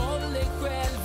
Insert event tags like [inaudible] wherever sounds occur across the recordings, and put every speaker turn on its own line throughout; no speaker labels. [gasps]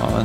Ja,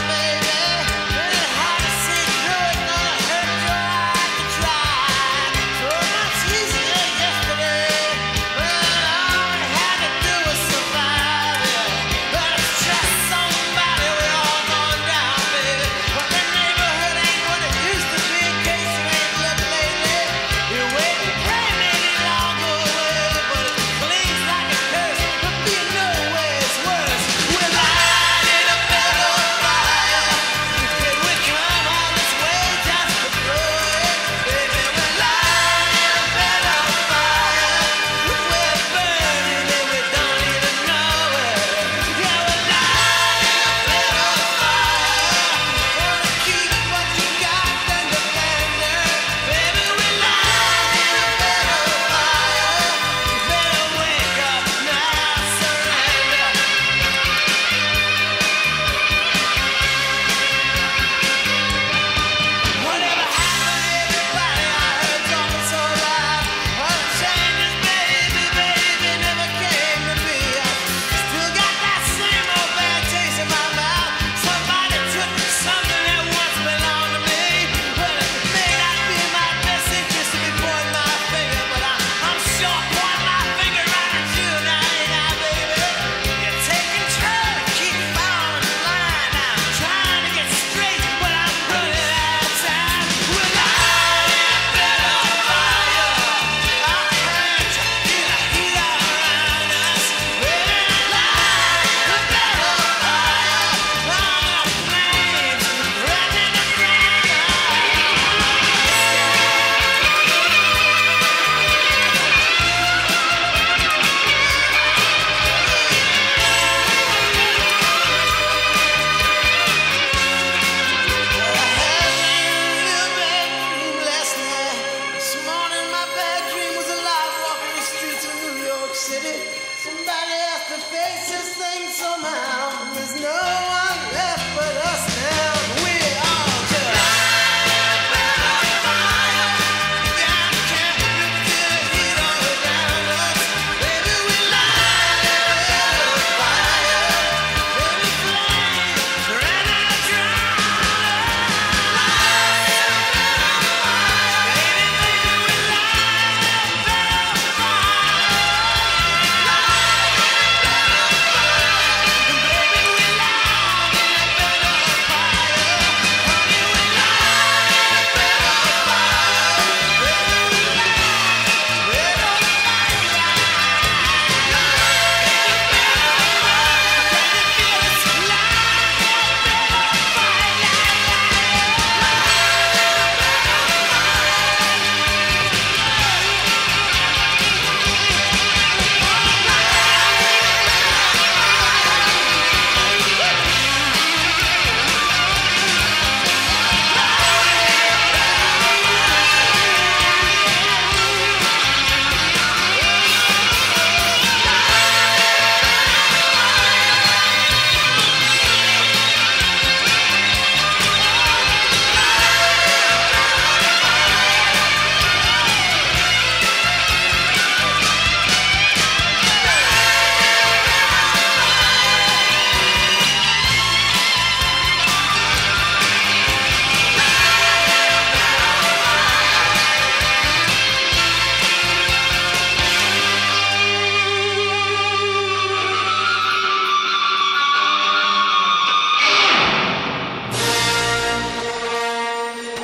Yeah.
ah,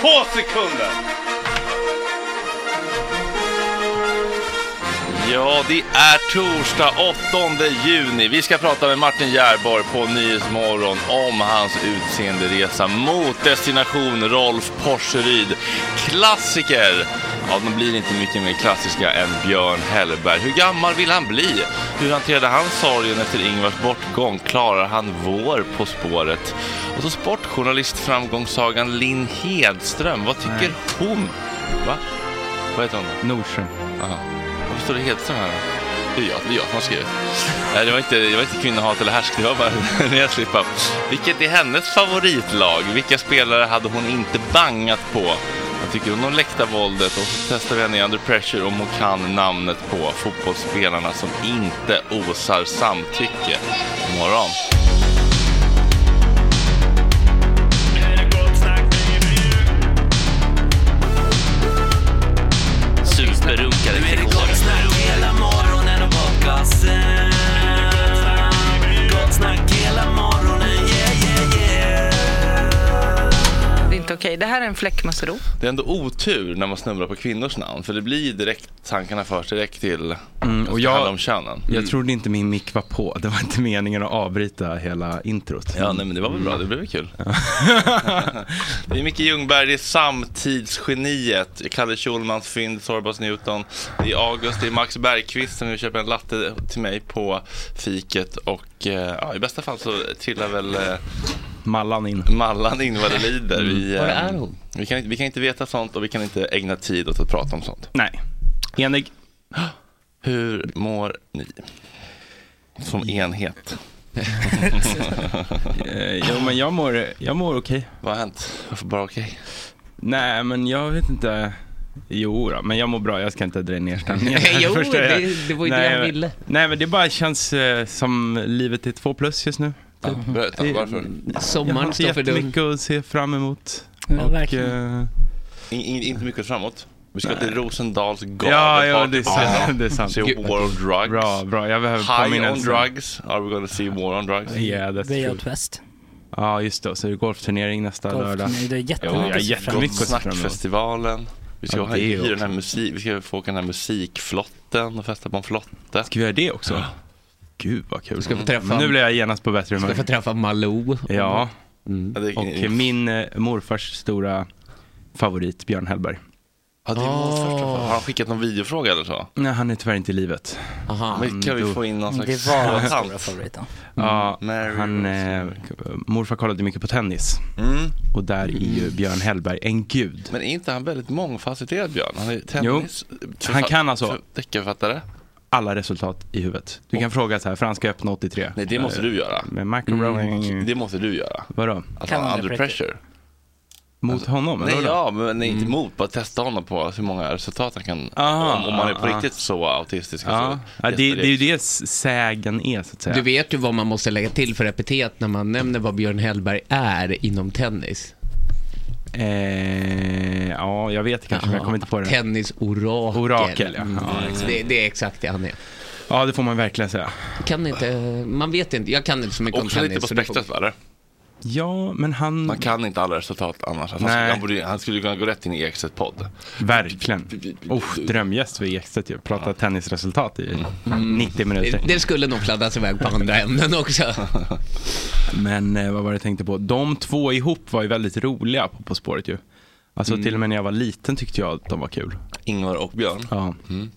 Ta sekunden! Ja, det är torsdag 8 juni. Vi ska prata med Martin Järborg på Nyhetsmorgon om hans utseenderesa mot destination Rolf Porseryd. Klassiker! Ja, de blir inte mycket mer klassiska än Björn Hellberg. Hur gammal vill han bli? Hur hanterade han sorgen efter Ingvars bortgång? Klarar han vår På spåret? Och så sportjournalistframgångssagan Linn Hedström. Vad tycker hon? Va? Vad heter hon?
Nordström.
Aha. Varför står det Hedström här? Det är jag, det är jag som har skrivit. Nej, Det var inte, det var inte kvinnohat eller härsk, det var bara [laughs] en rejäl slip-up. Vilket är hennes favoritlag? Vilka spelare hade hon inte bangat på? Vad tycker hon om läktarvåldet? Och så testar vi henne i Under Pressure om hon kan namnet på fotbollsspelarna som inte osar samtycke. God morgon! Superrunkare Gregorius.
Det är inte okej. Det här är en fläckmussero.
Det är ändå otur när man snubblar på kvinnors namn för det blir direkt, tankarna förs direkt till
Mm,
och
och
jag, handla
jag-
om könen.
Jag trodde inte min mick var på. Det var inte meningen att avbryta hela introt.
Ja, nej men det var väl bra, det blev väl kul. [laughs] det är Micke Ljungberg, det är samtidsgeniet, Kalle Schulmans fynd, Sorbas Newton, det är August, det är Max Bergqvist som nu köper en latte till mig på fiket och eh, ja, i bästa fall så trillar väl eh,
Mallan in.
Mallan in vad det lider. Vi,
Var
eh,
är hon?
vi, kan, inte- vi kan inte veta sånt och vi kan inte ägna tid åt att prata om sånt.
Nej. Enig.
[gasps] Hur mår ni?
[laughs]
Som enhet.
Eh, [laughs] jo, men jag mår, jag mår okej.
Vad har hänt? Varför bara okej?
Nej, men jag vet inte. Jo då, men jag mår bra. Jag ska inte dra ner stämningen.
[laughs]
här,
Jo,
förstår jag.
det- det var ju det han
men-
ville.
Nej, men det bara känns eh, som livet är två plus just nu. Typ.
Ja, berätta,
Det-
varför?
Jag har
Sommaren
inte
står för dörren.
jättemycket att se fram emot.
Ja,
Och,
verkligen.
eh,
In, in, inte mycket framåt. Vi ska till Rosendals gala.
ja, ja, det är sant. Det är
Se
sant.
War on Drugs.
Bra, bra. Jag behöver
High on
påminnelsen.
drugs. Are we gonna see war on drugs?
Yeah, that's
Way
true.
Out West.
Ja, just det. Och så är det golfturnering nästa lördag.
Golfturnering. Det är
Jo, jag är
jättemycket
jätte-
fram-
mycket att se fram emot.
Snackfestivalen. Vi ska
Ja,
ha
det
i
också.
den här musik, vi ska få åka den här musikflotten och festa på en flotte. Mm.
Ska vi göra det också? Gud, vad kul.
ska få träffa-
Men nu blir jag genast på bättre
Ska
humör.
få träffa Malou.
Ja,
Mm. Ja, det,
och min eh, morfars stora favorit, Björn Hellberg.
ja, det är vår första
Ah.
fråga. Har han skickat någon videofråga eller så?
Nej, han är tyvärr inte i livet.
Aha.
Men kan vi
då-
få in någon slags
Det var hans
[laughs] tant?
stora favorit. ja.
Ja,
Mary
han, eh, morfar kollade mycket på tennis.
Mm.
Och där är ju Björn Hellberg en gud.
Men är inte han väldigt mångfacetterad Björn? Han är tennis...
han kan alltså-
för- Deckarförfattare?
Alla resultat i huvudet. Du kan fråga så här, för han ska öppna 83.
Nej, det måste du göra. Mm.
Med Michael Rowling.
Det måste du göra.
Vadå?
Att
Kan
vara
han det
under
på riktigt?
pressure.
Mot honom? eller
Nej,
vadå?
ja, men nej, inte emot. Bara testa honom på hur många resultat han kan...
Mm. Aha,
om, om man är på
ah,
riktigt så autistisk. Alltså,
Ja,
så,
ja det, det är ju det s- sägen är så att säga.
Du vet ju vad man måste lägga till för epitet när man nämner vad Björn Hellberg är inom tennis.
Eh, ja, jag vet kanske, men jag kommer inte på det.
Tennisorakel.
Orakel, ja.
Mm,
Ja,
exakt. det, det är exakt det han är.
Ja, det får man verkligen säga.
Kan inte, man vet inte, jag kan inte så mycket om
Också
tennis.
lite på
så det
spektrat,
får-
va? eller?
Ja, liksom.
[laughs]
men han...
Man kan inte alla resultat annars. Han skulle,
Nej.
han, borde, han skulle kunna gå rätt in i Ekstedt podd.
Verkligen. Oh, drömgäst vid Ekstedt ju. Prata tennisresultat i 90 minuter.
Mm. Det, det skulle nog fladdas iväg på andra ämnen också.
[laughs] Men eh, vad var det jag tänkte på? De två ihop var ju väldigt roliga på På spåret ju. Alltså till och med när jag var liten tyckte jag att de var kul.
Ingvar och Björn.
Ja.
Mm.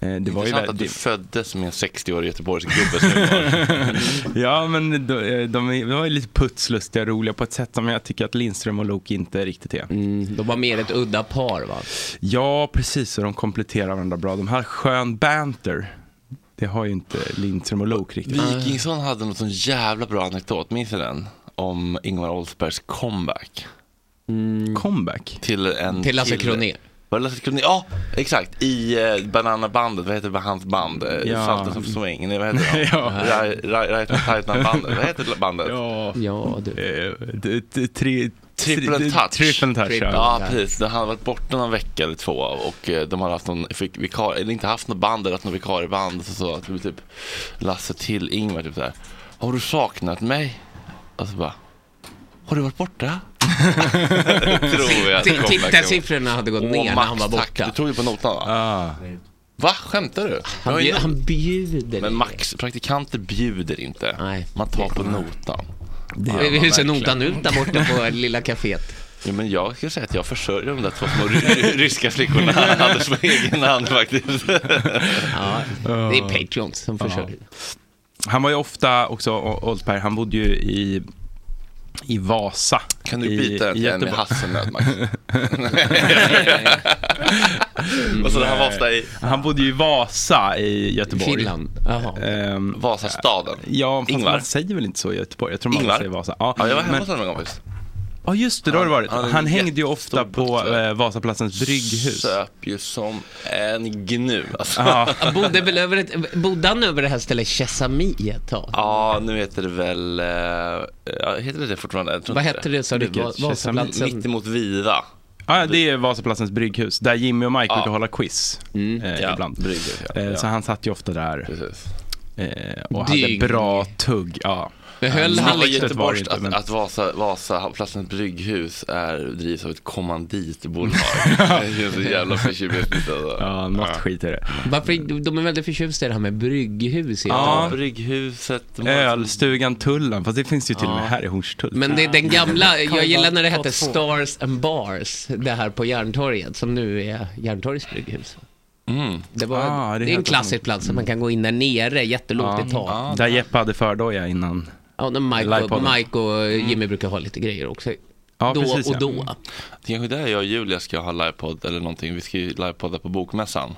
Eh, det var ju
Intressant att du
väldigt...
föddes med en 60-årig Göteborgsgubbe. som
[laughs]
Ingvar.
Ja, men de, eh, de, är- de var ju lite putslustiga och roliga på ett sätt som jag tycker att Lindström och Lok inte riktigt är.
Mm, de var mer ett udda par va?
Ja, precis. Och de kompletterar varandra bra. De här skön banter, det har ju inte Lindström och Lok riktigt.
Wikingsson hade något sån jävla bra anekdot, minns du den? Om Ingvar Oldsbergs comeback.
Mm.
Comeback.
Till en
Till Lasse
kille-
Kronér.
Var det Lasse Kronér? Ja, exakt. I eh, Bananabandet, vad heter hans band? Eh, Ja.
Ja.
Salters of Swing, nej vad heter det?
[laughs] Ja.
Ra- Ra- Right and Titan bandet, vad heter bandet?
Ja. Eh,
Ja, du.
Tri,
Triple Touch.
Triple touch,
Triple.
ja.
Ja, precis. De hade varit borta någon vecka eller två och eh, de hade haft någon fick vikar, eller inte haft något band eller haft något vikarieband. Så sa typ, typ Lasse till Ingvar typ så här. Har du saknat mig? Och så Alltså bara. Har du varit
[laughs]
borta? tror jag att det kommer verkligen vara.
Tittarsiffrorna hade gått
Åh,
ner när
Max,
han var
tack. Du
borta.
tog ju på notan va? Va? Skämtar du?
Han,
Jag är
bjud,
nöjd.
han bjuder
Men
lite.
Max, praktikanter bjuder inte.
Nej.
Man tar på notan.
Ja,
gör man
Hur ser
verkligen.
notan ut där borta på
[laughs]
lilla kaféet?
Ja, men jag skulle säga att jag försörjer de där två små ry- [laughs] ryska flickorna alldeles på egen hand faktiskt.
[laughs] Ja, det är Patreons
[laughs]
som försörjer.
Han var ju ofta också, O- Oldsberg, han bodde ju i, i Vasa.
Kan du
i,
byta
i
den till en
Göteborg.
hasselnöt
[laughs]
Max?
Mm.
Och så han var ofta i
Han bodde ju i Vasa i Göteborg.
Finland. Jaha.
Ehm,
Vasastaden.
Ja, fast
Ingvar.
man säger väl inte så i Göteborg? Jag tror man
Ingvar?
säger Vasa. Ja,
Ja, jag var hemma
men,
hos honom en gång faktiskt.
ja just det, då har det varit.
Han hade
Han,
en
hängde ju
jättestor
ofta på
bukt, va?
eh, Vasaplatsens brygghus.
Söp ju som en gnu alltså. [laughs]
Ja,
Han bodde, väl över ett, bodde han över det här stället Chesami ett tag?
Ja, nu heter det väl... eh, ja, heter det det fortfarande? Jag tror
Vad
inte
hette det sa du?
Vilket?
Va-
Sesam-
Mitt
Vasaplatsen?
emot Viva.
ja, det är Vasaplatsens brygghus, där Jimmy och Mike
Ja. Mm.
brukar hålla quiz eh,
Ja,
ibland.
brygghus, ja.
Eh,
Ja.
Så han satt ju ofta där
Precis.
eh, och
Dygg.
hade bra tugg. Ja.
Behöll
Ja,
Han
han
var
liksom-
Göteborgs,
var det inte, men-
att, att Vasa, Vasa, Platsens brygghus är, drivs av ett
[laughs]
kommanditbolag. det är så jävla förtjusigt. Alltså.
Ja, något skit är det.
Varför, de är väldigt förtjusta i det här med brygghus.
Ja.
Ja.
Brygghuset.
Ölstugan Tullen, fast det finns ju till och med här i Hornstull.
Men det är den gamla, jag gillar när det hette
Två.
Stars and Bars, det här på Järntorget, som nu är Järntorgets brygghus. Det, var,
Ah, det
det, är
heter
en klassisk plats, så man kan gå in där nere, jättelågt i tak.
ja, Ah, där Jeppe hade fördoja innan.
Ja, när Mike, och,
Livepodden.
Mike och Jimmy brukar ha lite grejer också.
Mm. Ja,
då
precis,
och
ja. Mm.
då.
Det kanske är där jag och Julia ska ha livepodd eller någonting. Vi ska ju livepodda på Bokmässan.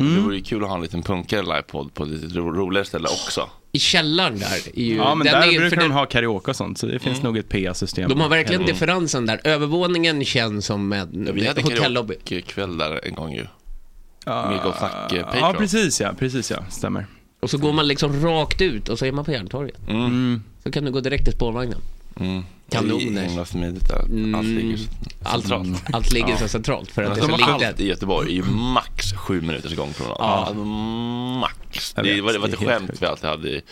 Mm.
Det vore ju kul att ha en liten punkare livepodd på ett lite ro- roligare ställe också.
I källaren där. Är ju,
Ja, men
den
där
är ju- för
brukar
den-
de ha karaoke och sånt, så det
Mm.
finns nog ett PA-system.
De har verkligen differensen där. Övervåningen känns som en
Ja, vi hade
hotellobby.
karaokekväll där en gång ju.
Ja.
Med Gott Snack, eh, Patreon.
Ja, precis ja. Precis ja, stämmer.
Och så går man liksom rakt ut och så är man på Järntorget.
Mm.
Mm.
Så kan du gå direkt till spårvagnen.
Det är
Kanoner. Mm.
himla smidigt där. Allt ligger så
Allt,
Mm.
centralt.
allt ligger så centralt för att det är
Alltså,
så
allt i
litet.
Göteborg är ju max sju minuters gångpromenad. Alltså, max.
Jag
Det
vet,
var, det var
det
ett
är helt
skämt vi alltid hade. i-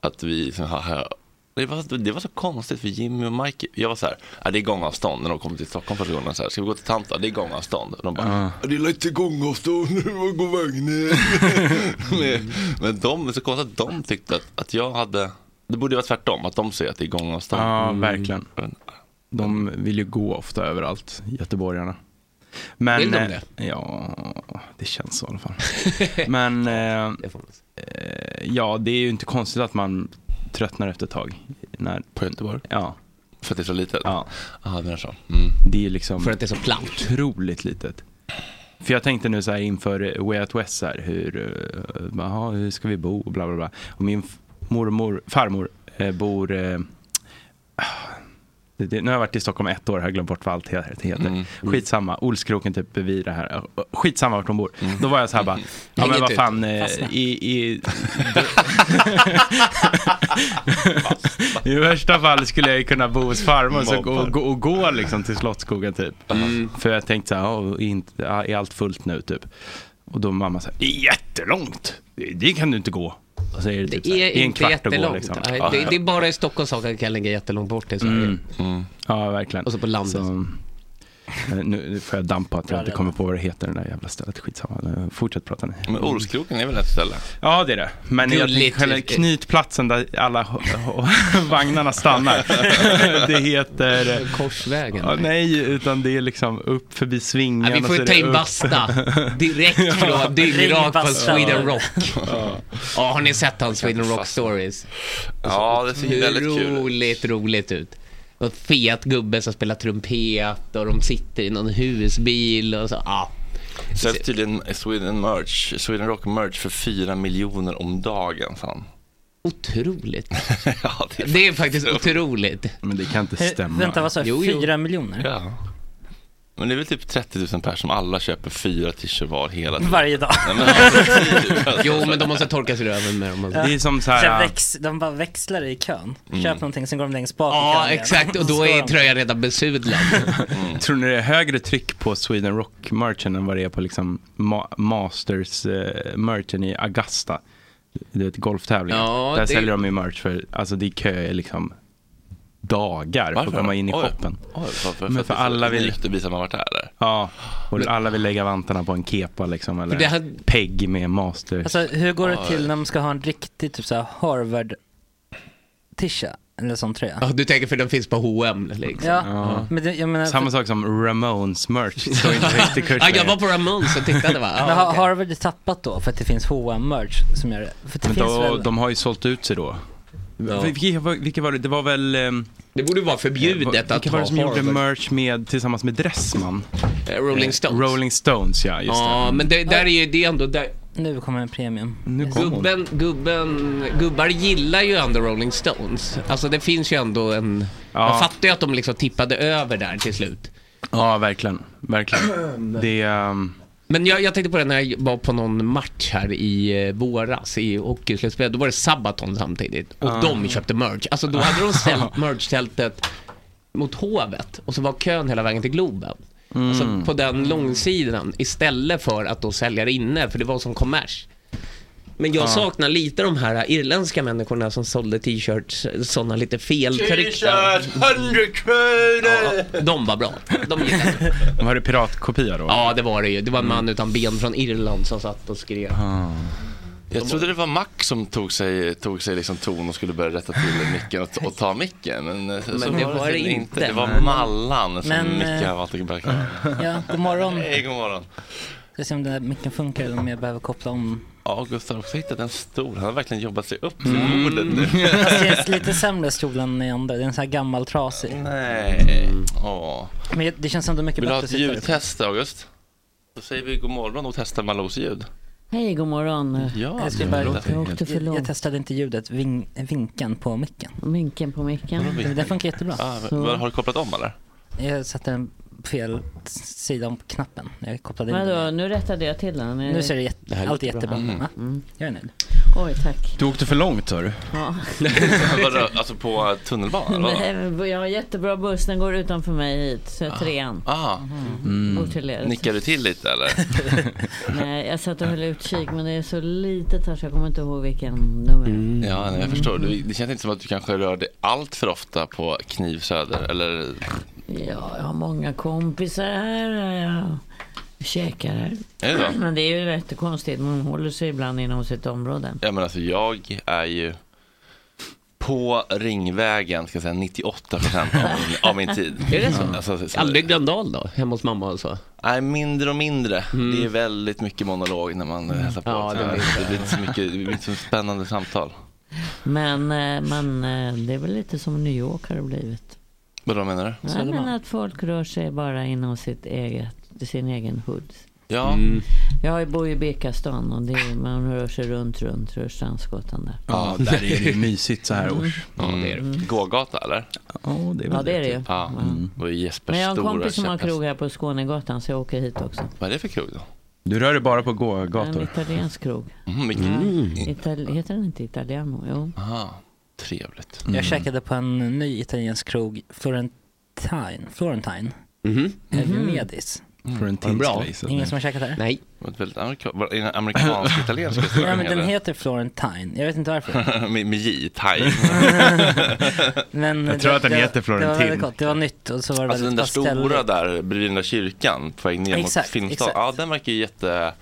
Att vi, så här, det, var, det var så konstigt för Jimmy och Mike. Jag var så här, "Ah, det är gångavstånd när de kom till Stockholm första gången. Så här, Ska vi gå till Tanta? Det är gångavstånd. Och de bara, "Ah, det är lite gångavstånd, vad går vagnen? [laughs] men, men de, så konstigt att de tyckte att, att jag hade, det borde ju vara tvärtom, att de säger att det är gångavstånd.
Ja, verkligen.
Men-
Mm. De vill ju gå ofta överallt, göteborgarna. Men,
Vill de
eh, Ja, det känns så i alla
[laughs]
fall. Men eh,
Det får man se.
eh, ja, det är ju inte konstigt att man tröttnar efter ett tag. När,
På Göteborg?
ja,
För att det är så litet?
ja,
Aha, det är så. Mm.
det är ju liksom...
För att det är så platt.
otroligt litet. För jag tänkte nu så här inför Way Out West, så här, hur, eh, aha, hur ska vi bo och bla bla bla. Och min f- mormor, farmor eh, bor, eh, ah, det, det, nu har jag varit i Stockholm ett år, jag har glömt bort vad allt he- det heter. Skitsamma, Olskroken typ bredvid det här. Eh, Skitsamma vart de bor. Då var jag så här bara, ja men
Häng
vad
inte
fan, eh,
Fastna.
i, [laughs] i, i värsta fall skulle jag ju kunna bo hos farmor och, så, gå- och, gå- och gå liksom till Slottsskogen typ. För jag tänkte så här, "Ja, är, inte, ja, är allt fullt nu typ? Och då mamma så här, det är jättelångt, det, det kan du inte gå. Och så är det, typ
Det
så här,
är
"Det en
inte
kvart att gå
jättelångt.
liksom.
Nej, det, det är bara i Stockholm saker kan ligga jättelångt bort i Sverige.
Mm.
Mm.
Ja, verkligen.
Och så på landet.
Så, eh, nu nu får jag damp på att jag inte kommer på vad det heter, det där jävla stället. Skitsamma, Eh, fortsätt prata ni.
Men Olskroken är väl ett ställe?
Ja, det är det. Men jag
Gulligt.
tänker själva knytplatsen där alla h- h- [laughs] vagnarna stannar. [laughs] det heter... eh,
Korsvägen.
Ja, nej, utan det är liksom upp förbi svingen.
Ja, vi
och så är
får
det
ta in
upp.
Basta
[laughs]
direkt från
Ring
dyngrak på
Basta.
[laughs]
Sweden Rock. Ja, har ni sett hans Sweden Rock Stories?
Ja, det ser ju väldigt kul ut.
Roligt, roligt ut. Och fet gubbe som spelar trumpet och de sitter i någon husbil och så. Ja,
Säljs tydligen Sweden merch, Sweden Rock merch för 4 miljoner om dagen, fan.
otroligt.
[laughs] ja, det
Det är faktiskt otroligt.
Men det kan inte
Hur-
stämma.
Vänta, vad sa
Jo,
du?
jo.
Fyra miljoner?
ja. Men det är väl typ 30 000 personer som alla köper fyra t-shirts var hela tiden.
Varje dag.
Nej, men alltså,
[laughs] Jo, men de måste torkas i röven med dem.
Det är som så
Sen
här... äh,
väx, de bara växlar i kön. Köp någonting, sen går de längst bak i kön
Ja,
igen.
exakt. Och
Så
då
står
är
de-
tröjan redan besudlad.
Tror ni det är högre tryck på Sweden Rock-merchen än vad det är på liksom ma- Masters-merchen i Augusta? Du vet golftävlingar.
Ja,
Där
det-
säljer de ju merch för, alltså det är kö liksom dagar på att komma in i
Oj.
shoppen.
Oj, varför?
Men
att
för
det är så-
alla
Det är
vill-
jättevis att man varit där. eller?
Ja, och alla vill lägga vantarna på en kepa liksom, eller
För det hade-
pegg med master.
Alltså hur går det till när de ska ha en riktig typ såhär Harvard-tisha? Eller sån tröja?
Ja, du tänker för den finns på H&M liksom.
Ja, men det, jag menar...
Samma sak som Ramones merch, står inte högt i kurs
Ja, jag
längre.
var på Ramones och
[laughs]
tittade va?
men har
[laughs] Ja, okej.
Harvard tappat då för att det finns hm merch som gör det? För det
Men
finns
då,
väl...
de har ju sålt ut sig då.
Ja.
Vilka, var- vilka var det? Det var väl... ehm,
Det borde ju vara förbjudet att
vilka var
ha
det som gjorde
Harvard.
merch med, tillsammans med Dressman?
Eh, Rolling Stones.
Rolling Stones, ja. Just
Ja,
det.
men det, där är ju det är ändå där.
Nu kommer en premium.
Nu kom hon.
Gubben, gubben, gubbar gillar ju ändå Rolling Stones. Alltså det finns ju ändå en...
Ja.
Jag fattar ju att de liksom tippade över där till slut.
Ja, verkligen. Verkligen. Det... ehm,
Men jag, jag tänkte på det när jag var på någon match här i eh, våras i hockeyslutspel. Då var det Sabaton samtidigt och
Ah.
de köpte merch. Alltså då
[laughs]
hade de ställt merch-tältet mot Hovet och så var kön hela vägen till Globen.
Mm.
Alltså på den långsidan istället för att då sälja det inne för det var som kommers. Men jag saknar lite de här irländska människorna som sålde t-shirts, sådana lite feltryckta.
100 kronor!
Ja, de var bra. De gillade jag.
Var det piratkopia då?
Ja, det var det ju. Det var en man utan ben från Irland som satt och skrev.
Jag trodde det var Mac som tog sig, tog sig liksom ton och skulle börja rätta till micken och, och ta micken. Men, eh, så
Men det var det
tydligen
inte.
Det var Mallan som
Men, eh,
mickade av allt.
Ja, god morgon.
Hej, god morgon.
Ska se om den här micken funkar eller om jag behöver koppla om.
Ja, Gustav har också hittat en stol. Han har verkligen jobbat sig upp till bordet [laughs] nu.
Fast Mm. [laughs] det är lite sämre stol än den andra. Det är en sån här gammal trasig.
Nej.
Mm.
Åh.
Men det känns ändå mycket
Vill du ha
bättre
ett
att sitta upp.
ljudtest, August? Då säger vi god morgon och testar Malous ljud.
Hej, god morgon.
Ja,
Jag ska
det
bara-
låter
Jag
helt-
åkte för
Jag, jag
långt.
testade inte ljudet, vin, vinkeln på micken.
Minken på micken.
Den funkar jättebra.
Ah, men- men har du kopplat om eller?
Jag satte den på fel sida om knappen när jag kopplade in
Vadå,
den.
nu rättade jag till den.
Nu ser det, jätte, allt är jättebra.
Mm.
Ja, jag är nöjd.
Oj, tack.
Du åkte för långt, hörru.
Ja.
[laughs] Vadå, alltså på eh, tunnelbanan? eller vadå?
[laughs] Nej, men Jag har jättebra buss, den går utanför mig hit. Så jag trean.
Ah,
Mm.
Går till er.
nickar du till lite eller?
Mm. [laughs] Nej, jag satt och höll utkik men det är så litet här så jag kommer inte ihåg vilken nummer.
Mm.
Ja, nej, jag förstår. Du, det känns inte som att du kanske rör dig allt för ofta på Knivsöder. Eller,
Ja, jag har många kompisar här. Jag käkar här.
är det så?
Men det är ju rätt konstigt, man håller sig ibland inom sitt område.
Ja, men alltså, jag är ju på Ringvägen, ska jag säga, 98 procent av, min- av min tid.
Är det så?
Alltså, så
Aldrig Gröndal då, hemma hos mamma och så? Mm.
Nej, mindre och mindre. Det är väldigt mycket monolog när man eh, hälsar på.
Ja,
Så
det blir
det blir inte så mycket, det blir inte så spännande samtal.
Men eh, man, eh, det är väl lite som New York har det blivit.
Vadå menar du?
Ja, men att folk rör sig bara inom sitt eget, sin egen hood.
Ja,
Jag bor ju i Birkastan och det är, man rör sig runt, runt Rörstrandsgatan där.
Ja, där
[laughs]
är det ju mysigt så här års.
mm. gågata eller?
Ja, det Mm. är väl
Ja, det är det ju.
Ja, det Mm. var ju Jespers
[laughs] Men jag har en
stora
kompis som har
käpphäst.
krog här på Skånegatan så jag åker hit också.
Vad är det för krog då?
Du rör dig bara på
En
gågator.
italiensk krog.
Mm, vilken...
Itali- heter den inte Italiano? Jo.
Aha, Mm. trevligt.
Mm.
Jag käkade på en ny italiensk krog, Florentine. Florentine. Eller Medis.
Mm. För en
Mhm. bra?
tidsresa.
Ingen som har käkat där?
Nej.
Det var ett väldigt amerika- var det
[laughs]
en
[coughs]
amerikansk-italiensk
Ja, men
restaurang.
den
eller?
heter Florentine. Jag vet inte varför.
[laughs] med, med J, thai.
Men
Jag tror
det-
att den
det- Det
heter
var
Florentine.
väldigt gott. Det var nytt och så var det
Alltså den
väldigt
där
pastelligt.
stora där bredvid den där kyrkan på väg ner mot
Exakt,
Filmstaden.
exakt.
Ja, den verkar ju jätte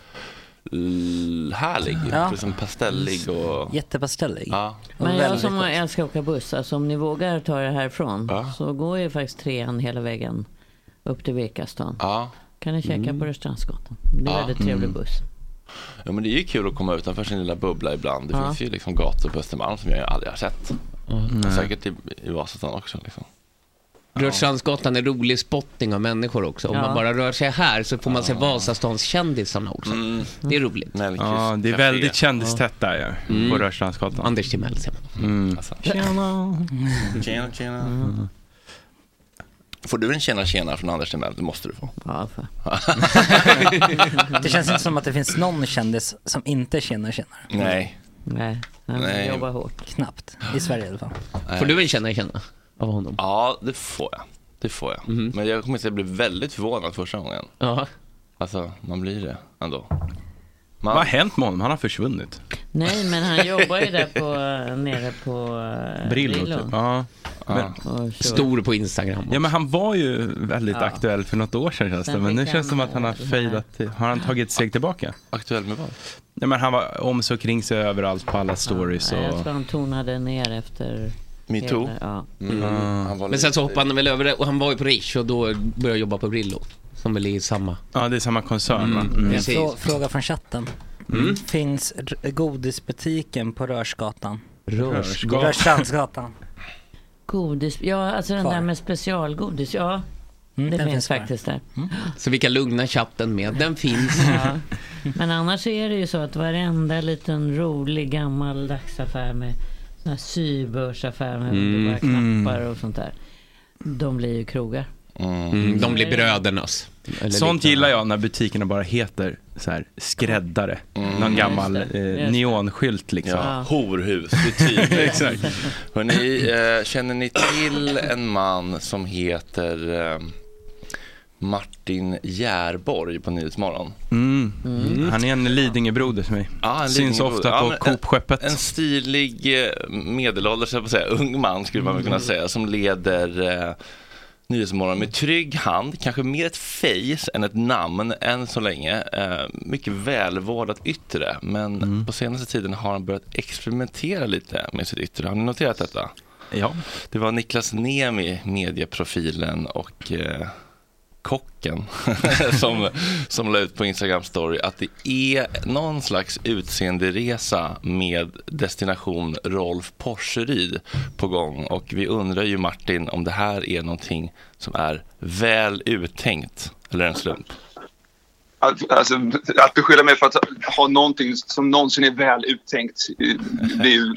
l- härlig.
Ja.
Liksom pastellig och...
Jättepastellig.
Ja.
Och
Men jag
väldigt
som
gott.
älskar att åka buss, alltså om ni vågar ta er härifrån
Ja.
så går ju faktiskt trean hela vägen upp till Birkastan.
Ja.
Kan ni käka på Rörstrandsgatan. Det är
Ja. Mm.
väldigt trevlig buss.
ja, men det är ju kul att komma utanför sin lilla bubbla ibland. Det
Ja.
finns ju liksom gator på Östermalm som jag aldrig har sett. Och säkert i, i Vasastan också. Liksom.
Rörstrandsgatan är rolig spotting av människor också. Om
Ja.
man bara rör sig här så får man se Vasastanskändisarna också. Det är roligt.
Mellqvist
Ja, det är
café. Mm.
väldigt kändistätt där ja. På Rörstrandsgatan. Mm.
Anders Timell ser man.
Alltså. Tjena, tjena. Får du en tjena tjena från Anders Timell? Det måste du få.
Ja,
[laughs]
för.
[laughs] Det känns inte som att det finns någon kändis som inte känner känner.
Nej.
Nej, nej,
Nej.
nej. jobbar hårt.
Knappt. I Sverige i alla fall.
Får du en känna känna av honom?
Ja, det får jag. Det får jag.
Mhm.
Men jag kommer inte att bli väldigt förvånad första gången.
Ja.
Alltså, man blir det ändå.
Vad har
Man,
hänt med honom? Han har försvunnit.
Nej, men han jobbar ju där på, nere på eh,
Brillo, typ. Ja. Men,
Ja, kör.
Stor på Instagram.
ja, men han var ju väldigt
Ja.
aktuell för något år sedan känns det.
Sen
Men nu
fick
känns det som
han,
att han har
eh, det här.
fejdat. till- Har han tagit ett steg tillbaka?
Aktuell med vad?
Nej, men han var om sig och kring sig överallt på alla stories.
Ja,
Och...
jag tror han tonade ner efter...
Metoo?
hela- Ja.
Mm.
Men sen så hoppade han väl över det och han var ju på Rish och då började jag jobba på Brillo. Som väl är samma. Mm,
Ja, det är samma koncern va? Mm.
En
Precis.
frå- fråga från chatten.
Mm.
Finns r- godisbutiken på Rörsgatan?
Rörsgatan.
[laughs]
Rörstrandsgatan.
Godis, ja alltså den
Kvar.
där med specialgodis, ja.
Mm,
det
den
finns,
kvar.
faktiskt där.
Så vi kan lugna chatten med. Den finns.
Ja. Men annars är det ju så att varenda liten rolig gammaldags affär med såna här sybörsaffär med underbara knappar
Mm.
och sånt där. De blir ju krogar.
Mm, de blir brödernas. Eller
Sånt
liknande.
gillar jag när butikerna bara heter så här, skräddare.
Mm.
Någon gammal
Just det, just
eh,
det.
neonskylt liksom.
Ja, horhus, det är tydligt. Exakt. Hörrni, eh, känner ni till en man som heter eh, Martin Järborg på Nyhetsmorgon?
Mm. Han är en Lidingöbroder för mig.
Ja, en
Syns
Lidingöbro.
ofta
Ja,
på
men en-
Coop-skeppet.
En stilig eh, medelålders, höll jag på att säga, ung man skulle man väl
Mm.
kunna säga, som leder eh, Nyhetsmorgon med trygg hand, kanske mer ett face än ett namn än så länge. Eh, mycket välvårdat yttre, men
Mm.
på senaste tiden har han börjat experimentera lite med sitt yttre. Har ni noterat detta?
Ja.
Det var Niklas Niemi, medieprofilen och eh, kocken [laughs] som, som la ut på Instagram story att det är någon slags utseenderesa med destination Rolf Porseryd på gång. Och vi undrar ju Martin om det här är någonting som är väl uttänkt eller en slump.
Att, alltså, att beskylla mig för att ha någonting som någonsin är väl uttänkt eh, blir ju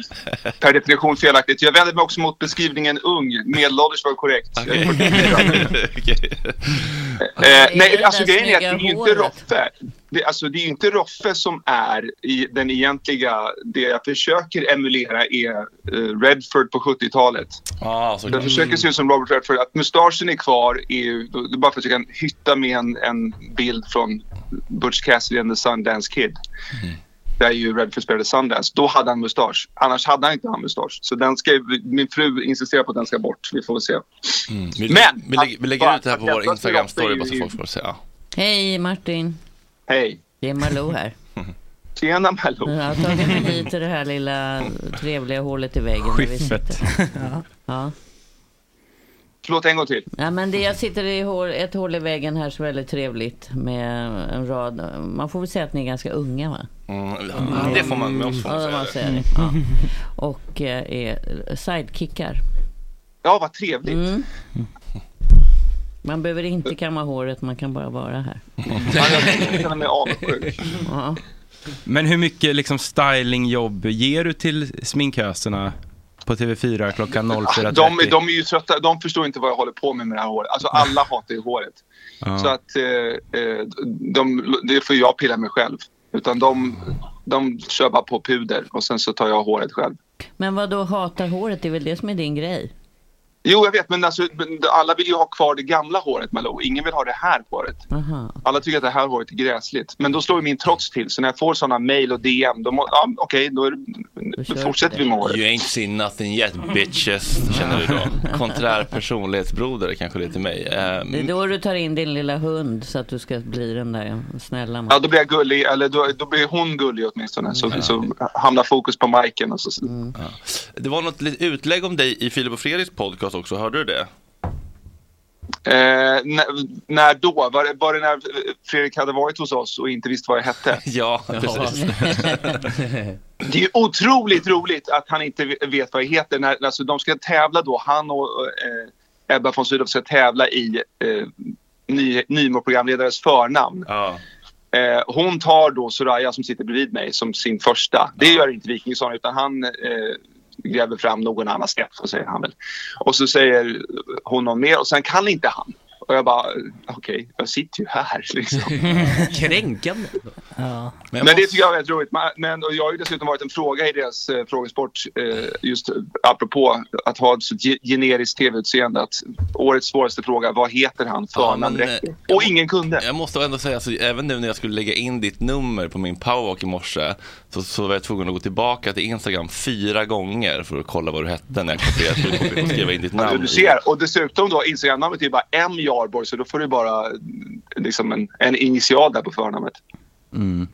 per definition felaktigt. Jag vänder mig också mot beskrivningen ung. Medelålders var korrekt. Jag är 44.
Okej.
Eh,
Är det
nej,
det
alltså
där
grejen är att det är ju
snygga
inte
håret?
Roffe. Det, alltså, det är ju inte Roffe som är i den egentliga... Det jag försöker emulera är eh, Redford på 70-talet.
Ja,
Jag
såklart.
försöker se ut som Robert Redford. Att mustaschen är kvar är ju... då- Det är bara för att jag kan hytta med en, en bild från Butch Cassidy and the Sundance Kid.
Mm.
Där ju Redford spelade Sundance. Då hade han mustasch. Annars hade han inte han mustasch. Så den ska, min fru insisterar på att den ska bort. Vi får väl se.
Mm. Vi,
Men-
vi, lägger, vi lägger ut det här på
Att- att-
vår
att- att-
Instagram-story
att-
bara så folk får se. Ja.
Hej Martin,
Hej.
det är Malou här.
[laughs] Tjena Malou.
Jag har tagit mig hit till det här lilla trevliga hålet i väggen. där vi
Skiffet.
sitter.
[laughs]
Ja.
Förlåt en gång till.
Ja, men det, jag sitter i hål, ett hål i väggen här som är väldigt trevligt med en rad, man får väl säga att ni är ganska unga va?
Mm, ja, det får man med oss. får man
Ja,
säga
man
det.
säger det. Ja. Och eh, är sidekickar.
Ja, vad trevligt.
Mm. Man behöver inte kamma håret, man kan bara vara
[laughs]
här.
Jag känner mig
[laughs]
avundsjuk.
Ja.
Men hur mycket liksom, stylingjobb ger du till sminköserna på TV4 klockan 04.30?
Ah, De, är- de är ju trötta. De förstår inte vad jag håller på med med det här håret. Alltså alla hatar ju håret.
Ja.
Så att eh, eh, de, det får jag pilla med själv. Utan de, de kör bara på puder och sen så tar jag håret själv.
Men vad då hatar håret, det är väl det som är din grej?
Jo, jag vet, men alltså, men alla vill ju ha kvar det gamla håret, Malou. Ingen vill ha det här håret.
Aha.
Alla tycker att det här håret är gräsligt. Men då slår ju min trots till. Så när jag får sådana mejl och DM, då må, ja, okej, då, är det-
Då
då
kör
fortsätter
vi.
vi med håret.
You ain't seen nothing yet bitches, känner du då. Konträr personlighetsbroder kanske lite mig. Eh,
Det är då du tar in din lilla hund så att du ska bli den där snälla
Ja,
man.
då blir jag gullig, eller då, då blir hon gullig åtminstone. Så, så hamnar fokus på Majken och så.
Mm.
det var något litet utlägg om dig i Filip och Fredriks podcast också, hörde du
[laughs]
det?
Eh, när, när då? Var det, var det när Fredrik hade varit hos oss och inte visste vad jag hette?
[laughs] Ja, precis. [laughs]
Det är ju otroligt roligt att han inte vet vad jag heter. När, alltså, de ska tävla då, han och eh, Ebba von Sydow ska tävla i eh, ny, Nymo-programledares förnamn.
Ja.
Eh, hon tar då Soraya som sitter bredvid mig som sin första. Det gör inte Wikingsson utan han eh, gräver fram någon annan snett, så säger han väl. Och så säger hon någon mer och sen kan inte han. Och jag bara, okej, jag sitter ju här liksom.
Kränkande.
Ja.
Men, det tycker jag är väldigt roligt. Man- Men, och jag har ju dessutom varit en fråga i deras eh, frågesport, eh, just eh, apropå att ha ett så ge- generiskt tv-utseende. Att årets svåraste fråga, vad heter han? Förnamn
men,
räcker.
eh,
Och ingen kunde.
Jag måste ändå säga, alltså, även nu när jag skulle lägga in ditt nummer på min powerwalk i morse så, så var jag tvungen att gå tillbaka till Instagram fyra gånger för att kolla vad du hette när jag kopierade slutkopian och skrev in ditt
Ja,
namn.
du
i.
ser. Och dessutom då, Instagram-namnet är ju bara M Jarborg, så då får du bara mm, liksom en, en initial där på förnamnet.
Mm.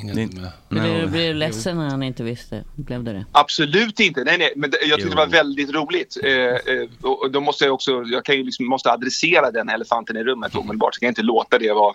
Blev du, blev du ledsen när han inte visste? Blev du det?
Absolut inte. Nej, nej, men det- jag tyckte
Jo.
det var väldigt roligt. Eh, eh, och och då måste jag också, jag kan ju liksom, måste adressera den elefanten i rummet
Mm.
omedelbart. Så kan jag inte låta det vara,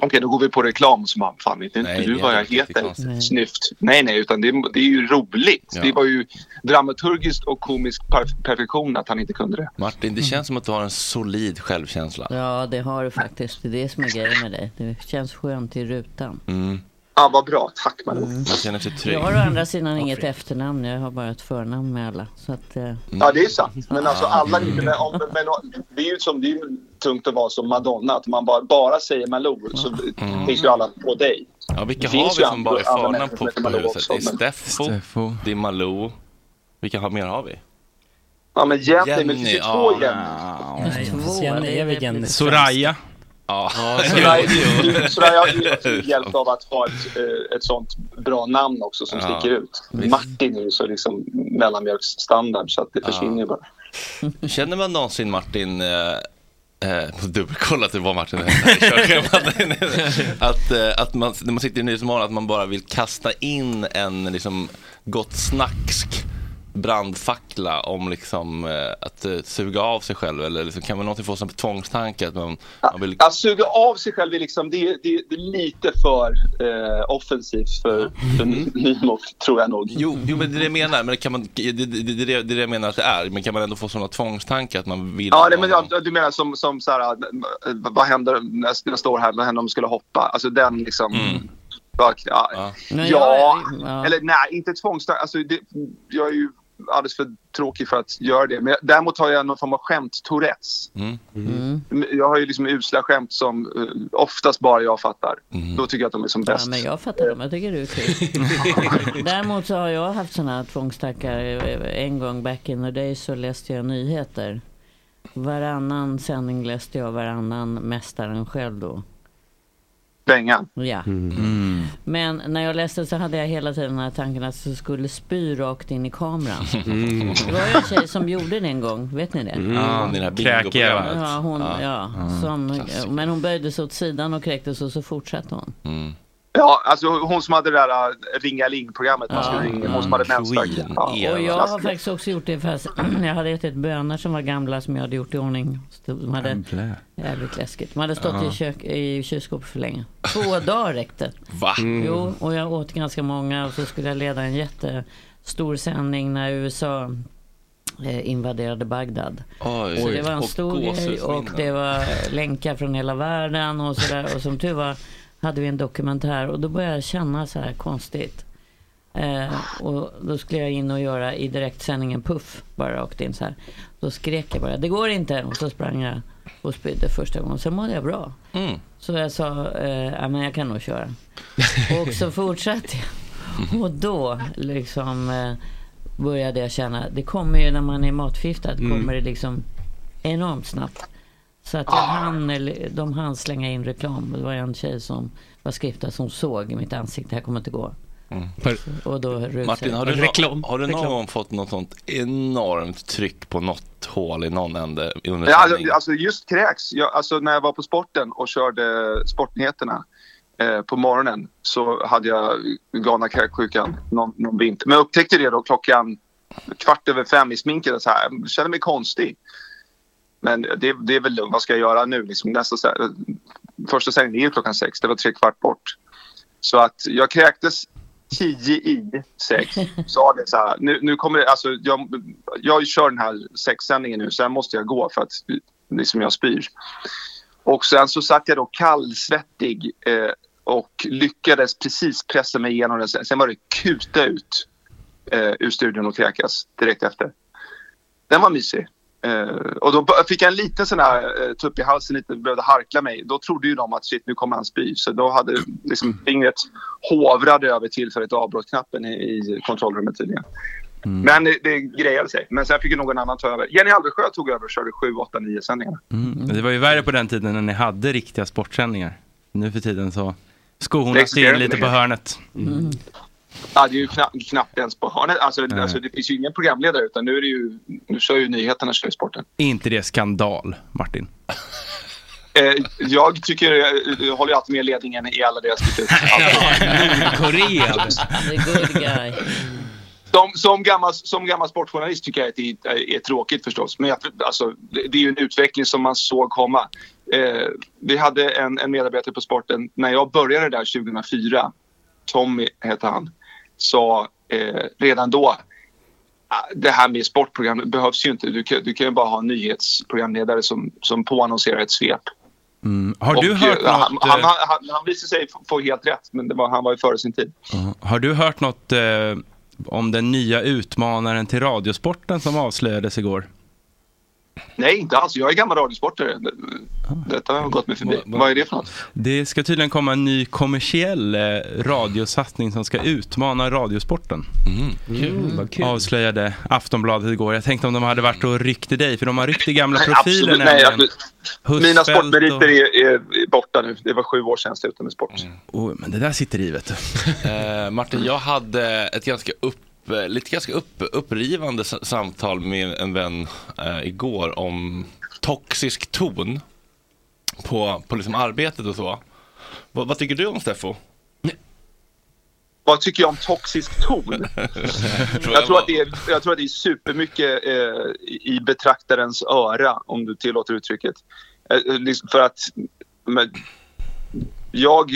okej då går vi på reklam. Så man, fan vet inte
Nej,
du vad
det hade
jag
varit riktigt
heter?
konstigt. Nej.
Snyft. Nej, nej, utan det, det är ju roligt.
Ja.
Det var ju dramaturgiskt och komisk perf- perfektion att han inte kunde det.
Martin, det känns som att du har en solid självkänsla.
Ja, det har du faktiskt. Det är det som är grejen med dig. Det känns skönt i rutan.
Mm.
Ja, vad bra. Tack man.
Man känner sig trygg.
Jag har å andra sidan inget efternamn. Jag har bara ett förnamn med alla. Så att, eh,
Mm.
Ja, det är sant. Men
Ah.
alltså alla men, men, men, det är ju som det är ju tungt att vara som Madonna. Att man bara, bara säger Malou så
Mm.
tänker ju alla på dig.
Ja, vilka
Det finns
har vi
ju
som bara är
andra- andra
förnamn
människor
på,
som heter
på
Malou
huset?
också,
Det är
men-
Steffo, det är Malou. Vilka har, mer har vi?
Ja, men Jenny, men det finns ju två
ja.
Nej, fast Jenny är väl Jenny.
Soraya.
Ja,
Soraya Soraya har ju
[laughs]
hjälp av att ha ett, eh, ett sånt bra namn också som
Ja,
sticker ut.
visst.
Martin är ju så liksom mellanmjölksstandard så att det försvinner ju bara.
Känner man någonsin Martin, eh, eh, [laughs] måste dubbelkolla att det var Martin här i körschemat. att, eh, att man, när man sitter i Nyhetsmorgon, att man bara vill kasta in en liksom gott snacksk brandfackla om liksom eh, att eh, suga av sig själv eller liksom, kan man någonsin få som tvångstanke att man, man vill
Att suga av sig själv är, liksom, det är, det är, det är lite för eh, offensivt för, för
Mm.
Nimo, tror jag nog.
Jo, jo, men det är det jag menar. Men kan man, det, det, det, det är det jag menar att det är. Men kan man ändå få sådana tvångstankar att man vill...
Ja, nej, men jag, du menar som, som så här, eh, vad händer när jag står här, vad händer om jag skulle hoppa? Alltså den liksom...
Mm.
Ja, ja.
Nej,
ja,
jag- ja.
eller nej, inte tvångstanke. Alltså, det, jag är ju alldeles för tråkig för att göra det. Men jag, däremot har jag någon form av skämt-tourettes.
Mm.
Jag har ju liksom usla skämt som eh, oftast bara jag fattar. Då tycker jag att de är som
ja,
bäst.
men jag fattar dem. Jag tycker du är kul. Däremot så har jag haft sådana tvångstankar. eh, En gång back in the day så läste jag nyheter. Varannan sändning läste jag varannan Mästaren själv då.
Bengan.
Ja. Mm. Men när jag läste så hade jag hela tiden den här tanken att det skulle spy rakt in i kameran. Det var ju en tjej som gjorde det en gång, vet ni det?
Ja, det här
Kräkiga, va?
bingoprogrammet. Mm.
Ja, hon, ja. som,
klassiker.
men hon böjde sig åt sidan och kräktes och så fortsatte hon.
Ja, alltså hon som hade det där äh, Ringaling-programmet. Man skulle ringa. Hon som hade mensvärk. Ja.
Och jag har
Klassiker.
faktiskt också gjort det fast [clears throat] jag hade ätit bönor som var gamla som jag hade gjort i ordning. De hade, jävligt läskigt. De hade stått i, kök, i kylskåpet för länge. Två dagar räckte. Mm.
Va?
Jo, och jag åt ganska många och så skulle jag leda en jättestor sändning när USA eh, invaderade Bagdad.
Oj,
Så det var en
och
stor grej och
gåshudsminnen.
det var länkar från hela världen och sådär. Och som tur var hade vi en dokumentär och då började jag känna så här konstigt. Eh, och då skulle jag in och göra i direktsändningen puff, bara rakt in så här. Då skrek jag bara, det går inte! Och så sprang jag och spydde första gången. Sen mådde jag bra.
Mm.
Så jag sa, eh, ja men jag kan nog köra. Och så fortsatte
[laughs]
jag. Och då liksom eh, började jag känna, det kommer ju när man är matförgiftad,
Mm.
kommer det liksom enormt snabbt. Så att jag hann, eller, de hann slänga in reklam. Det var en tjej som var skriftad som såg i mitt ansikte, det här kommer inte gå. Och då rusade
Mm. Martin,
jag.
har du, nå-
Reklam,
har du någon
reklam.
gång fått något sånt enormt tryck på något hål i någon ände under
Ja,
sändning?
alltså, alltså just kräks. Jag, alltså när jag var på sporten och körde sportnyheterna eh, på morgonen så hade jag galna kräksjukan någon, någon vinter. Men jag upptäckte det då klockan kvart över fem i sminket. och Så här, jag kände mig konstig. Men det, det är väl lugnt. Vad ska jag göra nu? Liksom nästa, så här, första sändningen är ju klockan sex. Det var tre kvart bort. Så att jag kräktes tio i sex. Sa det så här. Nu, nu kommer det, alltså, jag, jag kör den här sexsändningen nu. Sen måste jag gå för att liksom, jag spyr. Och sen så satt jag då kallsvettig eh, och lyckades precis pressa mig igenom den. Sen var det kuta ut eh, ur studion och kräkas direkt efter. Den var mysig. Eh, Eh, och då b- fick jag en liten sån här eh, tupp i halsen lite och behövde harkla mig. Då trodde ju de att shit, nu kommer han spy. Så då hade liksom fingret hovrade över tillfälligt avbrottsknappen i, i kontrollrummet tydligen. Men det, det grejade sig. Men sen fick ju någon annan ta över. Jenny Hallersjö tog över och körde 7, 8, 9 sändningarna.
Mm. Det var ju värre på den tiden när ni hade riktiga sportsändningar. Nu för tiden så skohornas
existerar
det in
inte
lite på
längre.
hörnet.
Mm.
Ja, det är ju kna knappt ens på hörnet. Alltså,
Nej.
alltså, det finns ju ingen programledare utan nu, är det ju, nu kör ju nyheterna kör ju sporten.
Är inte det skandal, Martin?
Eh, jag tycker, eh, jag, jag håller ju alltid med ledningen i alla deras beslut.
Korea.
The good guy.
Som, som, gammal, som gammal sportjournalist tycker jag att det är, är tråkigt förstås. Men jag, alltså, det, det är ju en utveckling som man såg komma. Eh, vi hade en, en medarbetare på sporten när jag började där 2004. Tommy hette han. Sa eh, redan då "Ah, det här med sportprogram behövs ju inte. Du kan, du kan ju bara ha en nyhetsprogramledare som, som påannonserar ett svep.
Mm. Har du
Och,
hört
eh, han,
något?
han,
eh,
han, han, han visade sig få- få helt rätt, men det var, han var ju före sin tid.
eh, Ja. Har du hört något eh, om den nya utmanaren till Radiosporten som avslöjades igår?
Nej, inte alls. Jag är gammal radiosportare. Det- Detta har gått mig förbi. Vad är det för något?
Det ska tydligen komma en ny kommersiell eh, radiosatsning som ska utmana Radiosporten.
Mm.
Mm.
Kul, vad kul.
Avslöjade Aftonbladet igår. Jag tänkte om de hade varit och ryckt i dig, för de har ryckt i gamla
Nej,
profiler
absolut, nej,
nämligen.
Mina
Husfeldt
sportmeriter
och-
är, är borta nu. Det var sju år sedan jag slutade med sport.
Oh, men det där sitter i, vet du.
alltså-
Eh, Martin, jag hade ett ganska upp, eh, lite ganska upp, upprivande s- samtal med en vän eh, igår om toxisk ton på, på liksom arbetet och så. Vad- vad tycker du om Steffo?
Vad tycker jag om toxisk
[laughs]
ton? jag, tror att det är, jag tror att det är supermycket eh, i betraktarens öra, om du tillåter uttrycket. Eh, eh, liksom för att men, jag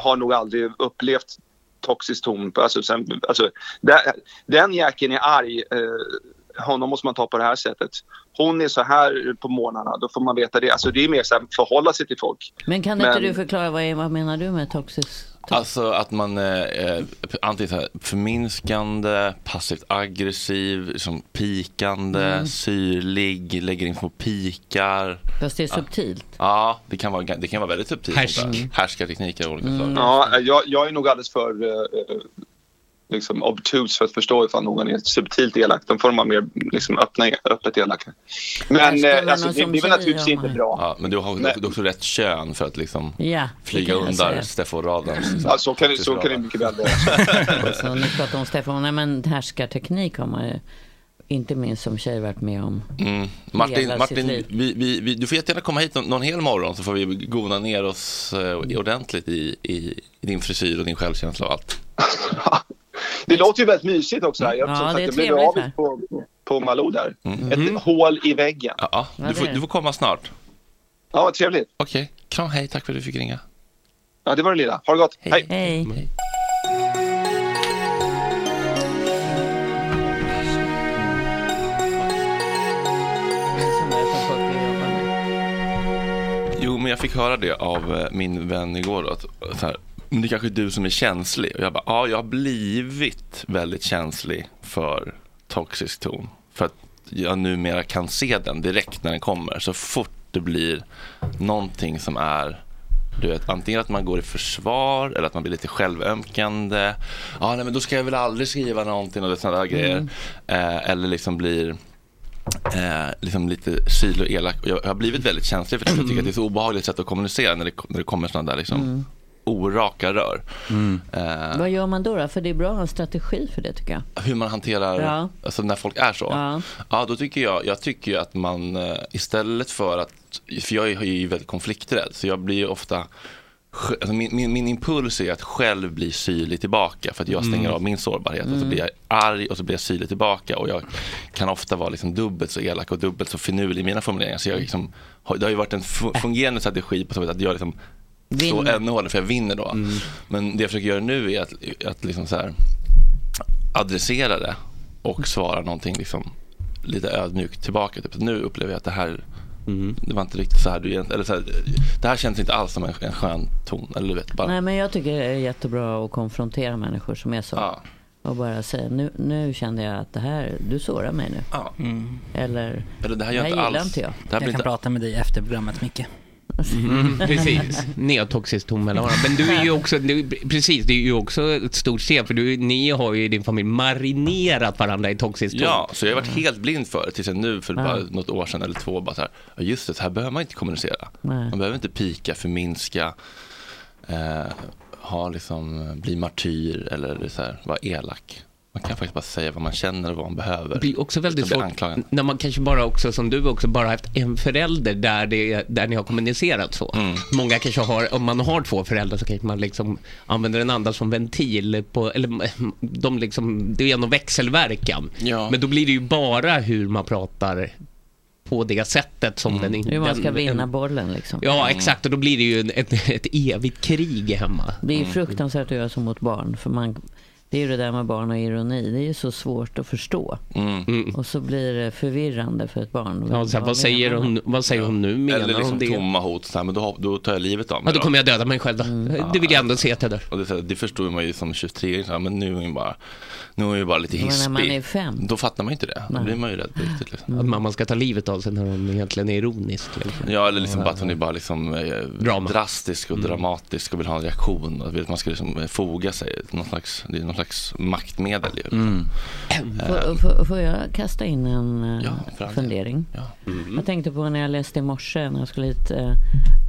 har nog aldrig upplevt toxisk ton. Alltså, sen, alltså, där, den jäkeln är arg. Eh, honom måste man ta på det här sättet. Hon är så här på morgnarna, då får man veta det. Alltså, det är mer så här, förhålla sig till folk.
Men kan inte
Men-
du förklara vad, är, vad menar du med toxisk?
Alltså att man eh, eh, antingen så här förminskande, passivt aggressiv, liksom pikande,
Mm.
syrlig, lägger in små pikar.
Fast det
[laughs]
är subtilt.
Ja, det kan vara, det kan vara väldigt subtilt.
Härsk.
sånt där. Härskartekniker av olika slag.
Mm.
Ja, jag, jag är nog alldeles för eh, liksom obtus för att förstå ifall någon är subtilt elak. De får de vara mer liksom, öppna, öppet elaka. Men
Älskar man
eh, alltså,
någon
det,
som
det är väl
tjej,
naturligtvis
gör
inte
man.
bra.
Ja, men du har, du
Nej.
har också rätt kön för att liksom
Ja, det
flyga
kan jag
under
säga.
Steffo Radans. liksom,
Ja, så Alltså, kan, det- så
toxiska
kan det
radar.
mycket väl vara.
Så Alltså, nu pratar om Stefan. Nej men härskarteknik har man ju. Inte minst som tjej varit med om.
Mm. Martin,
Hela sitt
Martin
liv.
vi, vi, vi, du får jättegärna komma hit någon, någon hel morgon så får vi gona ner oss eh,
Mm.
ordentligt i, i, i din frisyr och din självkänsla och allt.
Det låter ju väldigt mysigt också. Här. Jag,
Ja,
som
det är
sagt, jag blev
trevligt
av
här.
på, på Malou där. Ett hål i väggen.
Mm. Ja, ja,
det
du, får,
är.
du får komma snart.
Ja, vad trevligt.
Okej, kram, hej, tack för att du fick ringa.
Ja, det var det lilla. Ha det gott. Hej.
Hej.
Jo, men jag fick höra det av eh, min vän igår. Då, att, så här, men det är kanske är du som är känslig. Och jag bara, ja, jag har blivit väldigt känslig för toxisk ton. För att jag numera kan se den direkt när den kommer. Så fort det blir någonting som är du vet, antingen att man går i försvar eller att man blir lite självömkande. Ah, nej, men då ska jag väl aldrig skriva någonting och sådana där grejer. Eh, eller liksom blir eh, liksom lite kyl och elak. Och jag, jag har blivit väldigt känslig för det. för Jag tycker att det är så obehagligt sätt att kommunicera när det, ko- när det kommer sådana där liksom, oraka rör. Eh,
Vad gör man då, då? För det är bra att ha en strategi för det tycker jag.
hur man hanterar,
Ja.
alltså när folk är så.
Ja.
Ja, då tycker jag, jag tycker ju att man eh, istället för att, för jag är ju väldigt konflikträdd, så jag blir ju ofta sj- Alltså min, min, min impuls är att själv bli syrlig tillbaka för att jag
Mm.
stänger av min sårbarhet och så blir jag arg och så blir jag syrlig tillbaka och jag kan ofta vara liksom dubbelt så elak och dubbelt så finurlig i mina formuleringar. Så jag liksom, har- det har ju varit en fu- fungerande strategi på så sätt att jag liksom slår
Vinner. Mm.
ännu hårdare för jag vinner då. Men det jag försöker göra nu är att, att liksom så här, adressera det och svara någonting liksom lite ödmjukt tillbaka. Typ. Nu upplever jag att det här det var inte riktigt så här du egentligen, eller så här, det här känns inte alls som en, en skön ton. Eller du vet, bara,
Nej men jag tycker det är jättebra att konfrontera människor som är så.
Ja.
Och bara säga, nu, nu kände jag att det här, du sårar mig nu.
Mm.
Eller,
Eller det här
det
gör inte
här gillar
alls.
inte jag.
Det här blir inte
prata med dig efter programmet, Micke.
[laughs]
Mm, precis. Neotoxisk tommelhara. Men du är ju också, du, precis, det är ju också ett stort steg för du, ni har ju i din familj marinerat varandra i toxisk tom.
Ja, så jag har varit helt blind för det tills jag nu för
Ja.
bara något år sedan eller två bara så här, "Ja, just det, så här behöver man inte kommunicera.
Nej.
Man behöver inte pika, förminska, eh, ha liksom, bli martyr eller så här, vara elak. Man kan faktiskt bara säga vad man känner och vad man behöver.
Det blir också väldigt
utan att bli
svårt
anklagad.
när man kanske bara också, som du också, bara haft en förälder där, det, där ni har kommunicerat så.
Mm.
Många kanske har, om man har två föräldrar så kanske man liksom använder den andra som ventil på, eller mm, de liksom, det är någon växelverkan.
Ja.
Men då blir det ju bara hur man pratar på det sättet
Mm.
som den inte... Mm.
hur man ska vinna bollen liksom.
Ja, exakt. Och då blir det ju en- ett, ett evigt krig hemma. Mm.
Det är ju fruktansvärt att göra så mot barn. För man, det är ju det där med barn och ironi. Det är ju så svårt att förstå.
Mm.
Mm.
Och så blir det förvirrande för ett barn.
Ja, så här, vad, säger
menar man?
hon, vad säger hon nu? Menar
Eller liksom
hon det?
tomma hot, så här, men då, då tar jag livet av mig.
Ja, då kommer jag döda mig själv då.
Mm.
Det vill jag ändå se att jag dör.
Och det, är så här, det förstod man ju som 23 så här, men nu är man ju bara, nu är man ju bara lite
Men
hispig.
när man är fem.
Då fattar man ju inte det. Då blir man ju rädd på riktigt. Liksom.
Mm.
Att mamman ska ta livet av sig när hon egentligen är ironisk. liksom.
Ja, eller liksom bara att hon är bara liksom, eh, drastisk
Mm.
och dramatisk och vill ha en reaktion. Och vill man ska liksom eh, foga sig. Någon slags, det är någon slags maktmedel. ju, Eh, Liksom.
Mm.
Får, får, får jag kasta in en eh,
för all del.
fundering? Jag tänkte på när jag läste i morse när jag skulle hit eh,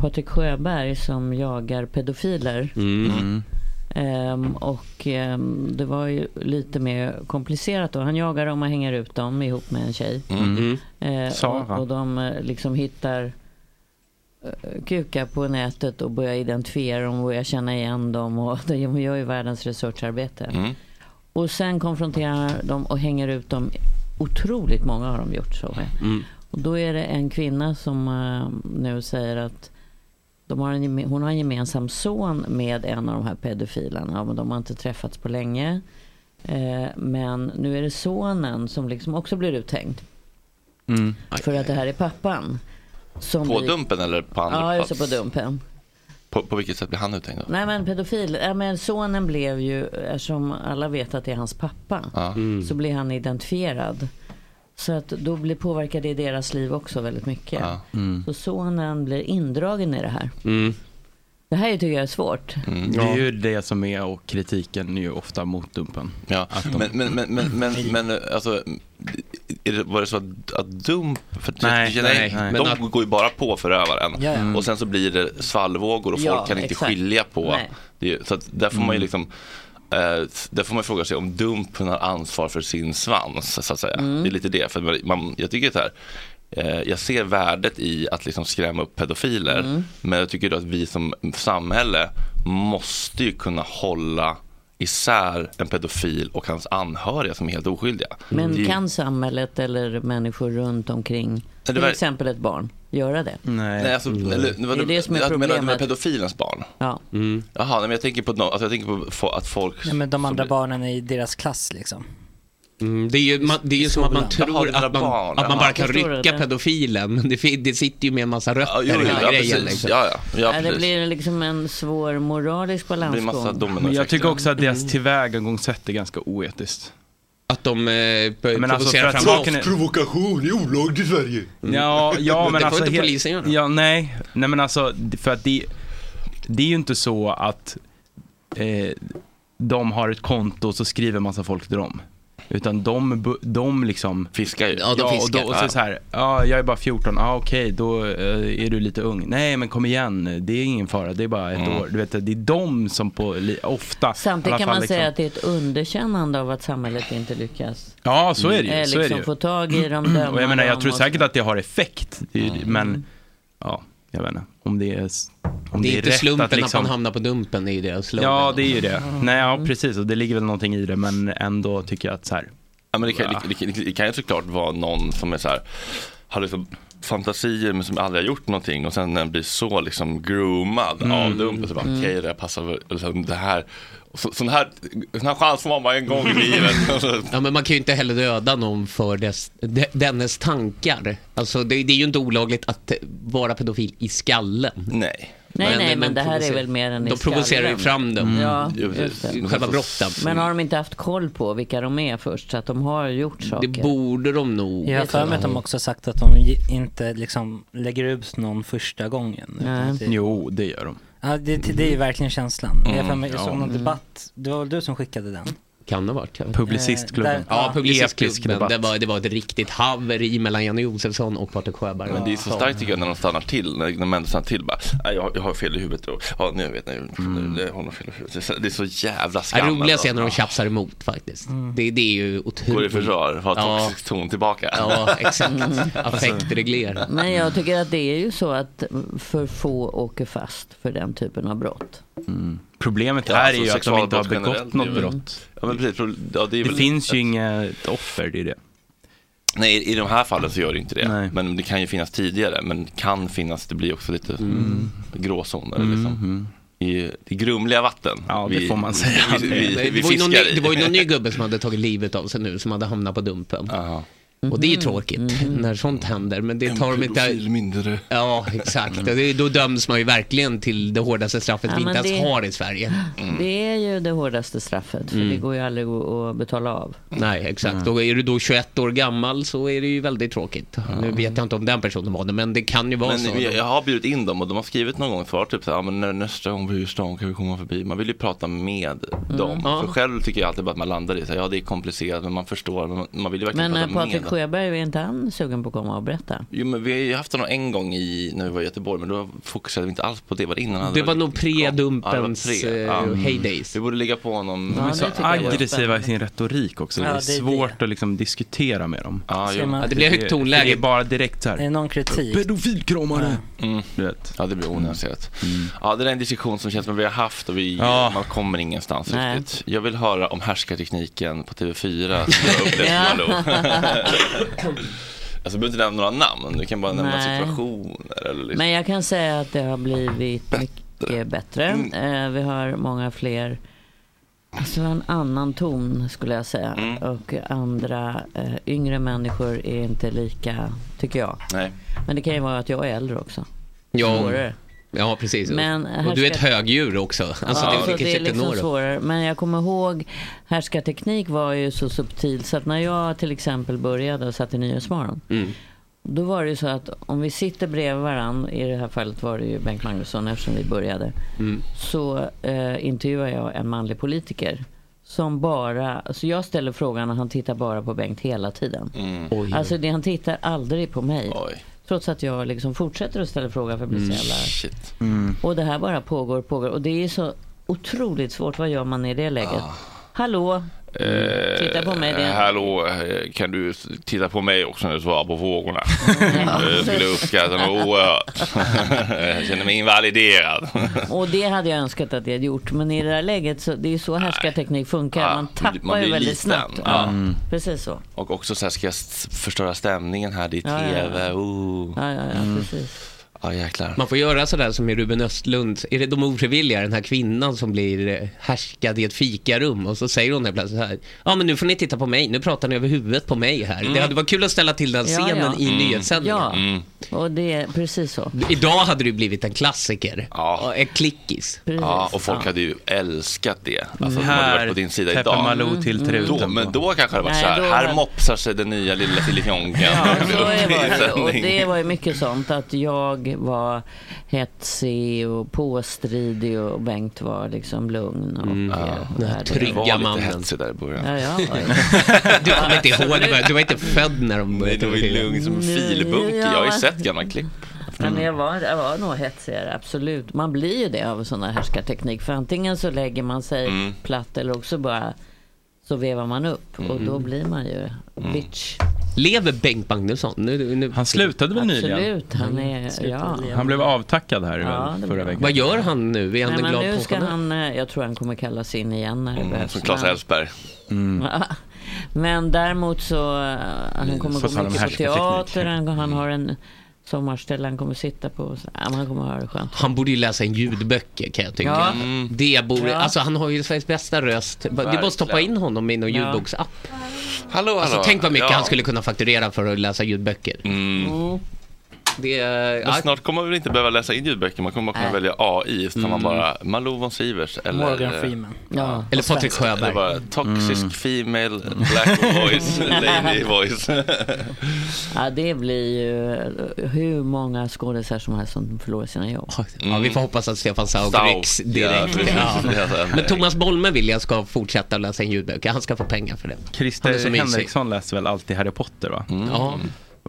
Patrik Sjöberg som jagar pedofiler.
Mm.
Mm.
Ehm, och ehm, det var ju lite mer komplicerat då. Han jagar dem och hänger ut dem ihop med en tjej.
Mm.
Eh,
Sara.
Och, och de eh, liksom hittar eh, kukar på nätet och börjar identifiera dem och börjar känna igen dem. Och [laughs] de gör ju världens researcharbete. Och sen konfronterar de och hänger ut dem. Otroligt många har de gjort så. Med. Och då är det en kvinna som eh, nu säger att de har en, geme- hon har en gemensam son med en av de här pedofilerna. Men de har inte träffats på länge. Eh, men nu är det sonen som liksom också blir uthängd. För att det här är pappan. Som
På
blir-
dumpen eller på andra
Ja, just
plats?
det, på dumpen.
På, på vilket sätt blir han uthängd då?
Nej men pedofil, nej, men sonen blev ju, eftersom alla vet att det är hans pappa,
Ja.
så blir han identifierad. Så att då blir påverkar det deras liv också väldigt mycket.
Ja.
Mm.
Så sonen blir indragen i det här.
Mm.
Det här tycker jag är svårt.
Mm.
Mm. Det är ju det som är och kritiken är ju ofta mot dumpen.
Ja.
Att de-
Men, men, men, men, men, men eh, alltså, är det, var det så att, att dump... För att-
Nej,
jag-
nej, nej.
De
Men att-
går ju bara på förövaren.
Ja, ja.
Och sen så blir det svallvågor och folk
Ja,
kan inte
exakt.
skilja på.
Nej.
Det, är ju- så att där får man
Mm.
ju liksom... eh, där får man ju fråga sig om dumpen har ansvar för sin svans. Så att säga.
Mm.
Det är lite det. För man- man, jag tycker så här, eh, jag ser värdet i att liksom skrämma upp pedofiler.
Mm.
Men jag tycker då att vi som samhälle måste ju kunna hålla isär en pedofil och hans anhöriga som är helt oskyldiga.
Men
Det är ju-
kan samhället eller människor runt omkring,
det
till
var-
exempel ett barn, göra det?
Nej, alltså, eller,
Det är det som är
jag menar, du menar
problemet.
pedofilens barn?
Ja.
Mm.
Jaha, nej, men jag tänker på, no, alltså, jag tänker på fo- att folk...
Nej, men de
som
andra
blir-
barnen i deras klass liksom.
Mm, det är ju, man, det är ju som att man
skolan. Jaha,
tror
dina
att man,
barn,
att man
jaha.
bara kan
Förstår du
rycka
det?
pedofilen, men det, fin- det sitter ju med en massa
Ja,
rötter
jo, jo,
i
ja,
grejen.
precis.
liksom.
Ja, ja, ja,
Nej,
precis.
det blir liksom en svår moralisk
Det blir massa
balansgång.
dominoeffekter.
Men jag tycker också att
Mm.
deras tillvägagångssätt är ganska oetiskt.
Att de eh,
Men
provocerar
alltså, för att
fram
saken är-
Provokation är olagligt i Sverige.
Ja, ja
Men
Mm. men
Mm. [laughs] det får
alltså...
inte
he-
polisen göra.
Ja, nej. Nej men alltså, för att det, det är ju inte så att eh, de har ett konto och så skriver massa folk till dem. Utan de, bu- de liksom...
Fiskar ju.
Ja, de
Ja, och,
fiskar.
då, och så, är det så här, ja, jag är bara 14, ja okej, då eh, är du lite ung. Nej men kom igen, det är ingen fara, det är bara ett
Mm.
år. Du vet, det är de som på, li- ofta... i alla
Samtidigt kan
fall
man säga
liksom-
att det är ett underkännande av att samhället inte lyckas.
Ja, så är det
Eh,
ju. Så är det
liksom
ju.
få tag i dem, döma
[clears throat] Mm. Och jag menar, jag
dem
tror
och-
säkert att det har effekt. Det är ju- Men, ja, jag vet inte. Om det är, s- om
Det är inte
rätt
slumpen att,
liksom-
man hamnar på dumpen, det är ju deras slogan.
Ja, det är ju det.
Mm.
Nej, ja, precis. Och det ligger väl någonting i det, men ändå tycker jag att så här.
Ja, men det, kan, det, det, det kan ju såklart vara någon som är så här, har liksom fantasier men som aldrig har gjort någonting och sen när den blir så liksom groomad
Mm.
av dumpen så bara okej det här passar väl, eller så här, det här, så, sån, här, sån här chans får man bara en gång i
Mm.
livet. [laughs] Alltså,
Ja, men man kan ju inte heller döda någon för dess, de, dennes tankar. Alltså, det, det är ju inte olagligt att eh, vara pedofil i skallen.
Nej.
Nej,
Men
nej,
den-
men
den
det här är
provocerar-
väl mer en i
De provocerar ju
skallen. Mm.
fram dem.
Ja,
Ja, precis.
just det.
Mm.
Själva brottet.
Men har de inte haft koll på vilka de är först så att de har gjort saker?
Det borde de nog.
Jag har för mig att de också sagt att de ge- inte liksom lägger ut någon första gången. utan att det-
Jo, det gör de.
Ja, det, det är ju verkligen känslan.
Mm,
jag har för mig, jag såg
ja.
någon
Mm.
debatt, det var väl du som skickade den?
Kan det ha varit.
Publicistklubben. Eh, där-
ja,
ja. Episk
Publicistklubben.
debatt.
Det var, det var ett riktigt haveri mellan Janne Josefsson och Patrik Sjöberg.
Men det är så starkt tycker jag när de stannar till, när, när män stannar till bara, "Nej, jag, har- jag har fel i huvudet. Och, ja, nu vet jag, mm. det, hon har fel i huvudet. Det är så- Det är så jävla
Ja,
skam.
roligast
alltså.
är när de tjafsar emot faktiskt.
Mm.
Det, det är ju otroligt.
Går i försvar, har toxisk ton tillbaka.
Ja,
[laughs]
[laughs]
exakt.
Affektreglera.
Men Mm. Alltså- jag tycker att det är ju så att för få åker fast för den typen av brott.
Mm.
Problemet
Ja,
är
alltså
ju att de inte har
sexualbrott
begått
generellt är
något
väl-
brott.
Ja, men precis, pro- ja, det är
Det
väl-
finns ju inget offer, det är det.
Nej, i de här fallen så gör det inte det. Men det kan ju finnas tidigare, men kan finnas, det blir också lite
Mm.
gråzoner.
Mm,
Liksom. I, I grumliga vatten. Ja,
det får man säga.
Vi, vi, vi,
det, var ju någon,
fiskar
ny-
i.
det
[laughs]
var ju någon ny gubbe som hade tagit livet av sig nu, som hade hamnat på dumpen. Och det är ju tråkigt när sånt händer, men det tar de inte...
mindre.
Ja, exakt. Och Det, då döms man ju verkligen till det hårdaste straffet
Ja,
vi
men
inte ens
det- Mm.
har i Sverige.
Det är ju det hårdaste straffet, för
Mm.
det går ju aldrig att- att betala
Mm.
av.
Nej, exakt. Och är du då 21 år gammal så är det ju väldigt tråkigt. Nu vet jag inte om den personen var det, men det kan ju vara
Men
så.
vi, jag har bjudit in dem och de har skrivit någon gång ett svar typ så här, ja, men när- nästa gång vi är i stan kan vi komma förbi. Man vill ju prata med dem.
Ja.
För själv tycker jag alltid bara att man landar i så här, ja det är komplicerat men man förstår. Men man, man vill ju verkligen
Men eh,
prata
Patrik
med
Sjöberg, är inte han sugen på att komma och berätta?
Jo men vi har ju haft honom en gång i, när vi var i Göteborg men då fokuserade vi inte alls på det. Var det innan han
Det
hade
var nog pre-dumpens
Ja, det var
eh,
Ja.
Mm.
Mm.
heydays.
Vi borde ligga på honom.
De är så aggressiva i sin retorik också. Det
Ja,
är
det är
svårt att liksom diskutera med dem.
Ja,
Ser man- Ja, det blir högt
Det,
tonläge.
är bara direkt så
Är det
här.
någon kritik?
Pedofilkramare!
Mm. Ja det blir onyanserat. Ja det där är en diskussion som känns som vi har haft och vi,
Ja.
man kommer ingenstans
Nej.
riktigt. Jag vill höra om härskartekniken på TV4
[laughs]
som jag upplevt
Ja.
Malou. Alltså du behöver inte nämna några namn, du kan bara nämna
Nej.
situationer eller liksom.
Men jag kan säga att det har blivit mycket bättre. Eh, vi har många fler, alltså en annan ton skulle jag säga. Och andra eh, yngre människor är inte lika, tycker jag.
Nej.
Men det kan ju vara att jag är äldre också.
Ja,
Svårare.
ja precis.
Men
och du är ett
härskar-
högdjur också. Alltså,
ja,
det,
så
vilket
det är
sätt det
liksom
når upp.
svårare. Men jag kommer ihåg härskarteknik var ju så subtil så att när jag till exempel började och satt i Nyhetsmorgon.
Mm.
Då var det ju så att om vi sitter bredvid varandra, i det här fallet var det ju Bengt Magnusson eftersom vi började.
Mm.
Så eh, intervjuar jag en manlig politiker. Som bara, så jag ställer frågan och han tittar bara på Bengt hela tiden.
Oj.
Alltså det, han tittar aldrig på mig. Trots att jag liksom fortsätter att ställa frågan för att bli
Mm.
så jävla...
Mm, Shit.
Och det här bara pågår pågår. Och det är så otroligt svårt. Vad gör man i det läget?
Ah.
Hallå?
Eh,
Titta på mig, det är-
Hallå, eh, kan du s- titta på mig också när du svarar på
[laughs]
frågorna? Eh, skulle jag uppskatta något oerhört. [laughs] jag känner mig invaliderad.
Och det hade jag önskat att jag hade gjort. Men i det där läget, så, det är ju så härskarteknik funkar.
Ja, Ah,
Man
man
tappar
blir- man
ju
blir
väldigt
liten. Ah.
snabbt.
Ja.
Ja.
Mm.
Precis så.
Och också så här, ska jag s- förstöra stämningen här, det är
Ja, ja, ja.
tv, oh.
Ja, ja, ja
Mm.
precis.
Ja, jäklar.
Man får göra sådär som i Ruben Östlund. Är det de ofrivilliga, den här kvinnan som blir eh, härskad i ett fikarum och så säger hon helt plötsligt så här. Ja men nu får ni titta på mig, nu pratar ni över huvudet på mig här.
Mm.
Det hade varit kul att ställa till den
Ja,
scenen
ja.
i
Mm.
nyhetssändningen.
Ja. Och det är precis så.
Idag hade det ju blivit en klassiker.
Ja.
En klickis.
Precis.
Ja, och folk
Ja.
hade ju älskat det. Alltså, de hade
Här
varit på din sida
täpper
idag.
Malou till Mm. truten
Då,
på.
men då kanske det var
Nej,
så här,
då
här
var-
mopsar sig den nya lilla Filipjonkan.
Ja, så
[laughs]
är det. Och det var ju mycket sånt. Att jag var hetsig och påstridig och Bengt var liksom lugn. Och,
Ja.
eh,
Den här
värdig.
trygga
Ah. var
Mm. mannen.
lite hetsig där i början.
Ja,
[laughs]
ja.
[laughs] Du kommer inte ihåg, det, va? du var inte född när de
Nej,
började.
det var ju lugnt som en filbunke. Jag har ju sett gamla klipp.
Nej, men jag,
Mm.
var, jag var nog hetsigare, absolut. Man blir ju det av sådana härskarteknik. För antingen så lägger man sig
Mm.
platt eller också bara så vevar man upp.
Mm.
Och då blir man ju bitch.
Lever Bengt Magnusson? Nu, nu...
Han slutade väl nyligen?
Absolut, han
Mm.
är... Ja.
Han blev avtackad här
Ja, det
väl,
blev
förra
han.
veckan.
Vad gör han nu? Är han
Nej,
en
men
glad
nu ska
pensionär?
han, eh, jag tror han kommer kallas in igen när det behövs.
Mm, Som Claes
Men-
Elfsberg.
Mm.
Men däremot så, eh, han kommer
så
gå
har de
mycket på
härskarteknik. Mm.
teater, han, han har en sommarställe han kommer sitta på. Så, ja, men han kommer ha det skönt.
Han borde ju läsa en ljudböcker kan jag tycka.
Ja.
Det borde,
Ja.
alltså han har ju Sveriges bästa röst. Du bara
Verkligen.
stoppa in honom i någon
Ja.
ljudboksapp.
Hallå, hallå.
Alltså tänk vad mycket
Ja.
han skulle kunna fakturera för att läsa ljudböcker.
Mm.
Det är...
Men snart kommer man väl inte behöva läsa in ljudböcker, man kommer bara kunna
Nej.
välja AI, så kan man
Mm.
bara Malou von Sivers eller
Morgan Freeman. Ja. Eller
Och
Patrik
svenska.
Sjöberg. Mm.
Eller bara toxic female black
[laughs]
voice, lady voice. [laughs]
Ja, det blir ju eh, hur många skådisar som helst som förlorar sina jobb.
Ja, vi får
Mm.
hoppas att Stefan Sauk
Sauk,
rycks
ja,
direkt.
precis.
Ja.
Ja,
Men Thomas Bolme vill jag ska fortsätta läsa en ljudböcker. Han ska få pengar för det. Han är så
Christer
mysig. Mm.
Henriksson läser väl alltid Harry Potter va? Mm.
Ja.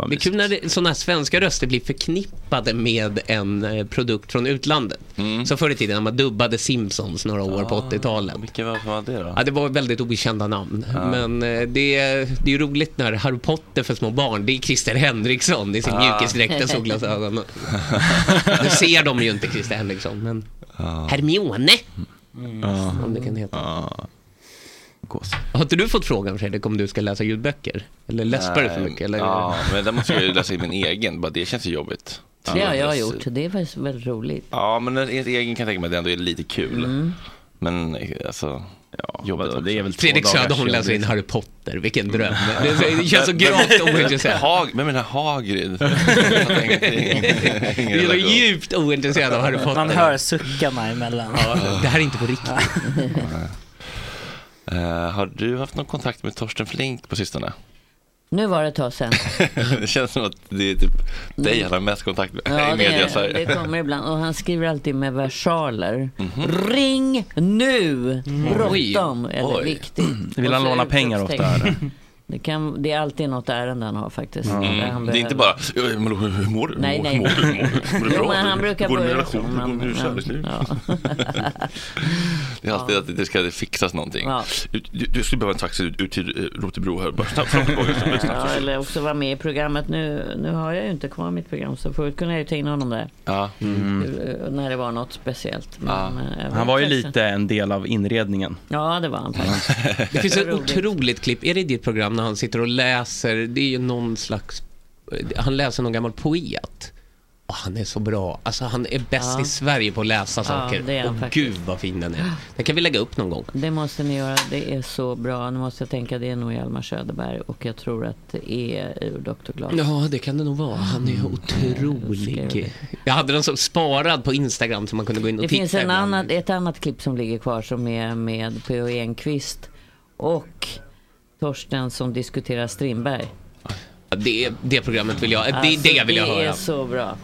Det är kul när det- sådana här svenska röster blir förknippade med en eh, produkt från utlandet.
Mm.
Så förr i tiden när man dubbade Simpsons några år på 80-talet.
Vilka Ah, var det då?
Ja, det var väldigt okända namn.
Ja.
Men eh, det, är- det är ju roligt när Harry Potter för små barn, det är Christer Henriksson i sin
Ja.
mjukisdräkt och solglasögon. nu ser de ju inte Christer Henriksson, men
Ah.
Hermione. Om det kan heta. Har inte du fått frågan Fredrik om du ska läsa ljudböcker? Eller läspar du för
Nej,
mycket? Eller?
Ja, men där måste jag ju läsa in min egen, bara det känns ju jobbigt.
Det har jag gjort. Det är faktiskt väldigt roligt.
Ja, men ens egen kan jag tänka mig att det ändå är lite kul.
Mm.
Men eh, alltså, ja, jobbigt det är väl
Fredrik Söderholm läser in Harry
[laughs]
Potter, vilken dröm. Det, det känns så gravt ointresserad.
Hag, vem menar
[laughs]
Hagrid?
Du är så djupt ointresserad av Harry Potter.
Man hör suckarna emellan.
Ja, det här
[laughs]
är inte på riktigt.
Eh, har du haft någon kontakt med Torsten Flink på sistone?
Nu var det ett tag sedan.
[laughs] det känns som att det är typ dig han har mest kontakt med i media. så här.
det, det [laughs] kommer ibland. Och han skriver alltid med versaler.
Mhm.
Ring nu!
Mm.
Bråttom!
Oj.
Eller
Oj.
viktigt.
Vill
Och
han
så
låna pengar
utropstecken.
ofta, eller?
Det, kan, det är alltid något ärende han har faktiskt.
Mm.
där han
Det är inte
behöver-
bara, "Ja, men hur hur mår du?
Nej,
Hur
nej.
Mår du? Hur Mår du? Mår du
[laughs] Jo,
bra?
men han brukar
Går det med
börja så,
relationen? Går det
men-
med
men-
kärlekslivet? Det är alltid att det ska fixas någonting.
Ja.
Ut- Du, du skulle behöva en taxi ut, ut till eh, Rotebro här. Bara snabbt fram och tillbaka. snabbt, snabbt,
[laughs] Ja,
snabbt.
eller också vara med i programmet. Nu, nu har jag ju inte kvar mitt program så förut kunde jag ju ta in honom där.
Ja.
Mm.
Mm.
Eh, När det var något speciellt. Men,
Ah.
eh, jag
Mm. Han var ju
vet
lite en del av inredningen.
Ja, det var han faktiskt.
Det
[laughs]
finns ett
Roligt.
otroligt klipp, är det i ditt program när han sitter och läser, det är ju någon slags, han läser någon gammal poet. Och han är så bra, alltså han är bäst
Ja.
i Sverige på att läsa
Ja,
saker.
det är han
och
faktiskt.
gud vad fin den är. Den kan vi lägga upp någon gång.
Det måste ni göra. Det är så bra. Nu måste jag tänka, det är nog Hjalmar Söderberg och jag tror att det är ur Dr. Glas. Mm.
Ja, det kan det nog vara. Han är otrolig. Jag hade den så sparad på Instagram så man kunde gå in och
Det
titta.
finns en
ibland.
annan, ett annat klipp som ligger kvar som är med P.O. Enquist och Torsten som diskuterar Strindberg.
Ja, Det, det programmet vill jag,
Alltså,
det, det vill jag
det
höra.
är så bra.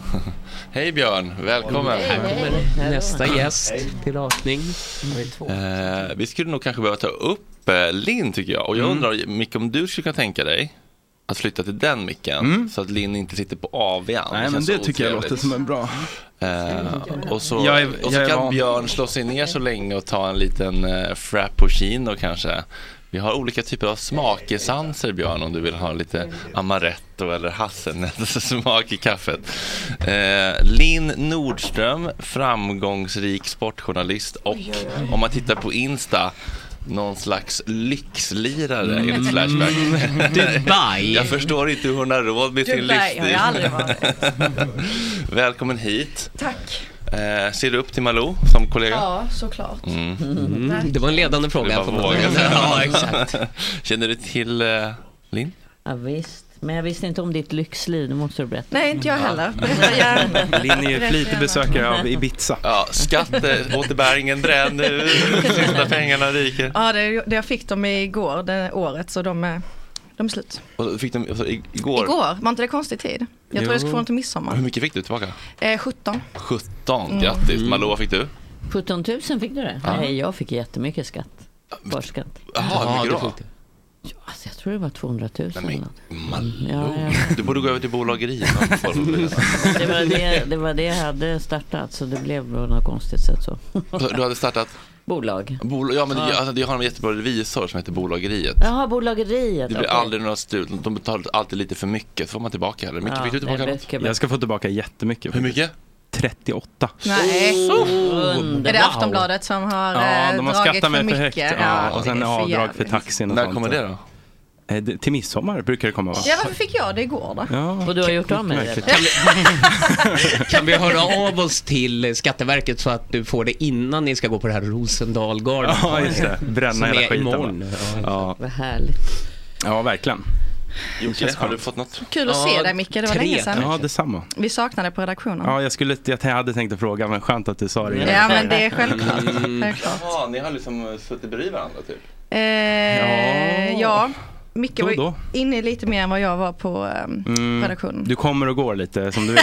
Hej Björn, välkommen.
Nästa gäst till rakning.
Eh, vi skulle nog kanske behöva ta upp eh, Linn tycker jag. Och jag
Mm.
undrar Micke om du skulle kunna tänka dig att flytta till den micken så att Linn inte sitter på AWn.
Mm. Nej, men
känns
det
så
tycker jag
otrevligt.
låter som en bra...
Eh, och så,
Jag är-
och så
jag är
kan
van.
Björn slå sig ner så länge och ta en liten eh, frappuccino kanske. Vi har olika typer av smakesanser Björn om du vill ha lite amaretto eller [laughs] hasselnötssmak i kaffet. Eh, Linn Nordström, framgångsrik sportjournalist och om man tittar på Insta någon slags lyxlirare
Mm.
enligt
[laughs]
Flashback.
Dubai.
Jag förstår inte hur hon har råd med sin livsstil.
Dubai har jag aldrig varit.
[laughs] Välkommen hit.
Tack.
Eh, ser du upp till Malou som kollega?
Ja, såklart.
Mm.
Tack.
Det var en ledande
Du
fråga.
bara
jag får-
vågar.
ja, exakt.
[laughs] Känner du till eh, Linn?
Ja, visst. Men jag visste inte om ditt lyxliv, nu måste du berätta.
Nej, inte jag heller.
[laughs]
Berätta gärna.
Linn är ju
Berätta
flitig
gärna.
besökare av Ibiza.
Ja, eh,
[laughs]
skatteåterbäringen bränner, sista pengarna ryker.
Ja, det, är- det jag fick dem igår, det året, så de är, de är slut.
Och så fick de, och så i- igår.
Igår, var inte det konstig tid? Jag trodde
Jo.
jag skulle få dem till
Hur
midsommar.
mycket fick du tillbaka?
Eh, 17.
17,
Mm.
grattis. Malou, vad fick du?
17 000 fick du det?
Ja.
Nej, jag fick jättemycket skatt. Kvarskatt.
Jaha, hur
Ja,
mycket
du
då?
fick det.
Alltså, jag tror det var 200 000. eller något. Mm, Ja,
Malou,
ja.
du borde gå över till
[laughs]
bolageri.
Det, var det, det var det jag hade startat, så det blev på något konstigt sätt så.
Du hade startat?
Bolag.
Bol ja, men jag, alltså, jag har en jättebra revisor som heter Bolageriet.
Jaha, bolageriet.
Det blir
okej.
aldrig några stul. De betalar alltid lite för mycket. Så får man tillbaka det. Mycket
Ja,
fick du tillbaka?
det är
något?
mycket
Jag ska få tillbaka jättemycket.
Hur mycket?
38.
Nej.
Underbart.
Oh, Är det Aftonbladet som har,
Ja,
eh,
de har
dragit
skattat mig för
mycket?
högt.
Ja,
Ja, och
det
sen
är för
avdrag för
jävligt.
taxin och
När
sånt.
kommer det då?
Eh, det- Till midsommar brukar det komma va?
Ja, varför fick jag det igår då?
[laughs] Ja.
Och du har gjort av med det?
Märkligt.
eller? [laughs]
Kan vi höra av oss till Skatteverket så att du får det innan ni ska gå på det här Rosendalgarden?
Ja, just det. Bränna
Som
hela
är
skiten. va?
imorgon.
Ja,
Vad härligt.
ja verkligen.
Jocke, har du fått något?
Kul att se dig Micke, det var länge sedan.
Ja, detsamma.
Vi saknar dig på redaktionen.
Ja, jag, skulle, jag hade tänkt att fråga, men skönt att du sa det.
Ja, men det är självklart. [laughs]
Mm.
Mm.
Självklart.
Ja, ni har liksom suttit bredvid varandra typ?
Eh, ja. Micke
Då,
var ju
då. Mm.
inne lite mer än vad jag var på ehm, redaktionen.
Du kommer och går lite som
[laughs]
du vill.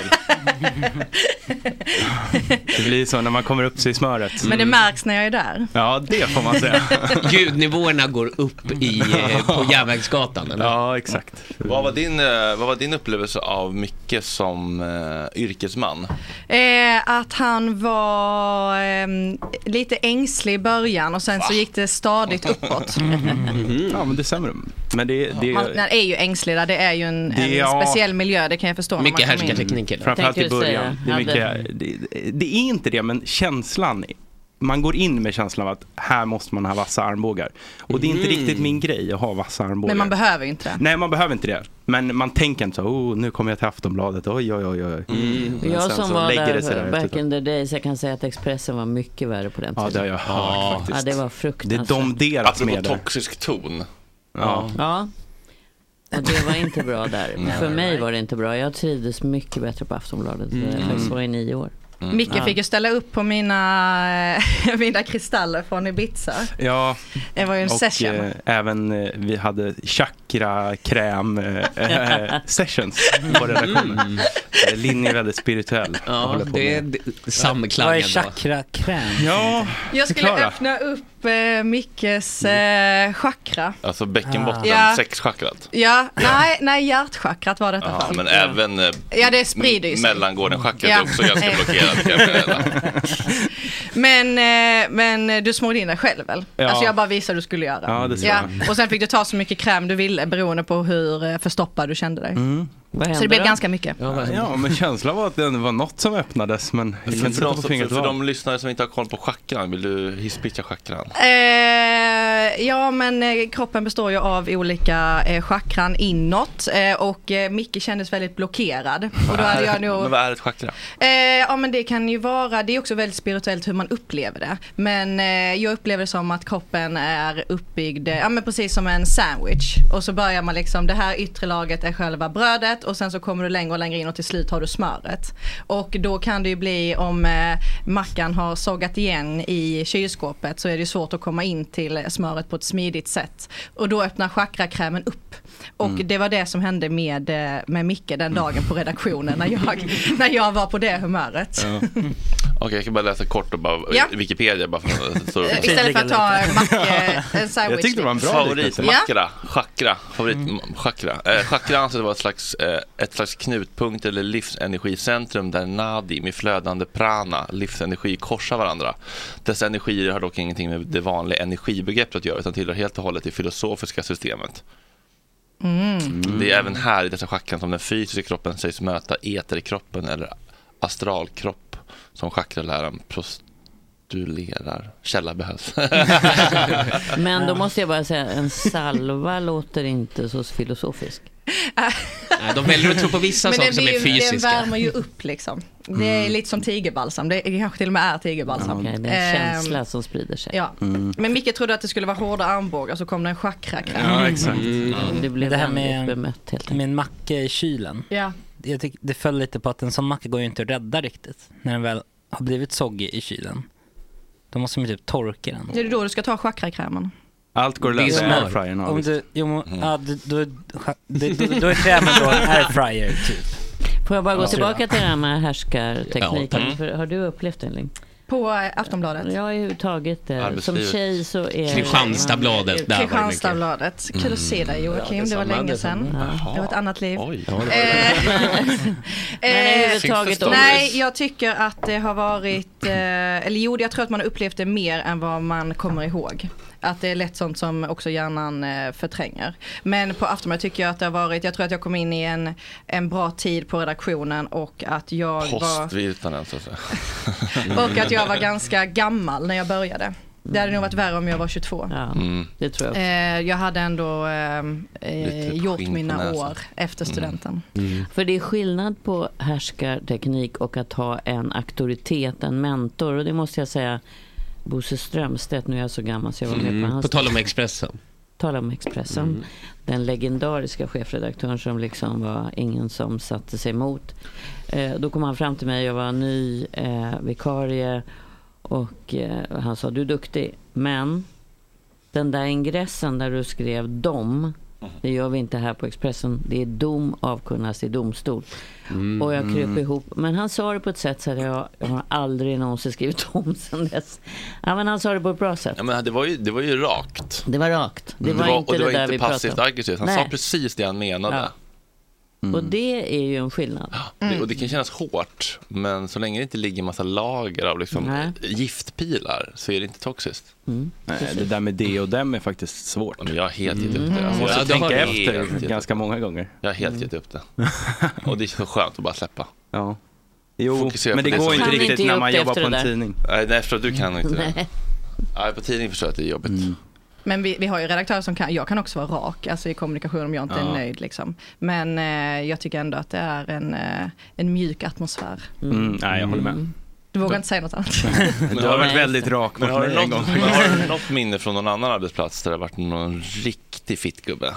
det blir så när man kommer upp sig i smöret.
Men det märks när jag är där.
Ja, det får man säga.
[laughs] Ljudnivåerna går upp i,
[laughs]
eh, på Järnvägsgatan. Eller?
Ja, exakt.
Vad var din, eh, vad var din upplevelse av Micke som eh, yrkesman?
Eh, att han var ehm, lite ängslig i början och sen så gick det
[laughs]
stadigt uppåt.
Mm.
[laughs] Mm.
Ja, men det stämmer. Men det, det,
Han han är ju ängslig där, det är ju en,
Det-
en
ja.
speciell miljö, det kan jag förstå. när man kommer in.
Framförallt i
Tänkte du
början. Det är,
säga,
mycket, det, det är inte det, men känslan. Man går in med känslan av att här måste man ha vassa armbågar. Och det är inte
Mm.
riktigt min grej att ha vassa armbågar.
Men man behöver ju inte det.
Nej, man behöver inte det. Men man tänker inte så, oh, nu kommer jag till Aftonbladet, oj, oj, oj. oj.
Mm.
Och
Men
Jag
sen
som
så
var
lägger
där,
det sig där typ.
back
ute.
in the days, jag kan säga att Expressen var mycket värre på den
Ja,
tiden.
det har jag hört faktiskt.
Ja, det var fruktansvärt.
Det är de deras
Apropå
med det.
Alltså, toxisk ton.
Ja.
Ja. Och det var inte bra där.
Nej.
För mig var det inte bra. Jag trivdes mycket bättre på Aftonbladet. Mm. Jag faktiskt var i nio år.
Micke
Ja.
fick ju ställa upp på mina, eh, [laughs] mina kristaller från Ibiza.
Ja,
Det var ju en
och
session.
eh, även eh, vi hade chakra-kräm eh,
[laughs]
eh, sessions på redaktionen.
Mm.
Eh, Linni är väldigt spirituell.
Ja, det är d- samklang
Vad är
ändå.
chakrakräm?
Ja,
eh,
Jag skulle öppna upp eh, Mickes eh, chakra.
Alltså bäckenbotten,
Ja.
sexchakrat.
Ja, nej, nej hjärtchakrat var detta
Ja,
fall.
men även eh,
Ja, det sprider ju sig.
mellangården-chakrat
Ja.
är också
[laughs]
ganska
Eh.
blockerat. kan jag meddela.
Men, eh, men du smorde in dig själv väl?
Ja.
Alltså jag bara visade hur du skulle göra.
Ja, det ska jag.
Och sen fick du ta så mycket kräm du ville beroende på hur eh, förstoppad du kände dig.
Mm.
Så det blev ganska mycket.
Ja, men [laughs] känslan var att det var något som öppnades, men jag kan
För,
inte
för,
sätta
de,
på
som-
fingret
för, för
vad.
de lyssnare som inte har koll på chakran, vill du hisspitcha chakran?
Eh, ja men eh, kroppen består ju av olika eh, chakran inåt eh, och eh, Micke kändes väldigt blockerad. Och då hade jag nog
Men vad är ett chakra?
Eh, ja men det kan ju vara, det är också väldigt spirituellt hur man upplever det. Men eh, jag upplever det som att kroppen är uppbyggd, eh, ja men precis som en sandwich. Och så börjar man liksom, det här yttre laget är själva brödet och sen så kommer du längre och längre in och till slut har du smöret. Och då kan det ju bli om eh, mackan har sågat igen i kylskåpet så är det ju svårt att komma in till eh, smöret på ett smidigt sätt. Och då öppnar chakrakrämen upp. Och
Mm.
det var det som hände med, eh, med Micke den dagen på redaktionen när jag, när jag var på det humöret.
Ja. Okej, jag kan bara läsa kort och bara,
Ja.
Wikipedia bara för att så-
Eh, [laughs] Istället för att ta en
[laughs]
macka, en sandwich.
Favoritmakra, chakra, favoritchakra. Eh, chakra anses vara ett slags, eh, ett slags knutpunkt eller livsenergicentrum där nadi med flödande prana, livsenergi, korsar varandra. Dessa energier har dock ingenting med det vanliga energibegreppet att göra utan tillhör helt och hållet det filosofiska systemet.
Ja. Mm.
Det är även här i dessa chakran som den fysiska kroppen sägs möta eterkroppen eller astralkropp som chakraläraren postulerar.
[laughs]
Källa behövs.
[laughs]
Men då måste jag bara säga, en salva låter inte
[laughs]
så filosofisk.
De väljer att tro på vissa
Men
saker
den
som
blir
är
ju-
fysiska.
Den värmer ju upp liksom. Det är
Mm.
lite som tigerbalsam, det är- kanske till och med är tigerbalsam.
Okej, det är en
Ehm,
känsla som sprider sig.
Ja. Men Micke trodde att det skulle vara hårda armbågar så kom det en chakrakräm.
Mm. Det blev
det här
vänligt
med,
bemött helt
med en macka i kylen.
Ja.
Jag tyck, det föll lite på att en sån macka går ju inte att rädda riktigt. När den väl har blivit soggig i kylen. Då måste man ju typ torka den.
Det är då du ska ta chakrakrämen.
Allt går att lösa i
Ja,
airfryern. Mm.
men
ja,
Om
visst.
du, jo, men, ja, du, du, du, du, du är krämen då en airfryer typ.
Får jag bara gå
Ja.
tillbaka till den här härskartekniken?
Ja, tack.
För, har du upplevt den Ling?
På eh, Aftonbladet.
Jag har ju tagit det. Som
Arbetslivet.
tjej så är
Kristianstadsbladet, där var det mycket.
Kristianstadsbladet. Kul
Mm.
att se dig Joakim,
Ja,
det, var
detsamma,
länge
detsamma.
sedan.
Jaha.
Det var ett annat liv.
Ja, det var
Eh, [laughs]
Men
Eh,
överhuvudtaget om-
Nej, jag tycker att det har varit, eh, eller jo, jag tror att man har upplevt det mer än vad man kommer ihåg. Att det är lätt sånt som också hjärnan eh, förtränger. Men på Aftonbladet tycker jag att det har varit, jag tror att jag kom in i en, en bra tid på redaktionen och att jag var...
Postvirtanen så att säga.
[laughs] Och att
[laughs]
jag var ganska gammal när jag började. Det hade nog varit värre om jag var 22.
Mm.
Det tror jag.
Eh, jag hade ändå eh,
Lite
eh, gjort
skinn på
mina
näsan. Mm.
år efter studenten.
För det är skillnad på härskarteknik och att ha en auktoritet, en mentor. Och det måste jag säga, Bosse Strömstedt, nu är jag så gammal så jag var med på
Mm.
hans
På tal om Expressen.
tala om Expressen.
Mm.
Den legendariska chefredaktören som liksom var ingen som satte sig emot. Eh, då kom han fram till mig, jag var ny eh, vikarie och eh, han sa du är duktig men den där ingressen där du skrev dom det gör vi inte här på Expressen. Det är dom avkunnas i domstol. Och jag kröp ihop. Men han sa det på ett sätt så att jag, jag har aldrig någonsin skrivit om sen dess. Ja, men han sa det på ett bra sätt.
Ja, men det, var ju, det var ju rakt.
Det var rakt. Det var inte
och Mm. det
det
var
där
inte
vi pratade om.
passivt aggressivt. Han
Nej.
sa precis det han menade. Mm.
Ja. Och det är ju en skillnad.
Det, och det kan kännas hårt, men så länge det inte ligger en massa lager av liksom
Nej. Mm.
giftpilar så är det inte toxiskt.
Nej, det där med det och dem är faktiskt svårt.
jag har helt gett upp
Mm.
det.
det. Alltså,
Jag måste
Jag har
tänka
helt
efter
gett upp.
ganska många gånger.
Jag har helt gett upp
[laughs]
det. Och det är så skönt att bara släppa.
Ja. Jo,
Fokusera
men
på
det går
som
inte
är-
riktigt Kan ni inte när man ge upp jobbar efter på det en där? tidning.
Nej, nej, förstår, du
[laughs]
kan inte det.
Nej.
Nej, på tidning förstår jag att det är jobbigt.
Mm.
Men vi, vi har ju redaktörer som kan, jag kan också vara rak alltså i kommunikation om jag inte
Ja.
är nöjd. Liksom. Men eh, jag tycker ändå att det är en, eh, en mjuk atmosfär.
Mm, nej, jag håller med.
Mm. Du vågar inte säga något annat.
[laughs]
[laughs]
Du har varit väldigt rak
Men
mot
har, du
mig en gång.
något, men har
[laughs]
du något minne från någon annan arbetsplats där det har varit någon riktig fittgubbe?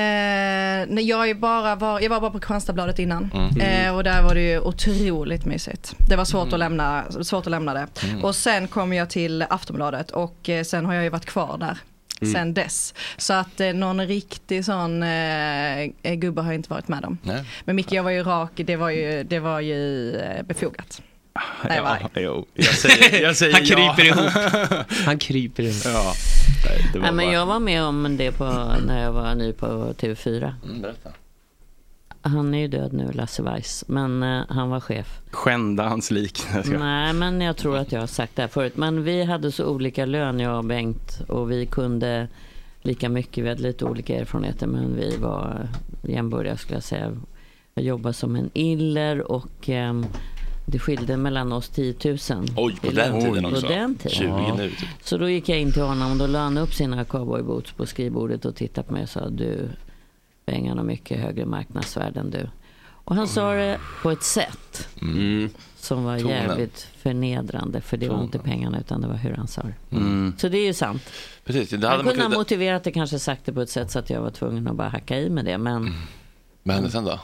Eh, nej, jag, är bara var, jag var bara på Kristianstadsbladet innan
Mm.
eh, och där var det ju otroligt mysigt. Det var svårt, att, lämna, svårt att lämna det.
Mm.
Och sen kom jag till Aftonbladet och eh, sen har jag ju varit kvar där
Mm.
sen dess. Så att eh, någon riktig sån eh, gubbe har jag inte varit med om.
Nej.
Men Micke, jag var ju rak, det var ju, det var ju eh, befogat. Nej, jag var arg.
Ja, jo, jag säger, jag säger
Han
ja.
kryper
[laughs]
ihop. Han kryper ihop.
Ja. Det var
Nej, men
bara-
jag var med om det på, när jag var ny på TV4.
Mm, berätta.
Han är ju död nu, Lasse Weiss. Men eh, han var chef.
Skända hans lik. Jag ska-
Nej, men jag tror att jag har sagt det här förut. Men vi hade så olika lön, jag och Bengt. Och vi kunde lika mycket. Vi hade lite olika erfarenheter. Men vi var jämnbördiga skulle jag säga. Jag jobbade som en iller och ehm, det skilde mellan oss 10 000.
Oj, på
i
den
lön.
tiden också.
På den tiden.
20 nu. Typ.
Så då gick jag in till honom och då la han upp sina cowboyboots på skrivbordet och tittade på mig och sa du, pengarna har mycket högre marknadsvärde än du. Och han sa det på ett sätt
Mm.
Mm.
som var
Tonen.
jävligt förnedrande för det var
Tonen.
inte pengarna utan det var hur han sa det.
Mm.
Så det är ju sant.
Precis, det hade
Han
man
kunde ha
kunnat...
motiverat det kanske sagt det på ett sätt så att jag var tvungen att bara hacka i med det men
Vad hände sen då?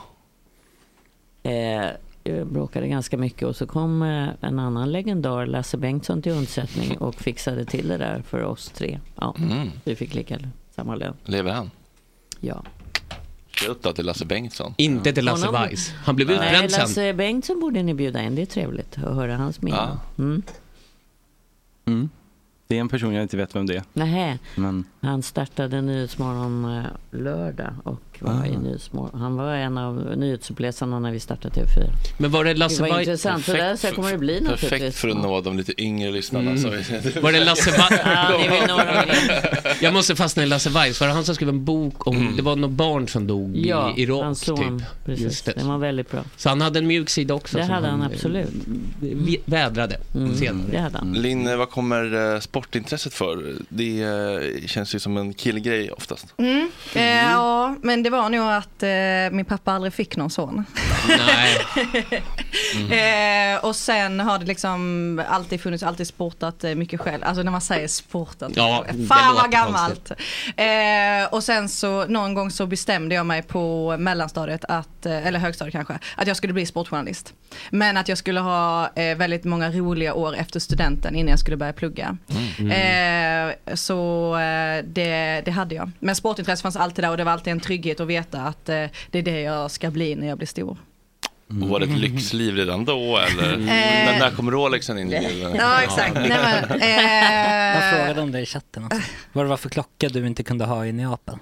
Mm.
Eh, jag bråkade ganska mycket och så kom eh, en annan legendar, Lasse Bengtsson, till undsättning och fixade till det där för oss tre. Ja,
Mm.
Vi fick lika samma lön.
Lever han?
Ja.
Shout out till Lasse Bengtsson.
Inte till Lasse
Honom-
Weiss. Han blev
Nej,
utbränd sen.
Lasse Bengtsson borde ni bjuda in. Det är trevligt att höra hans mening. Mm.
Mm. Det är en person jag inte vet vem det är.
Nähä.
Men
Han startade Nyhetsmorgon eh, lördag och var
Ah.
i Nyhetsmorgon. Han var en av nyhetsuppläsarna när vi startade TV4.
Men var det Lasse
Det var
Weiss?
intressant. Så där så här kommer det bli
Perfekt
naturligtvis.
för att nå de lite yngre lyssnarna.
Mm.
Alltså, Så.
[laughs] Var det
[laughs]
Lasse Weiss?
Ja, ni vill
[laughs]
nå dem.
Jag måste fastna i Lasse Weiss. Var det han som skrev en bok om, det var något barn som dog
Ja,
i Irak
hans son.
typ?
Precis. Den var väldigt bra.
Så han hade en mjuk sida också?
Det
som
hade han
eh,
absolut. Mm,
vi- Vädrade senare.
Det hade han.
Linn, eh, vad kommer eh, sportintresset för? Det eh, känns ju som en killgrej oftast.
Mm. Eh, ja, men det var nog att eh, min pappa aldrig fick någon son.
Nej. Mm.
Eh, och sen har det liksom alltid funnits, alltid sportat eh, mycket själv. Alltså när man säger sportat. Eh,
Ja, det
fan
låter
vad gammalt. Eh, och sen så någon gång så bestämde jag mig på mellanstadiet, att, eh, eller högstadiet kanske, att jag skulle bli sportjournalist. Men att jag skulle ha eh, väldigt många roliga år efter studenten innan jag skulle börja plugga.
Mm.
Mm.
Mm.
Eh, så eh, det, det hade jag. Men sportintresse fanns alltid där och det var alltid en trygghet att veta att eh, det är det jag ska bli när jag blir stor.
Var det ett lyxliv redan då eller? När, när kom Rolexen in i bilden?
Ja, exakt. Nej,
[laughs]
men,
[laughs] Jag
eh,
frågade om det i chatten också. Vad det var för klocka du inte kunde ha i Mm. Neapel.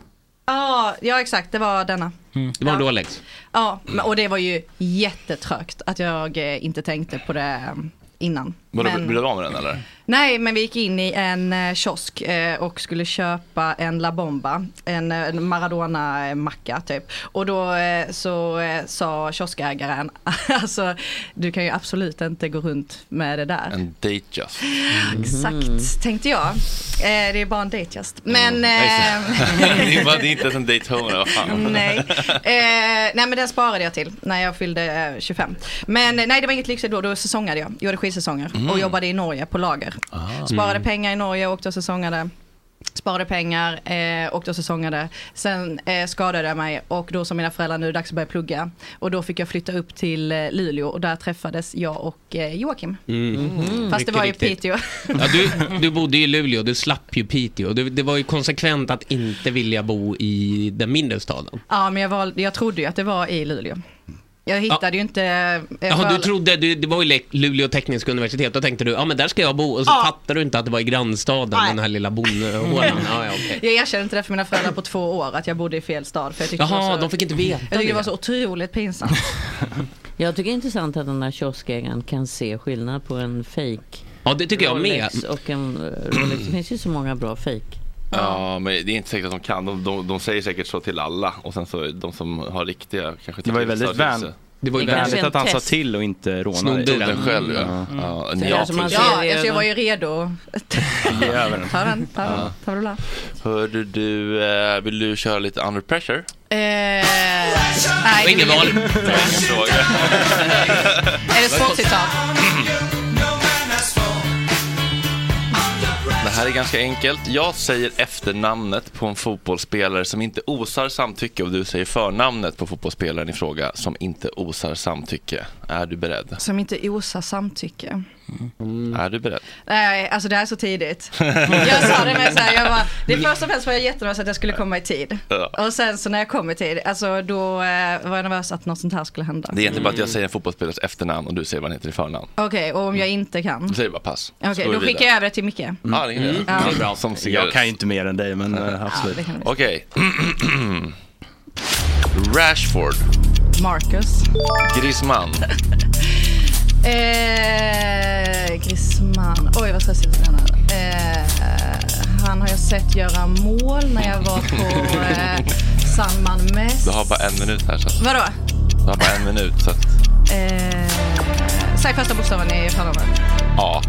ja, ja, exakt. Det var denna.
Det var en Rolex.
Ja, men- och det var ju jättetrögt att jag eh, inte tänkte på det eh, innan.
Var du
Men-
blev du av med den eller?
Nej, men vi gick in i en eh, kiosk eh, och skulle köpa en La Bomba, en, eh, en Maradona-macka typ. Och då eh, så eh, sa kioskägaren, [laughs] alltså du kan ju absolut inte gå runt med det där.
En date just. Mm.
Exakt, tänkte jag. Eh, det är bara en date just. Men... eh,
[laughs] det är bara- det är inte ens en Daytona, vad fan.
Nej. Eh, nej men den sparade jag till när jag fyllde eh, 25. Men eh, nej det var inget lyxigt då, då säsongade jag. Gjorde skidsäsonger
Mm.
Ah. Mm.
och jobbade i Norge på lager. Sparade pengar i Norge, åkte och säsongade. Sparade pengar, eh, åkte och säsongade. Sen eh, skadade jag mig och då sa mina föräldrar nu är det dags att börja plugga. Och då fick jag flytta upp till eh, Luleå och där träffades jag och eh, Joakim.
Mm.
Mm. Fast det
Mm. Mycket
var ju
riktigt. [laughs]
Piteå.
Ja, du, du bodde i Luleå, du slapp ju Piteå. Det, det var ju konsekvent att inte vilja bo i den mindre staden.
ja, men jag, valde, jag trodde ju att det var i Luleå. Jag hittade ju inte... eh,
Jaha, du
föreläs-
trodde, du, det var ju Le- Luleå tekniska universitet, då tänkte du, ja men där ska jag bo, och så
Ja.
fattar du inte att det var i grannstaden,
Nej.
den här
[laughs]
lilla bondhålan. Ja, ja, okej.
Jag erkände inte det för mina föräldrar på två år att jag bodde i fel stad. För jag tyckte
Jaha,
det var så,
de fick inte veta
Jag tyckte det
det.
var så otroligt pinsamt.
Jag tycker det är intressant att den här kioskägaren kan se skillnad på en fake
Ja, det tycker jag med.
Rolex och en eh, Rolex. Det finns ju så många bra fake.
Ja, men det är inte säkert att de kan. De, de, de säger säkert så till alla. Och sen så de som har riktiga kanske
Det var ju
till-
väldigt
stör till
vän-
sig.
det var ju Det är kanske vänligt en att han sa test. till och inte rånade
Snodde
dig.
upp den själv, ja.
Mm.
ja.
Mm.
ja.
Ja,
ja.
som man
till-
Ja, alltså jag var ju redo.
Ge över den.
Ta den, ta den,
Ja.
ta den.
Hörde du, eh, vill du köra lite under pressure?
Eh, nej,
Ingen val.
[laughs] Är det sportcitat?
Det här är ganska enkelt. Jag säger efternamnet på en fotbollsspelare som inte osar samtycke och du säger förnamnet på fotbollsspelaren i fråga som inte osar samtycke. Är du beredd?
Som inte osar samtycke. Mm.
Är du beredd?
Nej, alltså det här är så tidigt. Jag sa det med så här, jag bara, det först och främst var jag jättenervös att jag skulle komma i tid.
Ja.
Och sen så när jag kom i tid, alltså då eh, var jag nervös att något sånt här skulle hända.
Det är inte bara att jag säger en fotbollsspelares efternamn och du säger vad han heter i förnamn.
Okej, och om jag inte kan?
Du säger bara pass.
Okej,
Så går
då
Mm. vi vidare. Mm.
skickar jag över det till Micke.
Ja, det är det.
Ja.
Det är bra. Som
Jag kan ju inte mer än dig, men eh, absolut.
det kan vi
Okej. Rashford.
Marcus.
Griezmann.
Eh, Griezmann. Oj, vad stressigt det är. Eh, han har jag sett göra mål när jag var på eh, San Man Mess.
Du har bara en minut här. Så att...
Vadå?
Du har bara en minut. Så att...
Eh, säg första bokstaven i förnamnet.
Ja.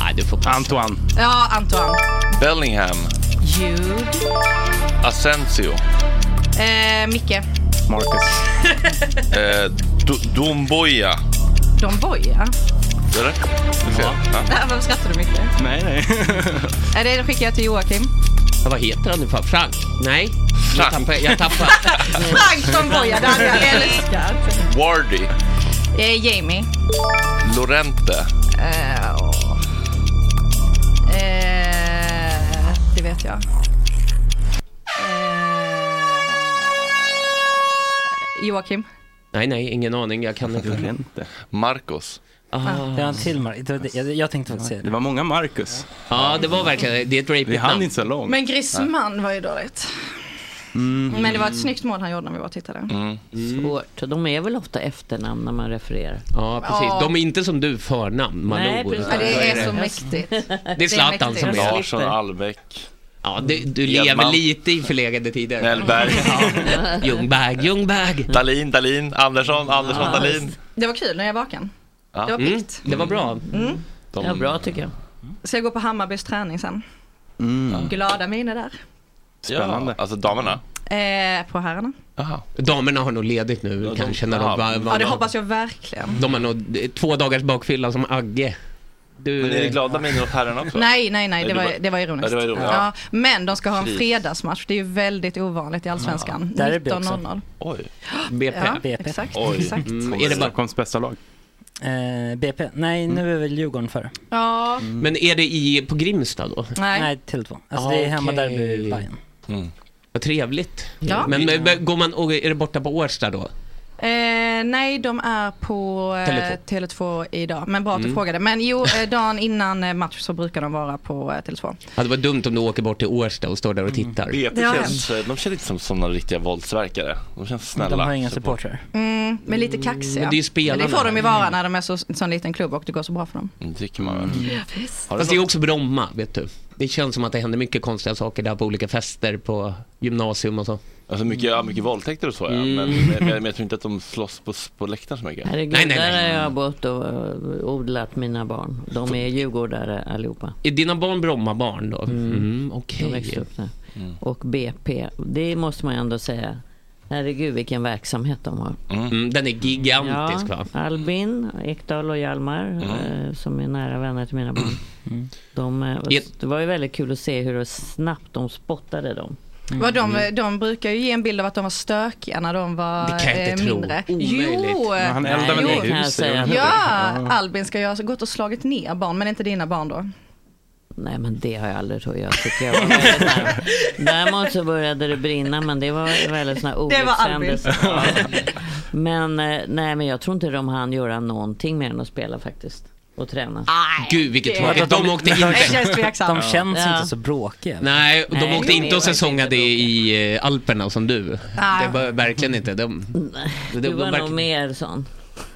Nej, du får passa.
Antoine.
Ja, Antoine.
Bellingham.
Jude.
Asensio.
Eh, Micke.
Marcus.
eh, Do- Domboya.
Don Boya.
Är det? Du ser. Ja.
Nej, [laughs] Varför skrattar du Micke?
Nej, nej.
Eh, det skickar jag till Joakim.
Ja, vad heter han nu för? Frank? Nej. Jag tappar. Jag tappar.
Frank Don Boya, det hade jag älskat.
Wardy.
Eh, Jamie.
Lorente.
Eh, åh. eh, det vet jag. Eh, Joakim.
Nej, nej, ingen aning. Jag kan inte.
Marcos.
Det var en till Mar- det var det- jag, jag tänkte faktiskt säga
[clears throat] Det var många Marcus.
Ja, det var verkligen, det är ett
Vi hann inte så långt.
Men Griezmann var ju dåligt.
Mm.
Men det var ett snyggt mål han gjorde när vi var och tittade.
Mm.
Svårt. De är väl ofta efternamn när man refererar.
Ja, precis. De är inte som du förnamn, Malou.
Nej, precis.
Då
Det är
Så mäktigt.
Det är Zlatan som är
Larsson, Albeck.
Ja, du, du
Edman.
lever lite i förlegade tider.
Mellberg.
Ja. Ljungberg, Ljungberg.
Dalin, Dalin. Andersson, Andersson,
Ja.
Dalin.
Det var kul när jag var vaken.
Ja.
Det var
Mm.
pikt.
Det var bra.
Mm.
De...
Ja, bra tycker jag.
Så jag går på Hammarbys träning sen.
Mm.
Glada miner där.
Spännande. Ja, alltså damerna.
Eh, på herrarna.
Damerna har nog ledigt nu kanske. När de, var, var,
Ja, det hoppas jag verkligen.
de har nog eh, två dagars bakfylla som Agge. Du,
Men är det glada miner åt herrarna också?
Nej, nej, nej, det var, det var
Ja,
ironiskt.
det var ironiskt.
Ja, men de ska ha en
Precis.
fredagsmatch. Det är ju väldigt ovanligt i Allsvenskan.
Ja, derby också.
19.00.
Oj.
BP.
Ja, BP. exakt, Oj. exakt.
Mm, är det bara,
Stockholms bästa lag?
Eh, BP. Nej, nu är väl Djurgården före.
Ja,
Mm. men är det i, på Grimsta då?
nej.
Nej, Tele2. Alltså det är hemma där vid Bajen.
Vad trevligt.
Ja.
Men, men men går man, och är det borta på Årsta då?
Eh, nej, de är på eh,
Tele2.
Tele2 idag. Men bra att du
Mm.
frågade. Men jo, eh, dagen innan eh, match så brukar de vara på eh, Tele2.
Ja, det var dumt om du åker bort till Årsta och står där och
Mm.
tittar.
BP
Det har
känns, de känns inte som sådana riktiga våldsverkare. De känns snälla.
De har inga supportrar.
Mm, men lite kaxiga.
Men det är ju spelarna.
Men det får de ju vara när de är så, en sån liten klubb och det går så bra för dem.
Mm, Tycker man väl. Har du
Fast det är
något-
också Bromma, vet du. Det känns som att det händer mycket konstiga saker där på olika fester på gymnasium och så.
Alltså mycket, ja, mycket våldtäkter och så ja. Men,
Mm.
men, men jag tror inte att de slåss på, på läktaren så mycket.
Herregud,
Nej, nej,
där
nej.
har jag bott och eh, odlat mina barn. De är djurgårdare allihopa.
Är dina barn Brommabarn då? Mm. Okej.
Mm. De växte upp där. Och BP, det måste man ju ändå säga. Herregud vilken verksamhet de har.
Mm, den är gigantisk
Ja,
va? Mm.
Albin Ekdahl och Hjalmar eh, som är nära vänner till mina barn. De, eh, det var ju väldigt kul att se hur snabbt de spottade dem.
Vad
Mm.
de, de brukar ju ge en bild av att de var stökiga när de var
Mm. Det kan jag inte
eh,
tro.
mindre.
Omöjligt.
Jo!
Men han eldar väl
Jo.
ner huset, gjorde han inte?
Ja,
Ja.
Albin ska ju ha gått och slagit ner barn, men inte dina barn då.
Nej men det har jag aldrig trott. Jag tycker jag var
[laughs]
väldigt nära. Däremot så började det brinna men det var väldigt sådana
Det var Albin. [laughs]
olyckshändelser. Ja. Men eh, nej men jag tror inte de hann göra någonting mer än att spela faktiskt. Och träna.
Gud vilket
det-
tråkigt. De åkte
[laughs]
in.
De känns
Ja.
inte så bråkiga.
Nej, och de
Nej,
åkte
det
inte och
var
säsongade i eh, Alperna som du.
Nej.
Det var verkligen inte. De, de,
Du var nog
verkligen-
mer sån.
[laughs]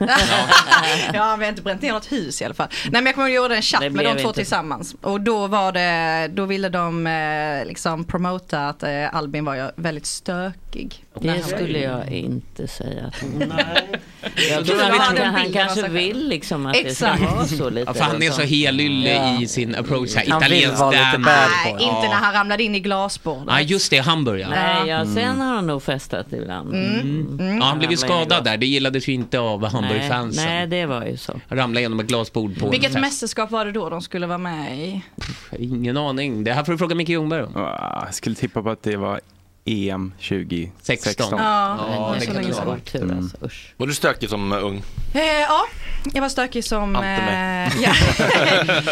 ja, vi har inte bränt ner något hus i alla fall. Nej, men jag kommer ihåg att jag gjorde en chatt med
blev
de två
inte.
tillsammans. Och då var det, då ville de eh, liksom promota att eh, Albin var ju väldigt stökig.
Det skulle jag inte säga att hon
Jag tror
Jag tror
han
att han,
hade en
han
bild av
kanske
sig själv.
vill liksom att det
Exakt.
ska vara så lite.
Ja, för han är
liksom.
så helylle
Ja.
i sin approach. Här,
Han vill
italiensk
vara lite
damn.
bad
Nej, inte när han ramlade in i glasbordet.
Ja, just det. Hamburg ja.
Nej, ja,
Mm.
sen har han nog festat ibland.
Mm. Ja, han blev ju skadad där. Det gillades ju inte av Hamburg-fansen.
Nej, det var ju så.
Ramlade genom ett glasbord på en
Vilket
fest.
mästerskap var det då de skulle vara med i?
Ingen aning. Det här får du fråga Micke Ljungberg om.
Ah, Jag skulle tippa på att det var EM 2016.
Ja, Ja, det det kan kan det vara. vara.
Tur
Mm.
alltså, usch.
Var du stökig som eh,
[laughs]
ung?
Eh, ja, jag var stökig som...
Ante mig.
[laughs]
eh, ja.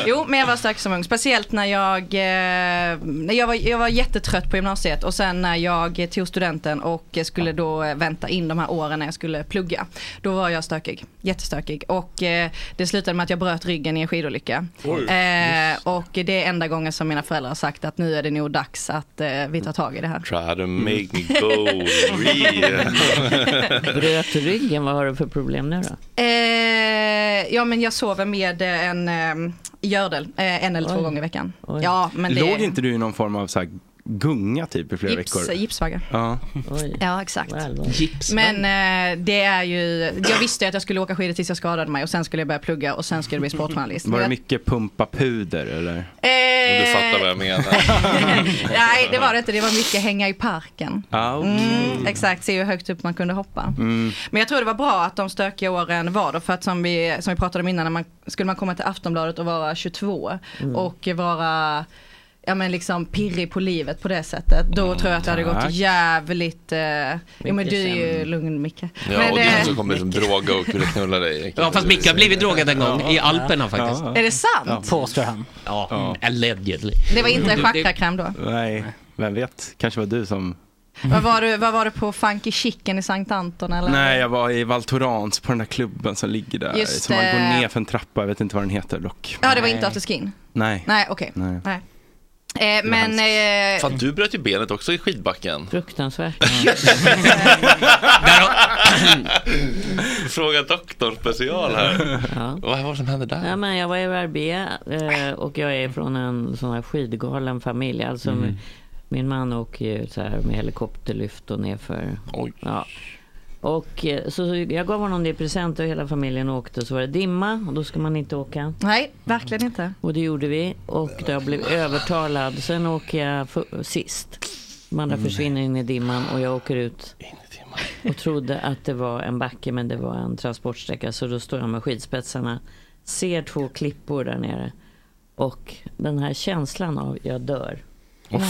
[laughs] jo, men jag var stökig som ung. Speciellt när jag... Eh, när jag, var, jag var jättetrött på gymnasiet och sen när jag tog studenten och skulle då eh, vänta in de här åren när jag skulle plugga. Då var jag stökig. Jättestökig. Och eh, det slutade med att jag bröt ryggen i en skidolycka.
Oj.
Eh, och det är enda gången som mina föräldrar har sagt att nu är det nog dags att eh, vi tar tag i det här.
Try to make
[laughs]
me go re.
Bröt ryggen, vad har du för problem nu då?
Eh, ja men jag sover med eh, en eh, gördel eh, en eller två
Oj.
gånger i veckan. Ja men det
Låg inte du i någon form av så här gunga typ i flera
gips,
veckor?
gipsvagga.
Ja.
Ja exakt.
Gips.
Men eh, det är ju, jag visste ju att jag skulle åka skidor tills jag skadade mig och sen skulle jag börja plugga och sen skulle jag bli sportjournalist.
Var det
Jag-
mycket pumpa puder eller?
Eh, Om du fattar vad
jag menar.
[laughs] Nej det var det inte, det var mycket hänga i parken.
Ah, okej.
Mm, exakt, se hur högt upp man kunde hoppa.
Mm.
Men jag tror det var bra att de stökiga åren var då för att som vi, som vi pratade om innan, när man, skulle man komma till Aftonbladet och vara 22
Mm.
och vara Ja men liksom pirrig på livet på det sättet. Då tror jag att det hade gått
Mm. tack.
jävligt... Eh, jo men
Mycket
du är ju
sämre.
lugn Micke.
Ja,
men,
och det är han
eh,
som kommer som droga och kunde knulla dig.
Ja, fast Micke har blivit drogad en gång i Alperna faktiskt.
Är det sant? Ja.
Påstår han.
Ja, allegedly.
det var inte en
Du, det-
chakrakräm då?
Nej, vem vet? Kanske var du som...
Vad var, du, vad var du på Funky Chicken i Sankt Anton eller?
Nej, jag var i Val Thorens på den där klubben som ligger där.
Just
som man
det.
går ner för en trappa, jag vet inte vad den heter dock.
Ja det var inte afterskin?
Nej.
Nej okej.
Nej.
Nej. Eh, men... Eh,
Fan, du bröt ju benet också i skidbacken.
Fruktansvärt.
[laughs] [laughs] Fråga doktorn special
[laughs]
här. Vad var det som hände där?
Ja, men jag var i Verbier eh, och jag är från en sån här skidgalen familj. Alltså
Mm.
min- Min man åker ju så här med helikopterlyft och nerför. Ja. Och eh, så så jag gav honom det i present och hela familjen åkte och så var det dimma och då ska man inte åka.
Nej, verkligen inte.
Och det gjorde vi och jag blev övertalad. Sen åker jag för, sist. De andra
Mm.
försvinner in i dimman och jag åker ut. Och trodde att det var en backe men det var en transportsträcka. Så då står jag med skidspetsarna. Ser två klippor där nere. Och den här känslan av jag dör. Mm.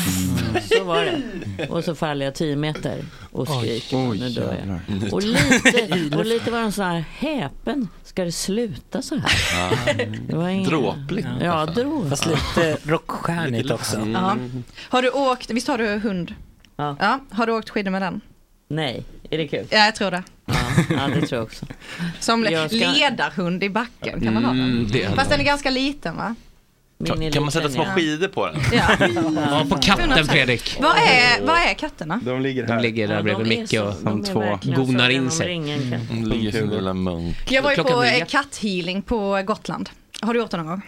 Så var det. Och så faller jag 10 meter och
Oj.
skriker
Oj,
nu dör
jävlar.
jag.
[laughs]
[laughs]
Och lite, och lite var den så här häpen. Ska det sluta så här? Det var inga...
Dråpligt.
Ja, dråpligt.
Fast lite rockstjärnigt också.
Ja. Har du åkt, visst har du hund?
Ja.
Har du åkt skidor med den?
Nej, är det kul?
Ja, jag tror det.
Ja, det tror jag också.
Som
Jag ska-
ledarhund i backen, kan man ha den?
Mm, det hade
Fast
jag.
den är ganska liten va?
Kan, kan man sätta små
ja.
skidor på den?
Ja.
Ja, på katten Fredrik.
Vad är, vad är katterna?
De ligger här.
De ligger där bredvid Micke och
de är
två
verkligen
gonar
sagan
in
om
sig.
ringen, kan-
De Mm, ligger som lilla munk.
Jag var ju
Klockan
på
nio.
eh, katthealing på Gotland. Har du gjort det någon gång?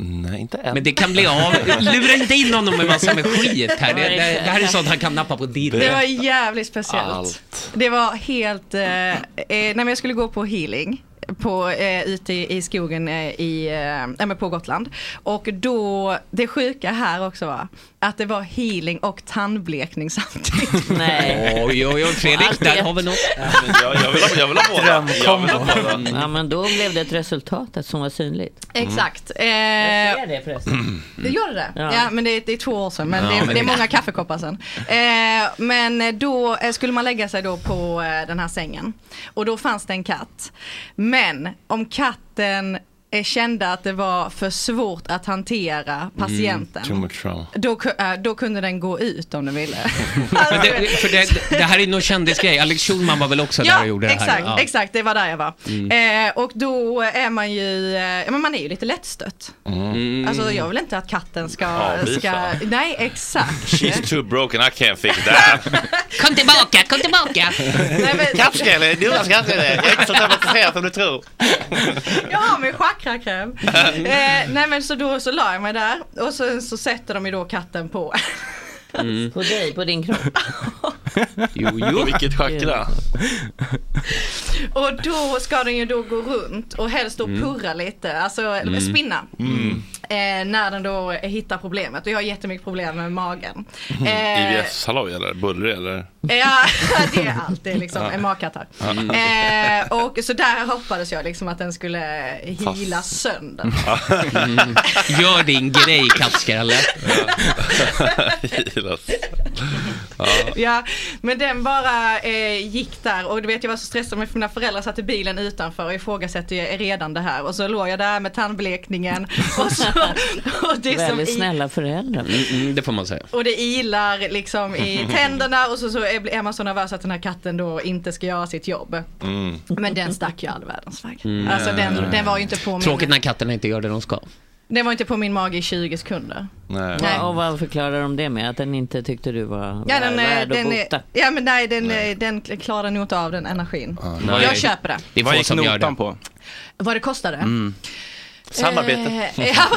Nej, inte än.
Men det kan
[laughs]
bli av. Lura inte in honom med massor med skit här. Det, det, det här är sånt han kan nappa på direkt.
Det var jävligt speciellt. Det var helt, eh, eh, nej men jag skulle gå på healing på, eh, ute i, i skogen eh, i, eh, ja, men på Gotland. Och då, det sjuka här också var att det var healing och tandblekning samtidigt.
Nej.
Oj, oj, oj, Fredrik, där har vi något.
Jag, jag, vill, jag vill ha båda. Jag vill ha båda.
Ja, men då blev det ett resultat som var synligt.
Exakt. Eh,
Mm. Jag ser det förresten.
Mm. Det gjorde det?
Ja.
Ja, men det, det är två år sedan. Men
Ja,
det,
men-
det är många kaffekoppar sen. Eh, men då eh, skulle man lägga sig då på eh, den här sängen. Och då fanns det en katt. Men om katten eh, kände att det var för svårt att hantera patienten.
Mm, too much trauma.
Då, ku- eh, då kunde den gå ut om den ville.
Men det, för det, det här är någon kändisgrej. Alex Schulman var väl också där och gjorde det här?
exakt,
Ja.
exakt, det var där jag var.
Mm.
Eh, och då är man ju, eh, ja, men man är ju lite lättstött.
Mm.
Mm.
Alltså jag vill inte att katten ska,
Avvisa.
ska nej exakt.
She's too broken, I can't fix [laughs] that.
Kom tillbaka, kom tillbaka!
Nej, men-
Kattskalle, Jonas kattskalle. Jag är inte så traumatiserad som du tror.
Jag har min
[laughs]
chakrakräm. Eh, nej men så då så la jag mig där och sen så sätter de ju då katten på.
På dig, på din kropp.
Jo,
Mm. jo. Vilket chakra.
[laughs] Och då ska den ju då gå runt och helst då
Mm.
purra lite, alltså
Mm.
spinna.
Mm.
Eh, när den då hittar problemet och jag har jättemycket problem med
[laughs]
magen. Eh,
IVF-halloj eller bullrig eller?
[laughs] Ja, [laughs] det är alltid liksom
Ja. Mm.
en magkatarr.
Ja.
Eh, och så där hoppades jag liksom att den skulle hila
Fast.
sönder.
Mm. Gör din grej, kattskalle.
[laughs] Ja, men den bara eh, gick där och du vet jag var så stressad med för mina föräldrar satt i bilen utanför och ifrågasatte ju redan det här och så låg jag där med tandblekningen och, så, och det som
Väldigt
i,
snälla föräldrar.
Mm, mm, det får man säga.
och det ilar liksom i tänderna och så, så är är man så nervös att den här katten då inte ska göra sitt jobb.
Mm.
Men den stack ju all världens väg.
Mm.
Alltså den, den var ju inte på min...
Tråkigt när katterna inte gör det de ska.
Den var inte på min mage i 20 sekunder.
Nej.
Nej.
Och vad förklarar de det med? Att den inte tyckte du var
Ja, den, eh,
värd att
den, eh,
bota?
ja men nej, den, eh, den klarar nog inte av den energin.
nej.
Jag köper det.
Vad gick notan på?
Vad det kostade?
Mm.
Samarbete.
Eh,
[laughs]
ja.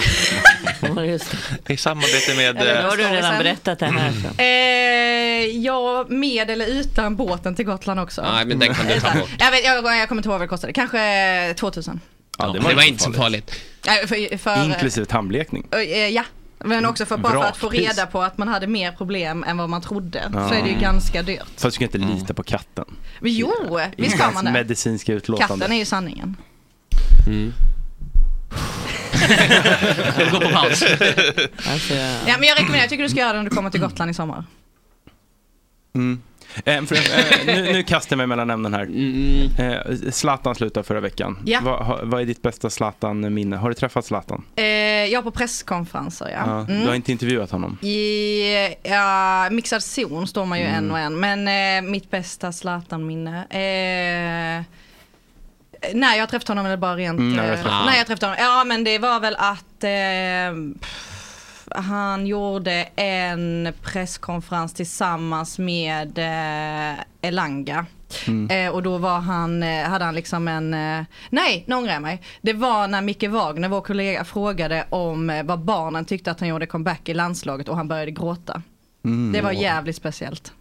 I samarbete med...
Ja, det
eh,
Har du redan
Sen-
berättat det här?
Mm.
Eh, ja, med eller utan båten till Gotland också.
Nej, men den kan du ta bort.
Jag, vet, jag, jag kommer inte ihåg vad det kostade, kanske 2000.
Ja,
det var, inte så farligt.
Nej, för, för,
Inklusive tandblekning.
eh, eh, ja, men också för, bara för att få
Vrakpris.
reda på att man hade mer problem än vad man trodde. Så
Ja.
är det ju ganska dyrt.
Fast du ska inte
Mm.
lita på katten.
Men jo, visst
Inte
ska
ens
man det.
medicinska utlåtande.
Katten är ju sanningen.
Mm. Gå på paus.
Ja, men jag rekommenderar, jag tycker du ska göra det när du kommer till Gotland i sommar.
Mm. Eh, för, eh, nu, nu kastar jag mig mellan ämnen här.
Mm.
Eh, Zlatan slutade förra veckan.
Ja.
Vad, ha- vad är ditt bästa Zlatan-minne? Har du träffat Zlatan?
Eh, jag på presskonferenser, ja.
Du har
Mm.
inte intervjuat honom?
I ja, mixad zon står man ju
Mm.
en och en. Men eh, mitt bästa Zlatan-minne. Eh, när jag träffade honom eller bara rent...
Mm,
eh,
när jag träffade honom.
när jag träffade honom. Ja men det var väl att eh, pff, han gjorde en presskonferens tillsammans med eh, Elanga. Eh, och då var han, eh, hade han liksom en, eh, nej nu ångrar jag mig. Det var när Micke Wagner, vår kollega, frågade om eh, vad barnen tyckte att han gjorde comeback i landslaget och han började gråta.
Mm.
Det var jävligt speciellt.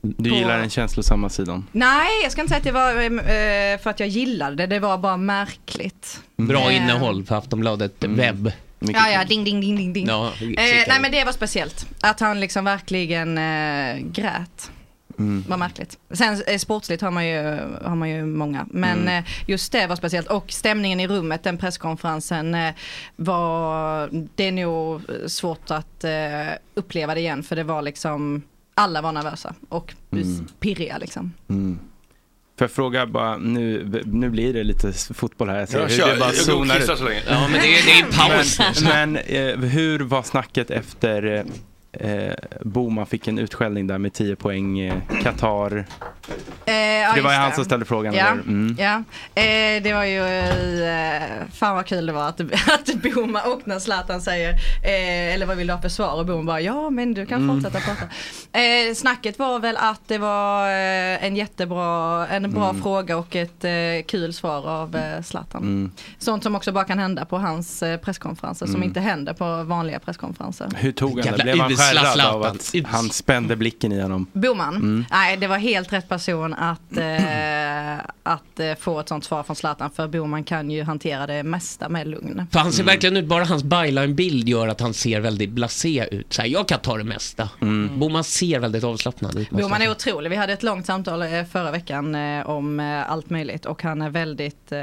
Du gillar den känslosamma sidan?
Nej, jag ska inte säga att det var eh, för att jag gillade det, det var bara märkligt. Eh,
Bra innehåll på Aftonbladet webb.
Mm. Ja, ja, ding, ding, ding, ding, ding.
Ja,
Eh, nej men det var speciellt. Att han liksom verkligen eh, grät. Var märkligt. Sen eh, sportsligt har man ju, har man ju många. Men
Mm.
eh, just det var speciellt. Och stämningen i rummet, den presskonferensen eh, var, det är nog svårt att eh, uppleva det igen. För det var liksom, alla var nervösa och
Mm.
pirriga liksom.
Mm. Får jag fråga bara, nu, nu blir det lite s- fotboll här. Jag ser
Ja,
hur
kör.
det bara
Jag går och
zonar
kissar
ut.
så länge.
Ja, men det är- det är paus.
Men, men eh, hur var snacket efter eh, eh, Boman fick en utskällning där med 10 poäng, eh, Qatar?
Eh, ja,
det var ju
just
han som ställde frågan.
Ja,
eller? Mm.
ja. Eh, det var ju, eh, fan vad kul det var att, [laughs] att Boma och när Zlatan säger, eh, eller vad vill du ha för svar? Och Boma bara, ja men du kan
Mm.
fortsätta prata. Eh, snacket var väl att det var eh, en jättebra, en bra
Mm.
fråga och ett eh, kul svar av eh, Zlatan.
Mm.
Sånt som också bara kan hända på hans eh, presskonferenser, som
Mm.
inte händer på vanliga presskonferenser.
Hur tog han det?
Jävla
Blev han
usla
skärrad
Zlatan.
av att han spände blicken i honom?
Boman?
Mm.
Nej, det var helt rätt person att eh, eh, att eh, få ett sånt svar från Zlatan för Boman kan ju hantera det mesta med lugn.
För han
Mm.
ser verkligen ut, bara hans byline-bild gör att han ser väldigt blasé ut. Så här, jag kan ta det mesta.
Mm.
Boman ser väldigt avslappnad ut. måste jag
Boman
säga.
är otrolig. Vi hade ett långt samtal eh, förra veckan eh, om eh, allt möjligt och han är väldigt, eh,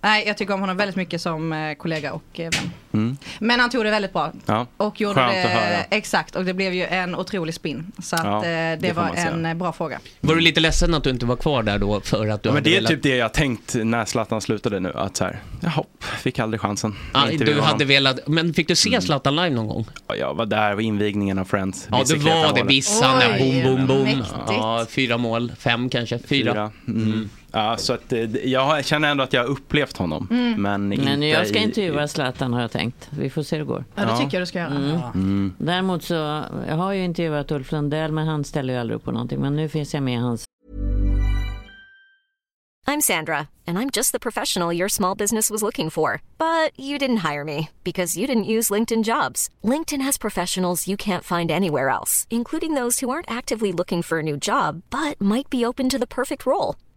nej jag tycker om honom väldigt mycket som eh, kollega och eh, vän. Men han tog det väldigt bra.
Ja.
Och gjorde
Skönt
det,
att höra.
exakt och det blev ju en otrolig spin. Så att,
Ja,
eh, det,
det får
var
man säga.
en eh, bra fråga.
Var du lite ledsen att du inte var kvar där då för att du
Ja, men
hade
det är
velat...
typ det jag tänkt när Zlatan slutade nu. Att så här, jaha, fick aldrig chansen.
Ah,
Intervjua
du hade
honom. Mm.
velat... Men fick du se Zlatan live någon gång?
Ja, Jag var där vid invigningen av Friends.
Ja, det var det. Bissan, där. boom, boom, boom.
Mäktigt.
Ja, fyra mål, fem kanske, fyra.
Fyra. Mm. Ja, så att, eh, jag har- jag känner ändå att jag har upplevt honom.
Mm.
Men,
Men
inte
jag ska
i-
intervjua Zlatan har jag tänkt. Vi får se hur det går.
Ja, det tycker jag du ska göra.
Mm.
Mm.
Däremot så jag har ju intervjuat Ulf Lundell men han ställer ju aldrig upp på någonting. Men nu finns jag med i hans
I'm Sandra, and I'm just the professional your small business was looking for. But you didn't hire me because you didn't use LinkedIn jobs. LinkedIn has professionals you can't find anywhere else, including those who aren't actively looking for a new job but might be open to the perfect role,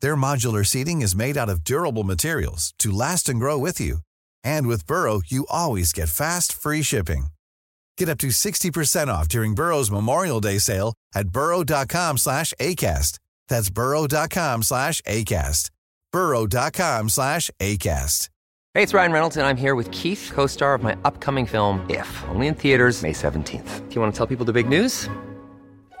Their modular seating is made out of durable materials to last and grow with you. And with Burrow, you always get fast, free shipping. Get up to 60% off during Burrow's Memorial Day sale at burrow.com slash ACAST. That's burrow.com slash ACAST. burrow.com slash ACAST.
Hey, it's Ryan Reynolds, and I'm here with Keith, co star of my upcoming film, If, only in theaters, May 17th. Do you want to tell people the big news?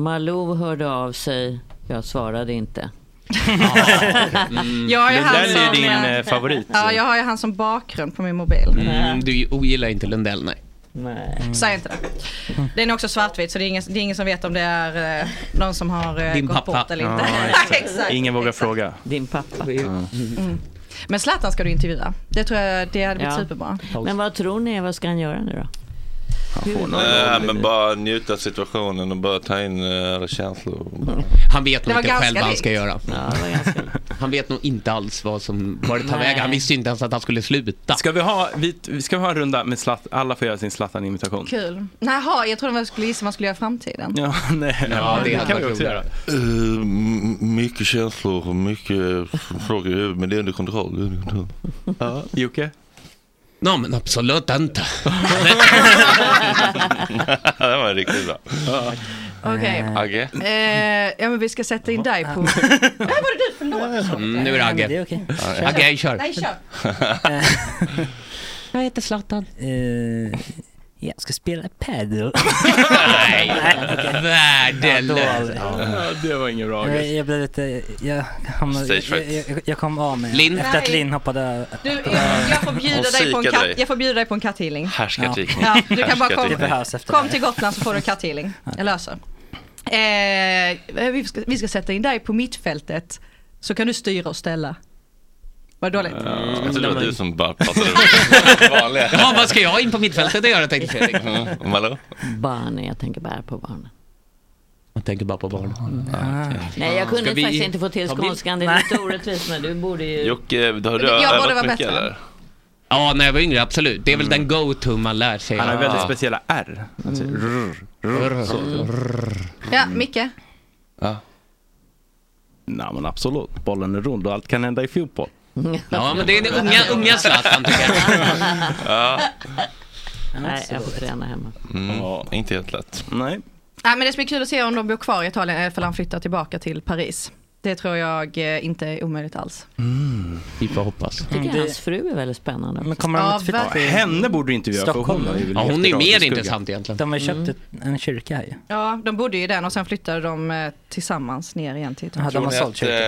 Malou hörde av sig, jag svarade inte.
[laughs]
Mm.
Jag har ju han som, eh,
eh,
Ja, jag
jag...
har ju han som bakgrund på min mobil.
mm, du ogillar inte Lundell, nej.
Nej.
Säg inte det. Den är också svartvit så det är ingen, det är ingen som vet om det är eh, någon som har eh,
Din
gått
pappa.
bort eller inte.
Ja,
[laughs]
exakt.
exakt.
Ingen vågar fråga.
Din pappa.
Mm. Men Zlatan ska du intervjua. Det tror jag det hade blivit
Ja.
superbra.
Men vad tror ni, vad ska han göra nu då?
Nej, men bara njuta av situationen och bara ta in eh, alla känslor.
Han vet
Det
nog
var
inte
ganska
själv vad han
likt.
ska göra. han vet nog inte alls vad som var det tar vägen. Han visste ju inte ens att han skulle sluta.
Ska vi ha, vi, ska vi ha en runda med Zlatan? Alla får göra sin Zlatan-imitation.
Kul. Jaha, jag trodde man skulle gissa vad man skulle göra i framtiden.
Ja, [laughs] nej.
Ja, det hade
kan vi
varit
också göra.
Eh, m- mycket känslor och mycket frågor i huvudet, men det är under kontroll. Det är under kontroll.
Mm.
Ja, Jocke?
No, men
[laughs]
absolut inte.
det var riktigt bra.
Okej.
Agge?
Eh, ja men vi ska sätta in dig
[laughs]
på... Nej var det du? Förlåt.
Mm, nu
Nej, Eh,
är det
men
Agge.
det är okej.
Agge, Agge,
[laughs]
kör.
Nej kör.
Jag heter Zlatan.
Eh, jag ska spela padel. [laughs]
Nej, värdelöst.
Ja, det var ingen bra
jag,
grej.
jag blev lite... Jag, hamnade,
Stage
jag,
fright.
jag, jag kom av mig
Lin?
efter att
Nej.
Linn hoppade över.
Du, jag, jag, får bjuda
Hon
dig på en
psykade
katt,
dig.
jag får bjuda dig på en katthealing.
Härskarteknik.
Ja, du kan bara
Det
komma.
behövs efter
Kom
det.
till Gotland så får du en katthealing. Jag löser. Eh, vi, ska, vi ska sätta in dig på mittfältet så kan du styra och ställa. Var det dåligt?
Jag
Mm,
trodde det var du som bara [laughs]
[laughs]
pratade runt. Vanliga.
Ja, vad ska jag in på mittfältet och göra tänkte Fredrik.
Mm, Malou?
Barnen, jag tänker bara på barnen.
Jag tänker bara på barnen.
Nej, jag kunde
Ska vi
faktiskt inte få till
ta bild?
skånskan. Det är lite orättvist, men du borde ju...
Jocke, har du
Jag
övat
borde vara
mycket
bättre.
eller? Mm.
Ja, när jag var yngre, absolut. Det är väl den go-to man lär sig.
Han har väldigt
Ja. Mm.
speciella R. Han säger Alltså, rrr, rrr, så.
Ja,
Mm.
Micke.
Nej men absolut, bollen är rund och allt kan hända i fotboll.
Ja, men det är den unga, unga Zlatan tycker jag.
Ja.
Nej, jag får träna hemma.
Mm, Inte helt lätt.
Nej.
Nej, men det ska bli kul att se om de bor kvar i Italien eller om han flyttar tillbaka till Paris. Det tror jag eh, inte är eh, omöjligt alls.
Mm.
Vi får hoppas.
Jag tycker hans fru är väldigt spännande.
Mm, Men
kommer han Ja, inte- verkligen.
Henne borde du intervjua för hon
Stockholm.
har ju
Ja, hon är mer
jättebra
intressant egentligen. Mm.
De har ju köpt ett, en kyrka här ju.
Ja, de bodde ju i den och sen flyttade de eh, tillsammans ner igen till Italien.
tror, ni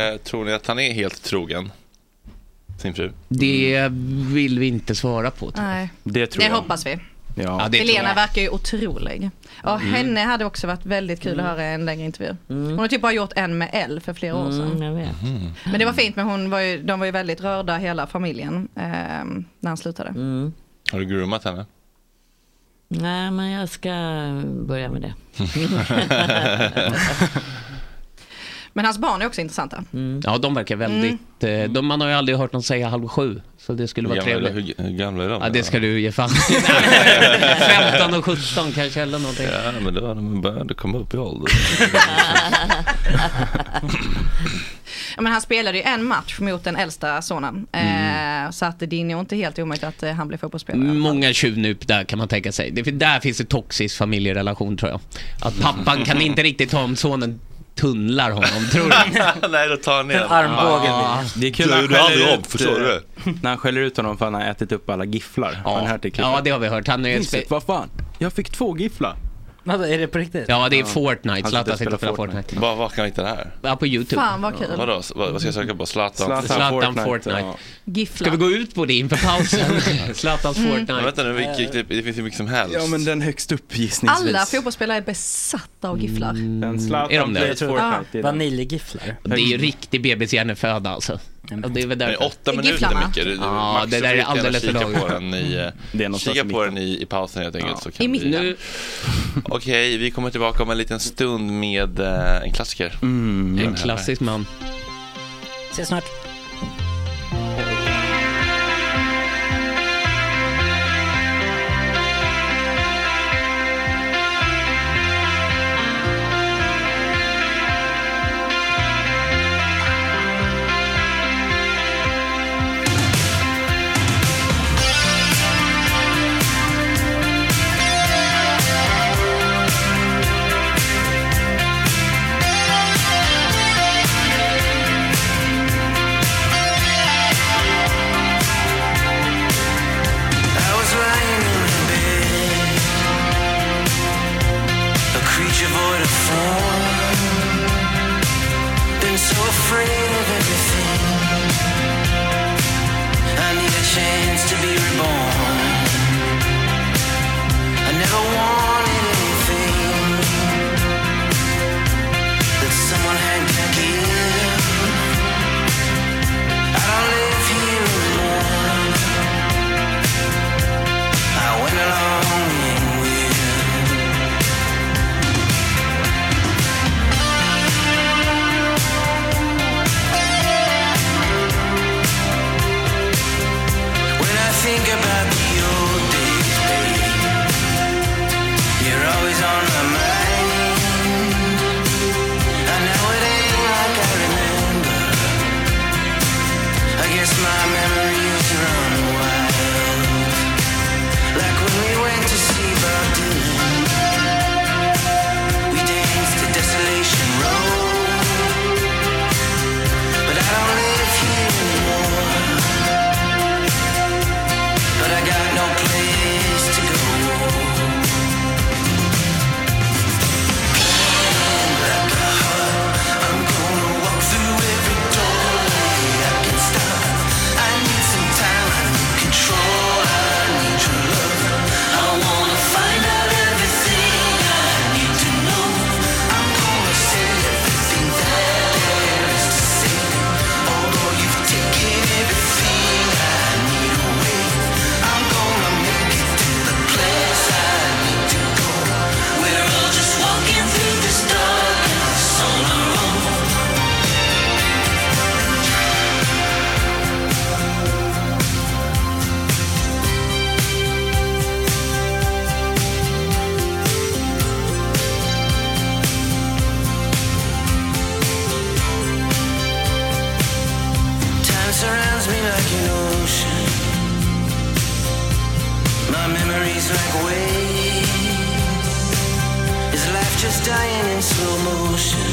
att, eh, tror ni att han är helt trogen sin fru?
Det vill vi inte svara på. tror jag.
Nej.
Det
Det hoppas vi.
Ja, det tror
Helena
jag.
verkar ju otrolig. Ja,
Mm.
Henne hade också varit väldigt kul att höra en längre intervju. Hon har typ bara gjort en med L för flera år
Mm.
sedan.
Mm. jag vet.
Mhm.
Men det var fint, men hon var ju, de var ju väldigt rörda hela familjen ehm, när han slutade.
Mm.
Har du groomat henne?
Nej, men jag ska Eh, börja med det.
[laughs]
Men hans barn är också intressanta.
Mm. Ja, de verkar
Mm.
väldigt... eh, De, man har ju aldrig hört någon säga halv sju, så [laughs] det skulle
Hur
vara
gamla, är de-
trevligt.
hur, hur gamla är de?
Ja, det ska du ge fan 15 och 17 kanske eller någonting.
Ja, men då har de börjat komma upp i
[laughs]
ålder.
Ja, men han spelade ju en match mot den äldsta sonen.
Mm.
Eh, så att det är nog inte helt omöjligt att eh, han blir fotbollsspelare.
Många tjuvnyp där kan man tänka sig. Det, där finns en toxisk familjerelation tror jag. Att pappan kan inte riktigt ta om sonen tunnlar honom, tror [laughs]
[laughs]
du?
Nej, då tar han ner
Den armbågen.
Ja. Det är kul
Du
när han
gjorde aldrig
skäller
om,
ut,
förstår du det?
eh, När han skäller ut honom för han har ätit upp alla gifflar. Ja, har ni hört det
Ja, det har vi hört. Han är
Vincent, vad fan? Jag fick två gifflar.
Vadå, är det på riktigt?
Ja, det är Fortnite. Zlatan sitter och spelar Fortnite.
Var, var kan jag hitta det här?
Ja, på YouTube.
Fan, vad kul.
Vadå, S- vad, vad ska jag söka på? Zlatan?
Zlatan Fortnite, ja.
Giffla.
Mm. Ska vi gå ut på det inför [laughs] pausen? Zlatans
Mm.
Fortnite.
Men vänta nu, vi
Eh.
gick- det, det finns hur mycket som helst.
Ja, men den högst upp gissningsvis.
Alla fotbollsspelare är besatta av gifflar.
Mm.
Den
Är de det?
Ah,
Vaniljgifflar.
Det är ju riktig bebishjärneföda alltså. Och det är väl
Det är
därför.
åtta minuter Micke. Du- du-
Ja,
Max,
det
du
där
får
är
gärna
alldeles för
kika på
lågt.
den
[laughs]
i, eh, Kika på den i, i pausen helt enkelt. Så kan
I
vi-
mitten. Nu-
Okej, vi kommer tillbaka om en liten stund med eh, en klassiker.
Mm,
Mm.
en klassisk man.
Ses snart.
I was lying in a bed, a creature void of form. Been so afraid of everything. I need a chance to be reborn. I never wanted anything that someone had to give. I don't live here anymore. I went along and with. When I think about the old days, babe, you're always on my mind. I know it ain't like I remember. I guess my memories run wild. Like when we went to see Bob Dylan. We danced to Desolation Road. But I don't live here anymore. But I got no place to go. Like a heart, I'm gonna walk through every doorway I can stop. I need some time, I need control, I need your love. I wanna find out everything I need to know. I'm gonna say everything that there is to say. Although you've taken everything I need away, I'm gonna make it to the place I need to go. We're all just walking through this darkness on our own. Time surrounds me like an ocean. My memories like waves. Is life just dying in slow motion?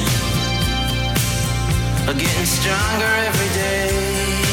Or getting stronger every day?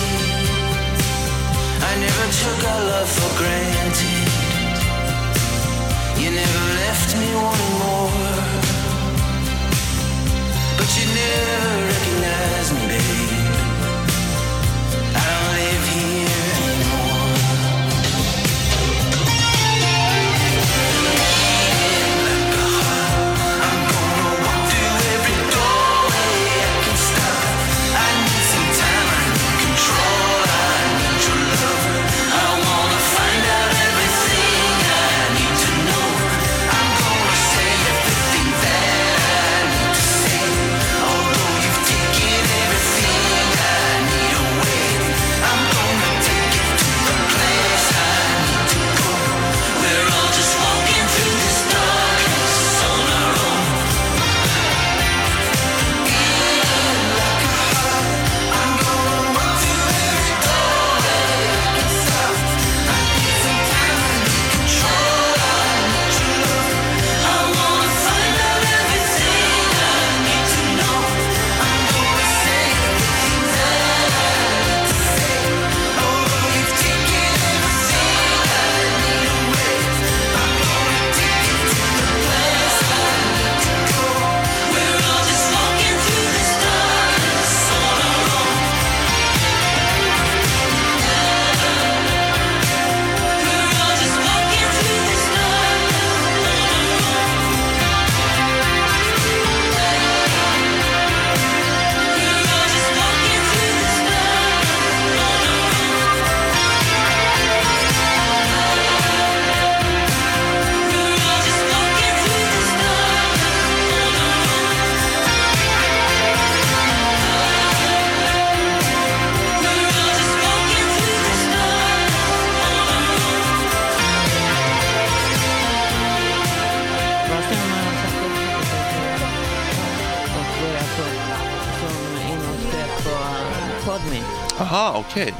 Ah, okej.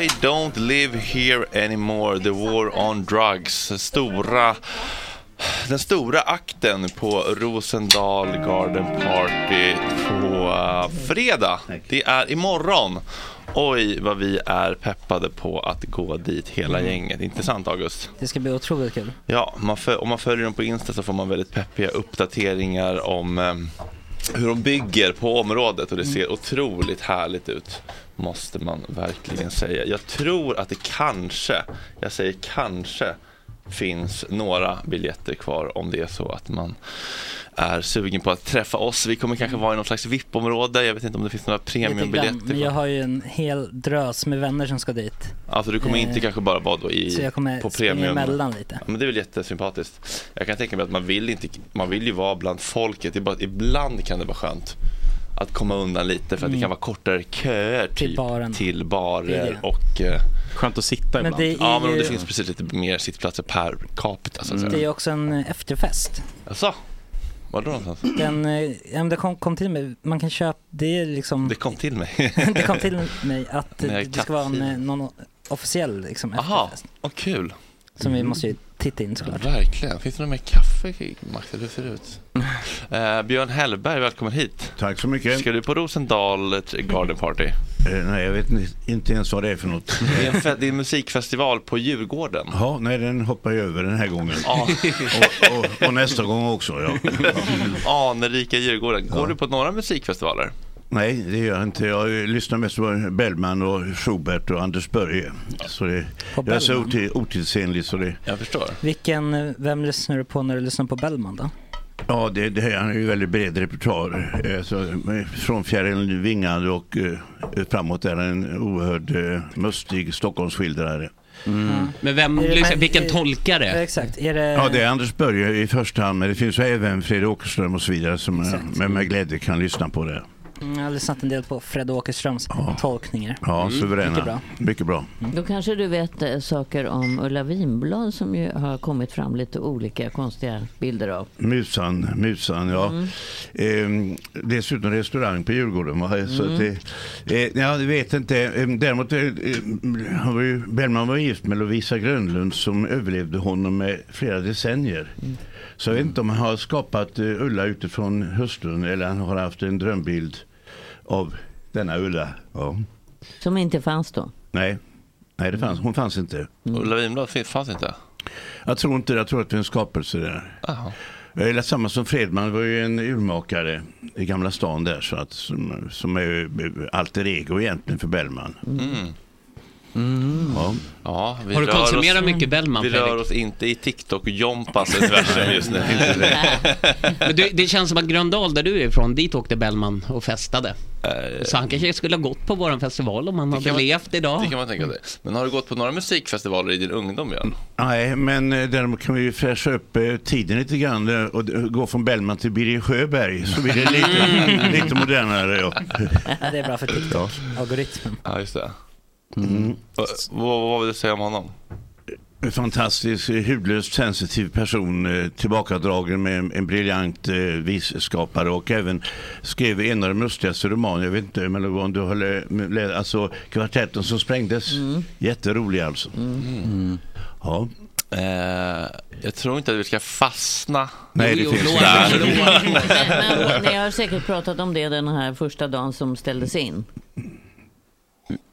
I don't live here anymore, the war on drugs. Stora, den stora akten på Rosendal Garden Party på eh, fredag. Det är imorgon. Oj, vad vi är peppade på att gå dit hela gänget. Intressant, August?
Det ska bli otroligt kul.
Ja, man föl- om man följer dem på Insta så får man väldigt peppiga uppdateringar om ehm, hur de bygger på området och det ser otroligt härligt ut. Måste man verkligen säga. Jag tror att det kanske, jag säger kanske, finns några biljetter kvar om det är så att man är sugen på att träffa oss. Vi kommer kanske vara i något slags VIP-område. Mm. Jag vet inte om det finns några
Lite grann.
premiumbiljetter.
Men jag har ju en hel drös med vänner som ska dit.
Alltså du kommer inte
Eh,
kanske bara vara då i,
så jag kommer
på
springa
premium.
emellan lite.
Ja, men det är väl jättesympatiskt. Jag kan tänka mig att man vill, inte, man vill ju vara bland folket. Det är bara, att ibland kan det vara skönt att komma undan lite för att det
Mm.
kan vara kortare köer typ, till,
baren. Det är
barer
det.
och... Eh,
skönt att sitta
Men ibland. det är
ja, men om det
ju-
finns precis lite mer sittplatser per capita så att
Det är
säga.
ju också en eh, efterfest.
Jaså? Var då någonstans?
Den, eh, ja, men det kom, kom till mig, man kan köpa, det är liksom
Det kom till mig.
[laughs] det kom till mig att eh,
Nej,
det ska vara en,
kattfil.
eh, någon o- officiell liksom,
Aha,
efterfest.
vad kul. Mm.
Som vi måste ju titta in såklart.
Verkligen. Finns det någon mer kaffe, Max? Eller hur ser det ut? Eh, Björn Hellberg, välkommen hit.
Tack så mycket.
Ska du på Rosendal Garden Party?
Eh, nej, jag vet ni- inte ens vad det är för något.
Det är en, fe- det är en musikfestival på Djurgården.
Ja, nej, den hoppar jag över den här gången.
Ja.
Och, och, och nästa gång också, ja.
Anrika Djurgården. Går du på några musikfestivaler?
Nej, det gör jag inte. Jag eh, lyssnar mest på Bellman och Schubert och Anders Börje. Så det, jag är så
Bellman?
oti- otidsenlig så det...
Jag förstår.
Vilken, eh, vem lyssnar du på när du lyssnar på Bellman då?
Ja, det, det här är ju väldigt bred repertoar. Eh, så, eh, Från Fjärilen Vingad och eh, framåt är en oerhörd eh, mustig Stockholmsskildrare.
Mm.
Men vem,
Är det-
liksom,
men-
vilken
eh,
tolkare?
ja, Exakt, är det...
Ja, det är Anders Börje i första hand, men det finns ju även Fredrik Åkerström och så vidare som eh,
Exakt.
med, med glädje kan lyssna på det.
Mm, Jag har lyssnat en del på Fred Åkerströms tolkningar.
Ja, suveräna.
Mm. Mycket bra. Mm.
Mycket bra.
Då kanske du vet eh, saker om Ulla Winblad som ju har kommit fram lite olika konstiga bilder av.
Musan, musan ja.
Mm.
Ehm, dessutom restaurang på Djurgården. Va? Så
Mm.
att det, eh, jag vet inte. Ehm, Däremot eh, eh, han var ju, Bellman var gift med Lovisa Grönlund som överlevde honom med flera decennier.
Mm.
Så jag vet inte om han har skapat eh, Ulla utifrån hustrun eller han har haft en drömbild av denna Ulla. Ja.
Som inte fanns då. Mm.
Nej, Nej det fanns, hon fanns inte.
Ulla Winblad fin- fanns inte?
Jag tror inte Jag tror att det är en skapelse där. Eller samma som Fredman var ju en urmakare i Gamla stan där så att, som, som är ju alter ego egentligen för Bellman.
Mm.
Ja.
Ja, vi
Har du
rör oss-
konsumerat mycket Bellman,
Vi
Fredrik?
rör oss inte i TikTok-jompas universum just
[laughs]
nu.
Men det, det känns som att Gröndal, där du är ifrån, dit åkte Bellman och festade. Så han kanske skulle ha gått på vår festival om han
Eh, Det
hade
kan man-
levt idag.
Det kan man tänka sig. Men har du gått på några musikfestivaler i din ungdom, Björn?
Nej, men eh, däremot kan vi ju fräscha upp eh, tiden lite grann eh, och eh, gå från Bellman till Birger Sjöberg så blir det lite,
Mm.
lite modernare. Ja.
[laughs] Ja, det är bra för TikTok, algoritmen.
Ja, just det.
Mm.
Och, Vad, vad vill du säga om honom?
En fantastisk, eh, hudlöst sensitiv person, eh, tillbakadragen med en, en briljant eh, visskapare och även skrev en av de mustigaste romaner, jag vet inte men det var om du har lä- lä- alltså Kvartetten som sprängdes. Jätterolig alltså. Ja.
Eh, jag tror inte att vi ska fastna
Nej, det Jo, jo, finns låt inte.
Men, men ni har säkert pratat om det den här första dagen som ställdes in.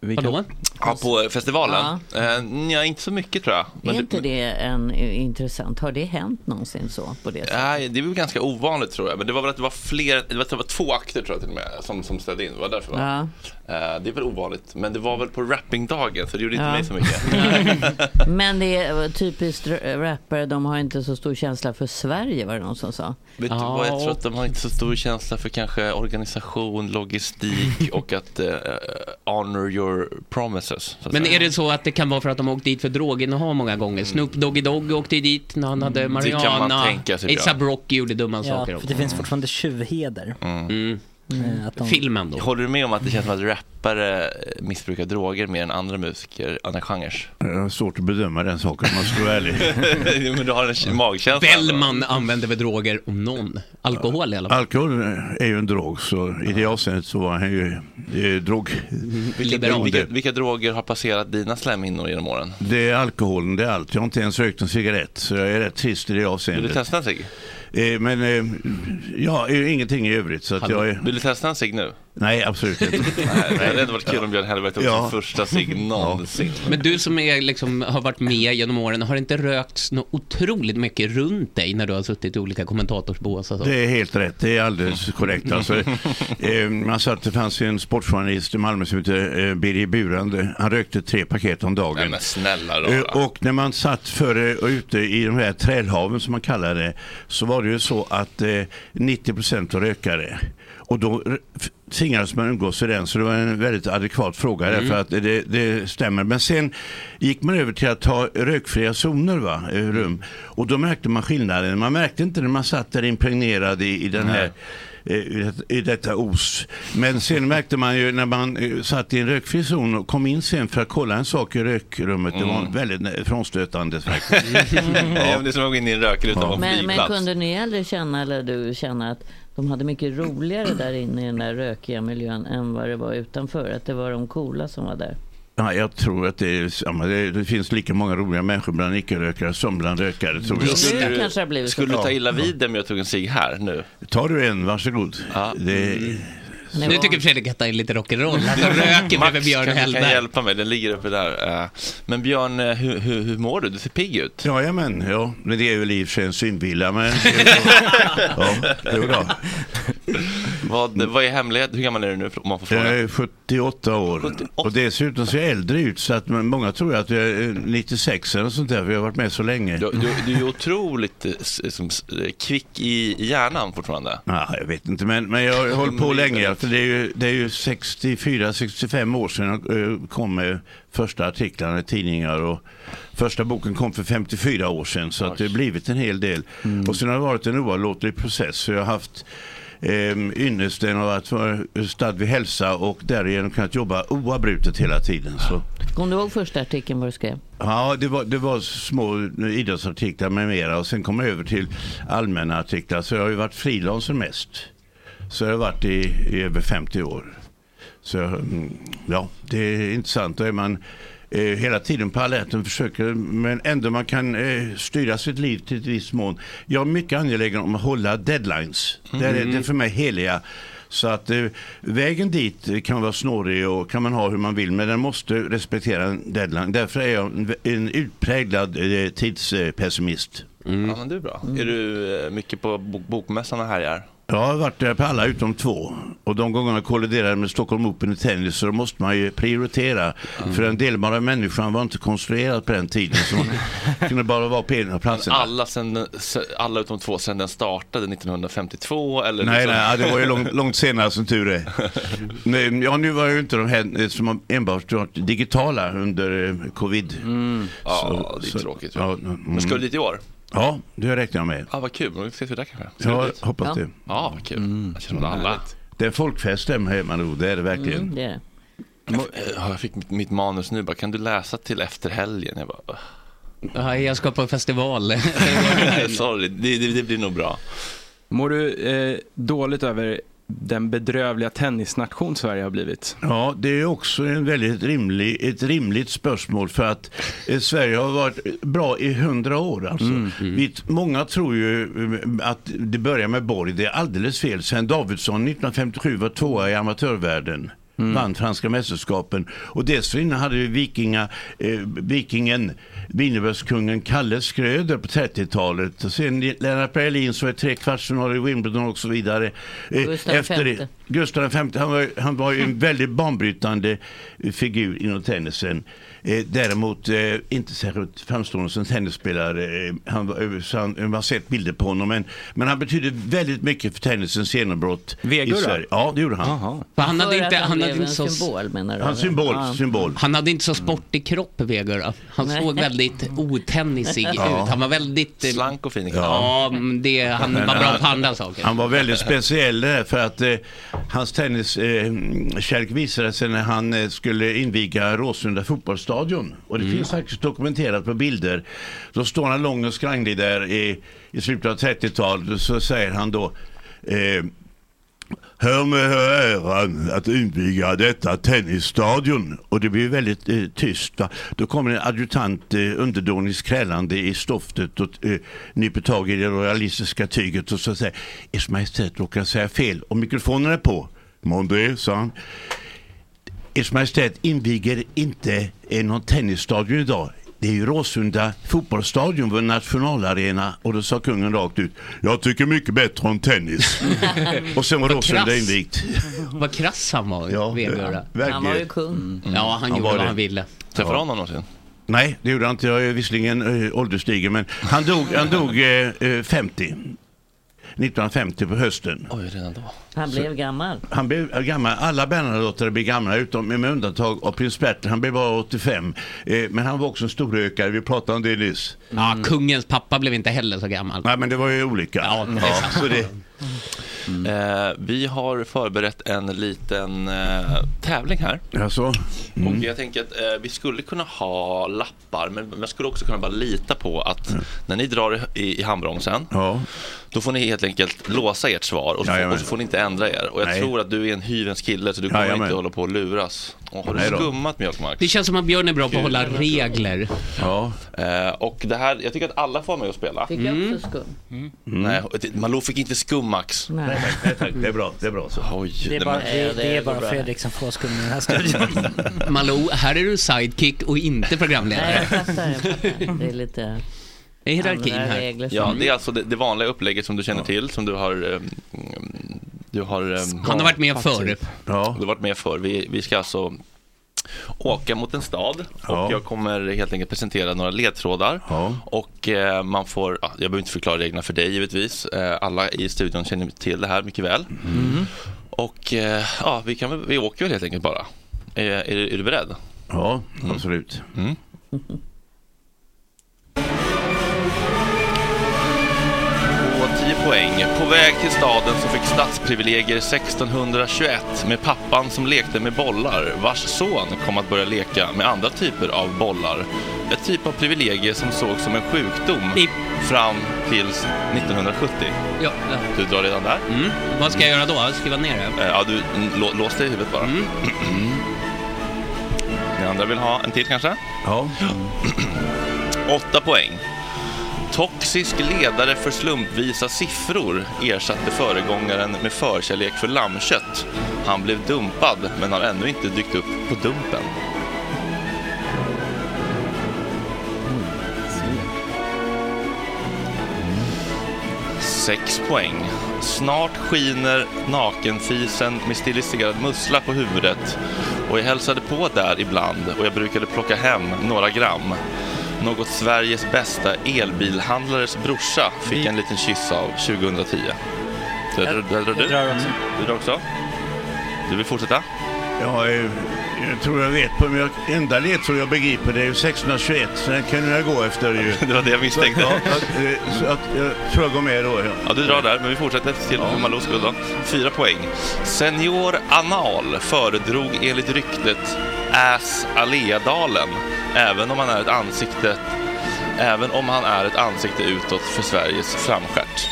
Vadå?
Ja, på festivalen? Ja. nej, inte så mycket tror jag. Men
är
det-
inte det en, eh, intressant? Har det hänt någonsin så
[laughs]
på det sättet?
Nej, det är väl ganska ovanligt tror jag. Men det var väl att det var fler, det var, det var två akter tror jag till och med som, som ställde in. Det var därför va?
Ja.
Eh, det är väl ovanligt. Men det var väl på rappingdagen så det gjorde
Ja.
inte mig så mycket.
Men det är eh, typiskt r- rappare, de har inte så stor känsla för Sverige var det någon som sa.
Vet du vad, jag tror att de har inte så stor känsla för kanske organisation, logistik och att eh, honor your promises. Så att
Men
säga.
är det så att det kan vara för att de har åkt dit för droginnehav många gånger? Snoop Doggy Dogg åkte ju dit när han hade
Mm. Det kan man
marijuana.
tänka sig, ja.
A$AP Rocky gjorde dumma
Ja,
saker
för
också.
det finns fortfarande tjuvheder.
Mm.
Eh, Att de,
Filmen då.
Håller du med om att det känns som att rappare missbrukar droger mer än andra musiker, andra genrer?
Jag har svårt att bedöma den saken om man ska vara
[laughs]
ärlig.
Jo, men du har en magkänsla.
Bellman använder väl droger om någon. Alkohol i alla fall.
Alkohol är ju en drog, så i det avseendet så var han ju eh, drog...
Vilka, vilka, vilka droger har passerat dina slemhinnor genom åren?
Det är alkoholen, det är allt. Jag har inte ens rökt en cigarett, så jag är rätt trist i det
Vill du
avseendet.
testa en cigg?
Eh, men eh, ja, eh, ingenting i övrigt. Så att
Hallå.
jag är...
Vill du testa en cigg nu?
Nej, absolut
[laughs]
inte.
Nej, det hade inte varit kul om Björn Hellberg tog
Ja.
sin
[laughs]
första cigg någonsin.
Men du som är, liksom, har varit med genom åren, har det inte rökts något otroligt mycket runt dig när du har suttit i olika kommentatorsbås? och så?
Det är helt rätt, det är alldeles korrekt. Alltså, eh, man sa att det fanns ju en sportjournalist i Malmö som hette eh, Birger Burande. Han rökte tre paket om dagen.
Nej, men snälla
Eh,
rara.
Och när man satt före och ute i de här trälhaven som man kallar det så var det ju så att eh, 90 procent var rökare. Och då r- f- tvingades man umgås i den så det var en väldigt adekvat fråga
Mm.
därför att det, det stämmer. Men sen gick man över till att ha rökfria zoner va, eh, rum. Och då märkte man skillnaden. Man märkte inte när man satt där impregnerad i, i den här eh, i det- i detta os. Men sen märkte man ju när man eh, satt i en rökfri zon och kom in sen för att kolla en sak i rökrummet. Det var
Mm.
väldigt nä- frånstötande faktiskt.
Ja. Det är som att gå in i en rökruta på en
Men, men
flygplats.
kunde ni aldrig känna, eller du känna att de hade mycket roligare där inne i den där rökiga miljön än vad det var utanför? Att det var de coola som var där?
Ja, jag tror att det är samma. Det, det finns lika många roliga människor bland icke-rökare som bland rökare tror jag.
Skulle,
kanske har blivit så.
skulle du ta
Ja.
illa vid dig om jag tog en cigg här nu?
Tar du en, varsågod. Det,
Nu tycker Fredrik att det är lite rock'n'roll. Alltså röker bredvid Björn
kanske kan
Hellberg.
hjälpa mig, den ligger uppe där. Eh, Men Björn, eh, hur, hur, hur mår du? Du ser pigg ut.
Jajamän, ja. Men det är väl i och för sig en synvilla.
[laughs]
Men... ja, jo då.
Vad, vad är hemligheten? Hur gammal är du nu om man får fråga?
Jag är 78 år. Och dessutom ser jag äldre ut så att men många tror att jag är eh, 96 eller sånt där för jag har varit med så länge.
Du, du, du är otroligt eh, s- som, s- eh, kvick i hjärnan fortfarande.
Ja, jag vet inte, men, men jag har hållit på länge. För det är ju, det är ju 64-65 år sedan jag eh, kom med första artiklarna i tidningar och första boken kom för 54 år sedan så att det har blivit en hel del. Och sen har det varit en oavlåtlig process. Så jag har haft ehm, ynnesten av att vara stadd vid hälsa och därigenom kunnat jobba oavbrutet hela tiden. Så.
Kommer du ihåg första artikeln vad du skrev?
Ja, det var, det var små idrottsartiklar med mera och sen kom jag över till allmänna artiklar. Så jag har ju varit frilanser mest. Så jag har varit i, i över 50 år. Så mm, ja, det är intressant. Då är man eh, hela tiden på alerten försöker, men ändå man kan eh, styra sitt liv till ett visst mån. Jag är mycket angelägen om att hålla deadlines. Det är, det är för mig heliga. Så att eh, vägen dit kan vara snårig och kan man ha hur man vill men den måste respektera en deadline. Därför är jag en, en utpräglad eh, tidspessimist.
Mm. Ja, men du är bra. Är du eh, mycket på bok, bokmässan och härjar?
Jag har varit där på alla utom två. Och de gångerna kolliderade med Stockholm Open i tennis så då måste man ju prioritera.
Mm.
För den delbara människan var inte konstruerad på den tiden. Så
[laughs]
man kunde bara vara på ena platsen.
Alla, sen, se- alla utom två sen den startade 1952 eller?
Nej,
liksom-
nej, ja, det var ju långt, långt senare som tur är.
[laughs]
Nej, ja, nu var ju inte de här eh, som har enbart varit digitala under eh, covid.
Mm. Ja, det är tråkigt.
Ja,
[laughs]
mm.
Men ska du dit i år?
Ja, det räknar jag med.
Ja, vad kul. Då ses vi där kanske. Ska
Jag
du dit?
hoppas det.
Ja, vad kul. Jag känner alla.
Det är folkfest där hemma nu, det är det verkligen.
Mm, det är det.
Jag, ja, jag fick mitt, mitt manus nu bara, kan du läsa till efter helgen? Jag bara,
Ja, jag ska på festival.
[laughs]
[laughs]
sorry, det, det, det blir nog bra.
Mår du eh, dåligt över den bedrövliga tennisnation Sverige har blivit?
Ja, det är också en väldigt rimlig, ett rimligt spörsmål för att eh, Sverige har varit bra i hundra år. Alltså. Vi, många tror ju eh, att det börjar med Borg. Det är alldeles fel. Sven Davidsson 1957 var tvåa i amatörvärlden. Vann franska mästerskapen. Och dessförinnan hade vi vikinga, eh, vikingen, Wienerbergskungen Kalle Skröder på 30-talet. Och sen Lennart Berlin som var i trekvartsfinal i Wimbledon och så vidare. Eh,
Gustav V.
Gustav V, han var, han var ju en väldigt banbrytande figur inom tennisen. Eh, däremot eh, inte särskilt framstående som tennisspelare. Eh, han, var- så han, man har sett bilder på honom. Men, men han betydde väldigt mycket för tennisens genombrott i
Vegura?
Sverige. Ja, det gjorde han.
För han hade inte,
För att han
han hade
blev
inte
en
så...
symbol, menar du,
Han-
Mm.
eller? symbol, symbol.
Han hade inte så sportig kropp, Vegura. Han
Nej.
såg väldigt
[laughs]
otennisig
Ja.
ut. Han var väldigt... eh,
Slank och fin i
Ja, men det, han
Men
var bra på andra saker.
Han var väldigt speciell där för att eh, Hans tenniskärlek visade sig när han eh, skulle inviga Råsunda fotbollsstadion. Och det
Mm.
finns faktiskt dokumenterat på bilder. Då står han lång och skranglig där i, i slutet av 30-talet. Så säger han då eh, Hör mig hör äran att inviga detta tennisstadion. Och det blir väldigt eh, tyst. Va? Då kommer en adjutant eh, underdånigt krälande i stoftet och eh, nyper tag i det royalistiska tyget och så säger Ers Majestät råkar säga fel och mikrofonen är på. Mondé, sa han. Ers Majestät inviger inte eh, någon tennisstadion idag. Det är ju Råsunda fotbollsstadion, vår nationalarena. Och då sa kungen rakt ut, jag tycker mycket bättre om tennis. och sen var
Mm. Vad
Råsunda
krass.
invigt.
[laughs] Vad krass han var,
Ja,
Vegura.
verkligen. Han var ju
kung.
Mm. Ja, han, gjorde
var
vad
det.
han ville.
Träffade
Ja.
honom någonsin?
Nej, det gjorde han inte. Jag är visserligen äh, ålderstigen, men han dog, han dog eh, eh, 50. 1950 på hösten.
Oj, redan då.
Han blev gammal.
Han blev gammal. Alla Bernadotter blev gamla utom med undantag av prins Bertil. Han blev bara 85. Eh, men han var också en stor rökare. Vi pratade om det nyss.
Ja, kungens pappa blev inte heller så gammal.
Nej, men det var ju olika.
Ja, det är
Ja,
sant.
så det. Eh, vi har förberett en liten eh, tävling här.
Alltså,
Och jag tänker att eh, vi skulle kunna ha lappar, men man skulle också kunna bara lita på att när ni drar i, i handbromsen, då får ni helt enkelt låsa ert svar och så, får,
Jajamän.
och så får ni inte ändra er. Och jag
Nej.
tror att du är en hyvens kille, så du kommer
Jajamän.
inte hålla på och luras. Åh, har du
Nej då.
skummat mjölkmark?
Det känns som att Björn är bra på att hålla regler.
Ja.
Eh, och det här, jag tycker att alla får vara med och spela. Mm.
Fick jag också skum?
Nej, det- Malou fick inte skum, Max.
Nej. Nej,
tack. Det är bra. Det är bra så.
Oj,
Det är
nej,
bara,
men-
det, det är bara Fredrik som får skum i den här studion.
Malou, här är du sidekick och inte programledare.
[laughs]
Det är lite...
Det är hierarkin
andra
här.
regler som-
Ja, det är alltså det, det vanliga upplägget som du känner till, som du har... ehm, Du har ehm,
Han har varit med förr.
Ja.
Du har varit med förr. Vi, vi ska alltså åka mot en stad och jag kommer helt enkelt presentera några ledtrådar. Och eh, man får, ja, jag behöver inte förklara reglerna för dig givetvis. Eh, alla i studion känner till det här mycket väl. Och eh, ja, vi, kan, väl- vi åker väl helt enkelt bara. Eh, är, du- är du beredd?
Ja, absolut.
Mm. på 10 poäng. På väg till staden så fick stadsprivilegier 1621 med pappan som lekte med bollar vars son kom att börja leka med andra typer av bollar. Ett typ av privilegier som sågs som en sjukdom fram tills 1970.
Ja, Mm.
Du drar redan där?
Vad ska jag göra då? Skriva ner det? Mm.
Ja, du mm, lå, lås dig i huvudet bara. [clears throat] Ni andra vill ha en till kanske?
Ja.
8 poäng. Toxisk ledare för slumpvisa siffror ersatte föregångaren med förkärlek för lammkött. Han blev dumpad men har ännu inte dykt upp på Dumpen. Sex poäng. Snart skiner nakenfisen med stiliserad mussla på huvudet och jag hälsade på där ibland och jag brukade plocka hem några gram. Något Sveriges bästa elbilhandlares brorsa fick en liten kyss av 2010. Så
Jag-
där drar du.
jag drar också.
Du drar också? Du vill fortsätta?
Ja, eh, jag tror jag vet på men jag, enda ledtråd jag begriper det är ju 1621, så den kan jag gå efter ju.
[laughs] Det var det jag misstänkte.
Så, att, eh, så att, jag tror jag går med då.
Ja, du drar där, men vi fortsätter till Malous skull då. Fyra poäng. Senior Anal föredrog enligt ryktet Ass Alledalen, även om han är ett ansikte Även om han är ett ansikte utåt för Sveriges framstjärt.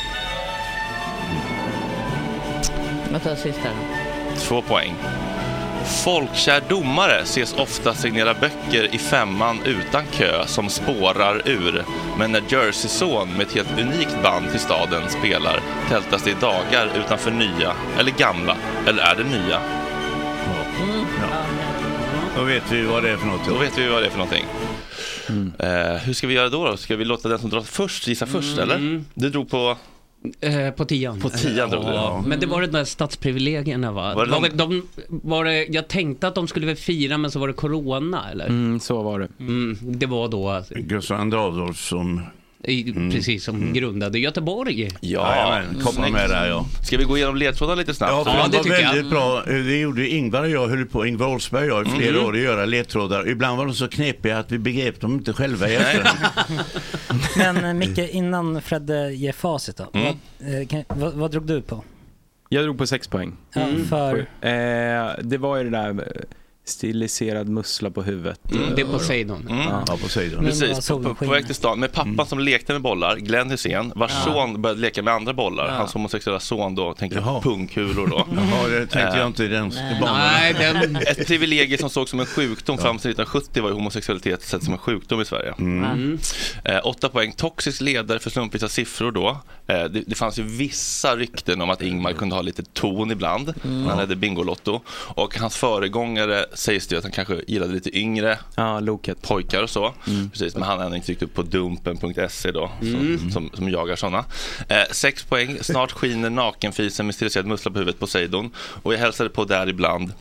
Jag tar sista då.
Två poäng. Folkkär domare ses ofta signera böcker i femman utan kö som spårar ur. Men när Jersey-son med ett helt unikt band till staden spelar tältas det i dagar utanför nya, eller gamla, eller är det nya?
Då vet vi vad det är för något.
Då vet vi vad det är för någonting.
Mm.
Eh, hur ska vi göra då, då? Ska vi låta den som drar först gissa
Mm.
först eller? Du drog på...
Eh, på tian.
På tian drog du.
Ja, Men det var det där stadsprivilegierna va?
Var
Var
det
det
de-
var väl de, var det, jag tänkte att de skulle väl fira men så var det corona eller?
Mm, så var det.
Mm, det var då,
Gustav II Adolf som...
i, precis som grundade Göteborg.
Jajamän, koppla med där ja.
Ska vi gå igenom ledtrådarna lite snabbt?
Ja, för
Ja,
de
det
var
tycker jag.
väldigt bra. Eh, Det gjorde Ingvar och jag, höll på, Ingvar Oldsberg och jag i flera
Mm.
Mhm.
år att göra ledtrådar. Ibland var de så knepiga att vi begrep dem inte själva i
Nej.
efterhand.
[laughs] Men eh, Micke, innan Fred eh, ger facit då.
Mm.
Vad, eh, kan, vad, vad drog du på?
Jag drog på sex poäng.
Ja,
Mm.
för-
Eh, det var ju det där eh, stiliserad mussla på huvudet.
Mm, det är Poseidon.
Mm.
Ja, Poseidon.
Precis, på, på, på väg till stan med pappan
Mm.
som lekte med bollar, Glenn Hysén, vars
Ja.
son började leka med andra bollar.
Ja.
Hans homosexuella son då, tänker jag, pungkulor då.
[laughs] Jaha, det tänkte jag inte i den Nej. banan. Nej, den-
Ett privilegium som sågs som en sjukdom fram till 1970 var ju homosexualitet sett som en sjukdom i Sverige.
Mm.
Eh, åtta poäng, toxisk ledare för slumpvisa siffror då. Eh, det, det fanns ju vissa rykten om att Ingmar kunde ha lite ton ibland
Mm.
när han hade Bingolotto. Och hans föregångare sägs det ju att han kanske gillade lite yngre pojkar och så. Precis, men han har ännu inte tryckt upp på dumpen.se E då, som,
Mm.
som, som jagar sådana. Eh, sex poäng, snart skiner nakenfisen med stiliserad mussla på huvudet Poseidon. Och jag hälsade på där ibland.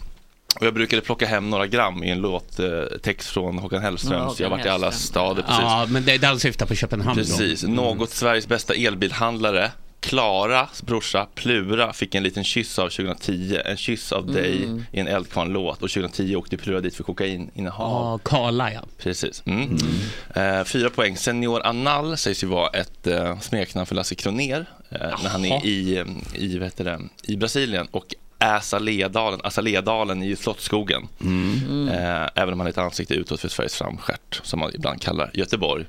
Och jag brukade plocka hem några gram i en låttext eh, text från Håkan Hellströms
Ja, Håkan
Jag har varit i alla
Hellström.
stader. Precis.
Ja, men det, den syftar på Köpenhamn
Precis,
då. Mm.
något Sveriges bästa elbilhandlare Klaras brorsa Plura fick en liten kyss av 2010, en kyss av dig
Mm.
i en Eldkvarn-låt och 2010 åkte Plura dit för kokaininnehav.
Ja, Karla ja.
Precis. Mm. Eh, fyra poäng. Senior Anal sägs ju vara ett eh, smeknamn för Lasse Kroner eh, när han
Jaha.
är i, eh, i, vad heter det, i Brasilien och Asaledalen, Asaledalen i Slottsskogen. Eh, även om han är ett ansikte utåt för Sveriges framstjärt, som man ibland kallar Göteborg.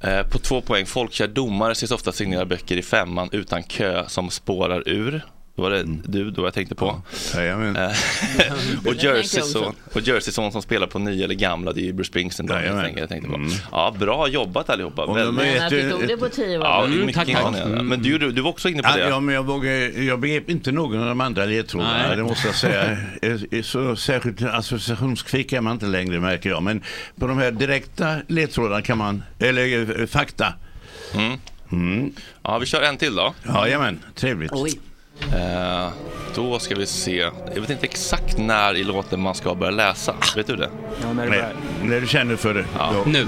Eh, på två poäng, folkkär domare ses ofta signera böcker i femman utan kö som spårar ur. Då var det
Mm.
du då jag tänkte på.
[laughs]
Eh, och
tänkte jag
Jerseyson
också.
och Jerseyson som spelar på nya eller gamla, det är ju Bruce Springsteen. Då, helt enkelt, jag tänkte på. Ja, bra jobbat allihopa.
Mm. de har
Men att du tog det på tio år.
Mm,
Ja, mycket imponerande. Men du, du, du var också inne på
Ja,
det.
ja, men jag, vågar, jag begrep inte någon av de andra ledtrådarna,
Nej.
det måste jag
[laughs]
säga. Eh, eh, Så särskilt associationskvick är man inte längre märker jag. Men på de här direkta ledtrådarna kan man, eller eh, fakta. Mm.
Ja, vi kör en till då.
Jajamän, trevligt.
Eh, då ska vi se. Jag vet inte exakt när i låten man ska börja läsa. Vet du det?
Ja, när
det Nej, När du känner för det.
Nu.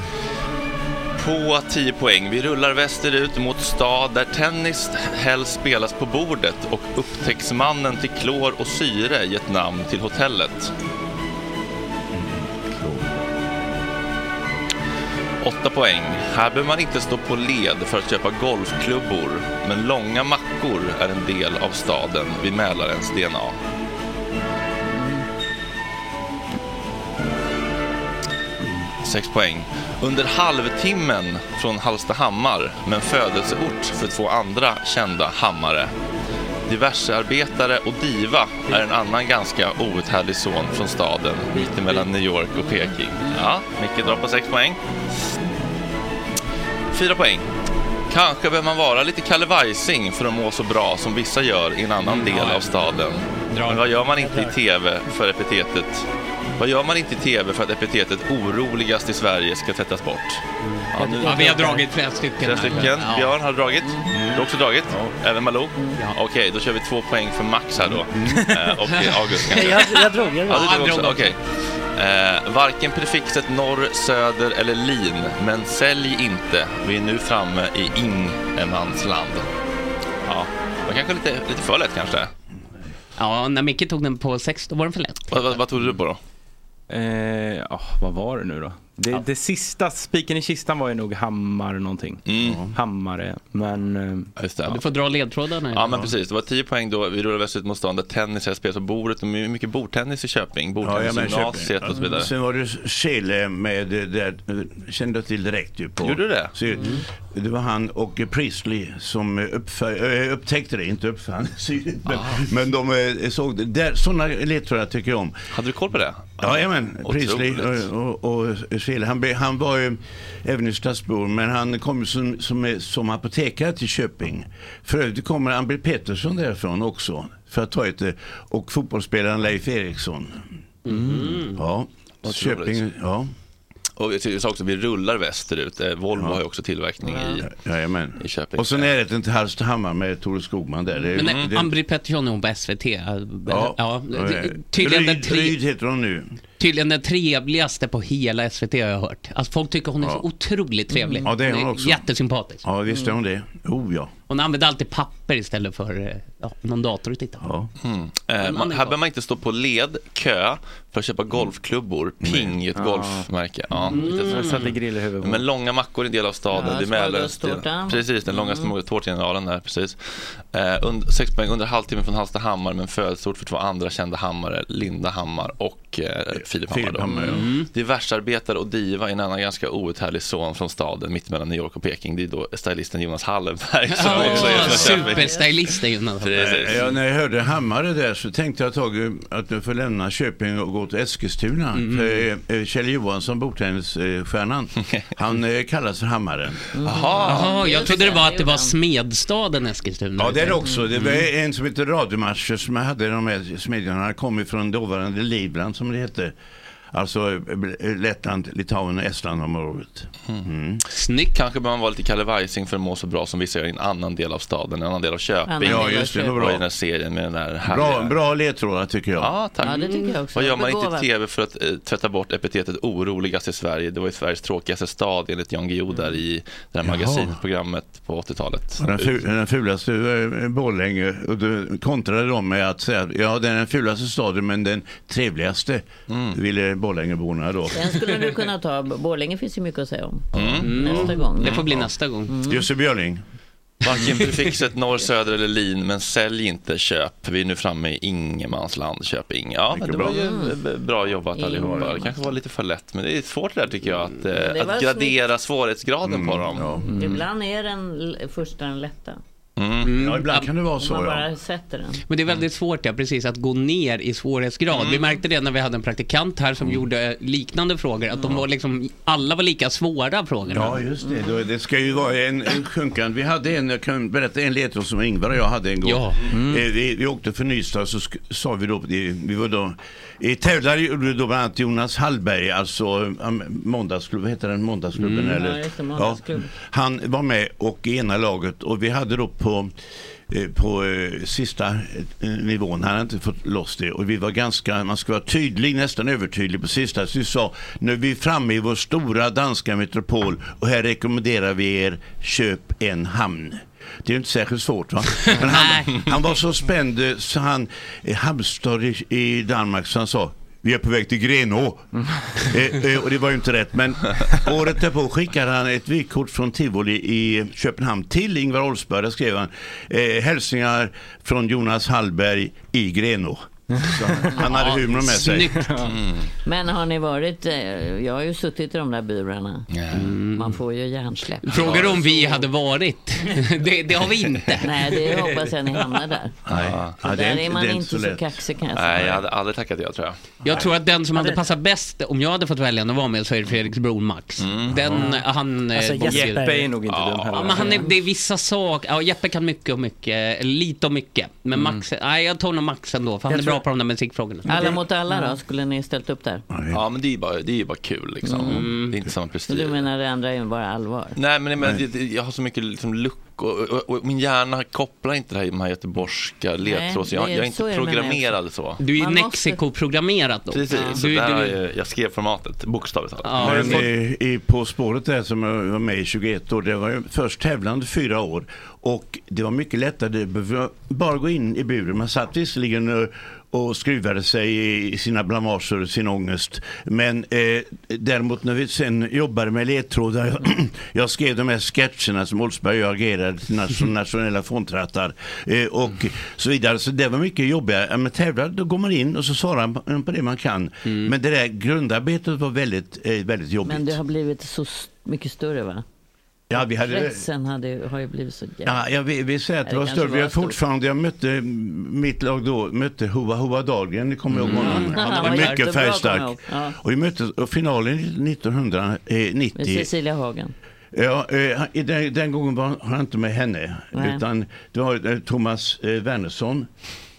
På 10 poäng. Vi rullar västerut mot stad där tennis helst spelas på bordet och upptäcktsmannen till klor och syre gett namn till hotellet. Åtta poäng. Här behöver man inte stå på led för att köpa golfklubbor, men långa mackor är en del av staden vid Mälarens DNA. Sex poäng. Under halvtimmen från Hallstahammar, men födelseort för två andra kända hammare. Diversearbetare och diva är en annan ganska outhärdlig son från staden mittemellan New York och Peking. Ja, Micke drar på sex poäng. Fyra poäng. Kanske behöver man vara lite Kalle Weising för att må så bra som vissa gör i en
Mm,
annan del av staden. Men vad gör man inte i TV för epitetet? Vad gör man inte i TV för att epitetet oroligast i Sverige ska tvättas bort? Ja, nu-
Mm. Ja, vi har dragit flera stycken.
Tre
här.
stycken.
Ja. Mm.
Björn har dragit. Du har också dragit. Även Malou. Okej, då kör vi två poäng för Max här då.
Mm.
Eh, och
[laughs]
August
[laughs]
kanske.
jag, jag drog, jag drog.
Ja, du drog också. Okej. Eh, varken prefixet norr, söder eller lin, men sälj inte. Vi är nu framme i Ingemansland. Ja, det var kanske lite, lite för lätt kanske.
Ja, när Micke tog den på sex, då var den för lätt.
Vad, vad, vad tog du på då?
Eh, ja, vad var det nu då? Det, det sista, spiken i kistan var ju nog hammar någonting. Hammare, men... eh,
Mm. Just det, ja.
Du får dra ledtrådarna.
Ja, men precis. Det var 10 poäng då. Vi rullade västerut mot stan där tennis här spelas på bordet. Det är mycket bordtennis i Köping. Mm. Bordtennisgymnasiet och så vidare.
Sen var det Chile med, eh, där, eh, kände jag till direkt ju på.
Gjorde du det? Mm.
Så, Det var han och eh, Priestley som eh, uppfö- eh, upptäckte det, inte uppfann [laughs] syret. Men,
Ah.
men de eh, såg det. Där, sådana ledtrådar tycker jag om.
Hade du koll på det?
Jajamän, Priestley
Otroligt.
och, och, och Chile. Han, be- han var ju även i Strasbourg, men han kom ju som, som, som apotekare till Köping. För övrigt kommer Ann-Britt Pettersson därifrån också, för att ta ett, eh, och fotbollsspelaren Leif Eriksson.
Mm.
Ja,
Otroligt.
Köping, ja.
Och jag sa också att vi rullar västerut. Eh, Volvo har ju också tillverkning i,
Jajamän.
i Köping.
Och så närheten till Hallstahammar med Tore Skogman där. Det,
Men
det,
Mm.
eh, Ann-Britt Pettersson är hon på SVT. Ja. ja.
eh,
Tydligen den
Ryd,
tre...
Ryd heter hon nu.
Tydligen den trevligaste på hela SVT har jag hört. Alltså folk tycker hon är
Ja. Mm.
så otroligt trevlig.
Ja, det är hon också.
Jättesympatisk.
Ja, visst är hon det. Oh ja.
Hon använder alltid papper istället för eh, ja, någon dator att titta på.
Mm. Eh, man, här behöver man inte stå på led, kö, för att köpa golfklubbor. Ping, ett
Ja.
golfmärke. Ja, lite så.
Jag satte grill i huvudet.
Men långa mackor är en del av staden.
Ja,
det är Mälardalen.
smörgåstårtan.
Precis, den långa
Mm.
smörgåstårtgeneralen där. Precis. Eh, und, sex poäng under halvtimmen från Hallstahammar men födelsort för två andra kända hammare, Linda Hammar och eh, Filip Hammar.
Filip
då.
Hammar, ja.
Diversarbetare och diva är en annan ganska outhärdlig son från staden mitt mellan New York och Peking. Det är då stylisten Jonas Hallenberg som
[laughs] Ja,
också är från Köping.
superstylisten Jonas.
Precis.
Eh, Ja, när jag hörde Hammare där så tänkte jag ett tag eh, att jag får lämna Köping och gå till Eskilstuna.
Mm-hmm.
För, eh, Kjell Johansson,
[laughs]
bordtennisstjärnan, han eh, kallas för Hammaren.
Mm. Jaha, jag trodde det var att det var smedstaden Eskilstuna.
Ja, det är det också. Det var
Mm.
en som hette Radiomarscher som hade de här smedjorna. Han kom ifrån dåvarande Livland som det hette. Alltså eh, Lettland, Litauen och Estlandområdet. Mm.
Snyggt.
Kanske behöver man vara lite Kalle Weising för att må så bra som vissa gör i en annan del av staden, en annan del av
Annan
Köping.
del Ja, av just det, Köping. det var bra.
Och i den här serien med den där
Bra,
härliga...
bra ledtrådar tycker jag.
Ja, tack.
Ja, det tycker jag också.
Vad gör man inte i
Begåvad.
tv för att eh, tvätta bort epitetet oroligast i Sverige? Det var ju Sveriges tråkigaste stad enligt Jan Guillou där i det här
Jaha.
magasinprogrammet på 80-talet.
Och Den, ful, den fulaste eh, Borlänge och då kontrade de med att säga ja den är den fulaste staden men den trevligaste
Mm.
ville Borlängeborna då.
Den skulle du kunna ta. Borlänge finns ju mycket att säga om.
Mm.
Nästa gång.
Det får bli nästa gång.
Jussi Björling.
Varken prefixet norr, söder eller lin, men sälj inte, köp. Vi är nu framme i ingenmansland, Köping. Ja, men
Mycket
det var
bra.
ju eh, bra jobbat allihopa. Det
Ingenmansland.
kanske var lite för lätt, men det är svårt det där tycker jag, att,
Mm. det
eh,
var
att gradera svårighetsgraden på dem. Mm.
Mm.
Ibland är den l- första den lätta.
Mm.
Mm.
Ja, ibland kan det vara
Om man bara sätter den.
Men det är väldigt svårt ja, precis, att gå ner i svårighetsgrad. Vi märkte det när vi hade en praktikant här som gjorde liknande frågor, att de var liksom, alla var lika svåra frågor.
Ja, just det. Då- Det ska ju vara en, en sjunkande. Vi hade en, jag kan berätta en ledtråd som Ingvar och jag hade en gång.
Ja.
Eh, Vi, vi åkte för Nystad så sk- sa vi då, vi vi var då, i tävlade gjorde då bland annat Jonas Hallberg, alltså eh, måndagsklubben, heter den måndagsklubben?
Mm.
Eller?
Ja, just det, Måndagsklubben.
han var med och i ena laget och vi hade då på eh, på eh, sista eh, nivån, han hade inte fått loss det och vi var ganska, man ska vara tydlig, nästan övertydlig på sista. Så vi sa, nu är vi framme i vår stora danska metropol och här rekommenderar vi er, köp en hamn. Det är ju inte särskilt svårt va? Men han, han var så spänd eh, så han, eh, Halmstad i, i Danmark, så han sa vi är på väg till Grenå. eh, eh, och det var ju inte rätt. Men året därpå skickade han ett vykort från Tivoli i Köpenhamn till Ingvar Oldsberg. Där skrev han eh, hälsningar från Jonas Hallberg i Grenå. Så han, han hade humor med sig. Mm.
Snyggt. Men har ni varit, eh, jag har ju suttit i de där burarna. Man får ju hjärnsläpp.
Frågar om vi hade varit. [laughs] Det, det har vi inte.
Nej, det hoppas jag ni hamnar där.
Nej,
För där är man inte så kaxig alltså. kan jag säga.
Nej, jag hade aldrig tackat ja, tror jag.
Jag tror att den som hade passat bäst, om jag hade fått välja att vara med, så är det Fredrik Bron Max. Den, han... eh,
Alltså,
borde-
Jeppe är nog inte dum heller.
Ja, men han är, det är vissa saker. Ja, Jeppe kan mycket och mycket, eh, lite och mycket. Men Max, nej jag tar nog Max ändå, för han
Jag
är
tror-
bra på de där musikfrågorna.
Alla mot alla då, skulle ni ställt upp där?
Ja, men det är ju bara, det är ju bara kul liksom. Det är inte samma
Så du
prestige.
menar det andra är ju bara allvar?
Nej, men, men det- det- jag har så mycket liksom, luck och, och, och min hjärna kopplar inte det här, de här göteborgska ledtrådarna. Jag,
det-
jag är
så är
inte
det med mig
programmerad
också.
så.
Du är ju Man måste- Mexiko-programmerat då.
Precis,
Ja.
så
Du-
där
du-
har jag, jag skrev formatet, bokstavligt talat.
Men eh, i På spåret där som jag var med i 21 år, det var ju först tävlande fyra år och det var mycket lättare. Det behövde bara gå in i buren. Man satt visserligen eh, och skruvade sig i sina blamager och sin ångest. Men eh, däremot när vi sen jobbade med ledtrådar, jag, [clears throat] jag skrev de här sketcherna som Oldsberg och jag agerade till nation- nationella fondrattar eh, och så vidare. Så det var mycket jobbigare. Ja, Men tävlar, då går man in och så svarar man på det man kan. Men det där grundarbetet var väldigt, eh, väldigt jobbigt.
Men det har blivit så s- mycket större va?
Ja, vi hade...
Pressen hade, ju- har ju blivit så jävla...
Ja, jag vill, vill säga att det
Det
var
kanske
större. Vi
var
har
stort.
fortfarande, jag mötte, mitt lag då, mötte Hoa Hoa Dahlgren, ni kommer ihåg honom? [laughs]
Mm.
Han
Han
var
var
mycket
jättebra, kommer jag
färgstark.
ihåg. Ja.
Och vi möttes och finalen 1990.
Med Cecilia Hagen.
Ja, eh, han- i den, den gången var han inte med henne.
Nej.
Utan det var eh, Thomas eh, Wernersson,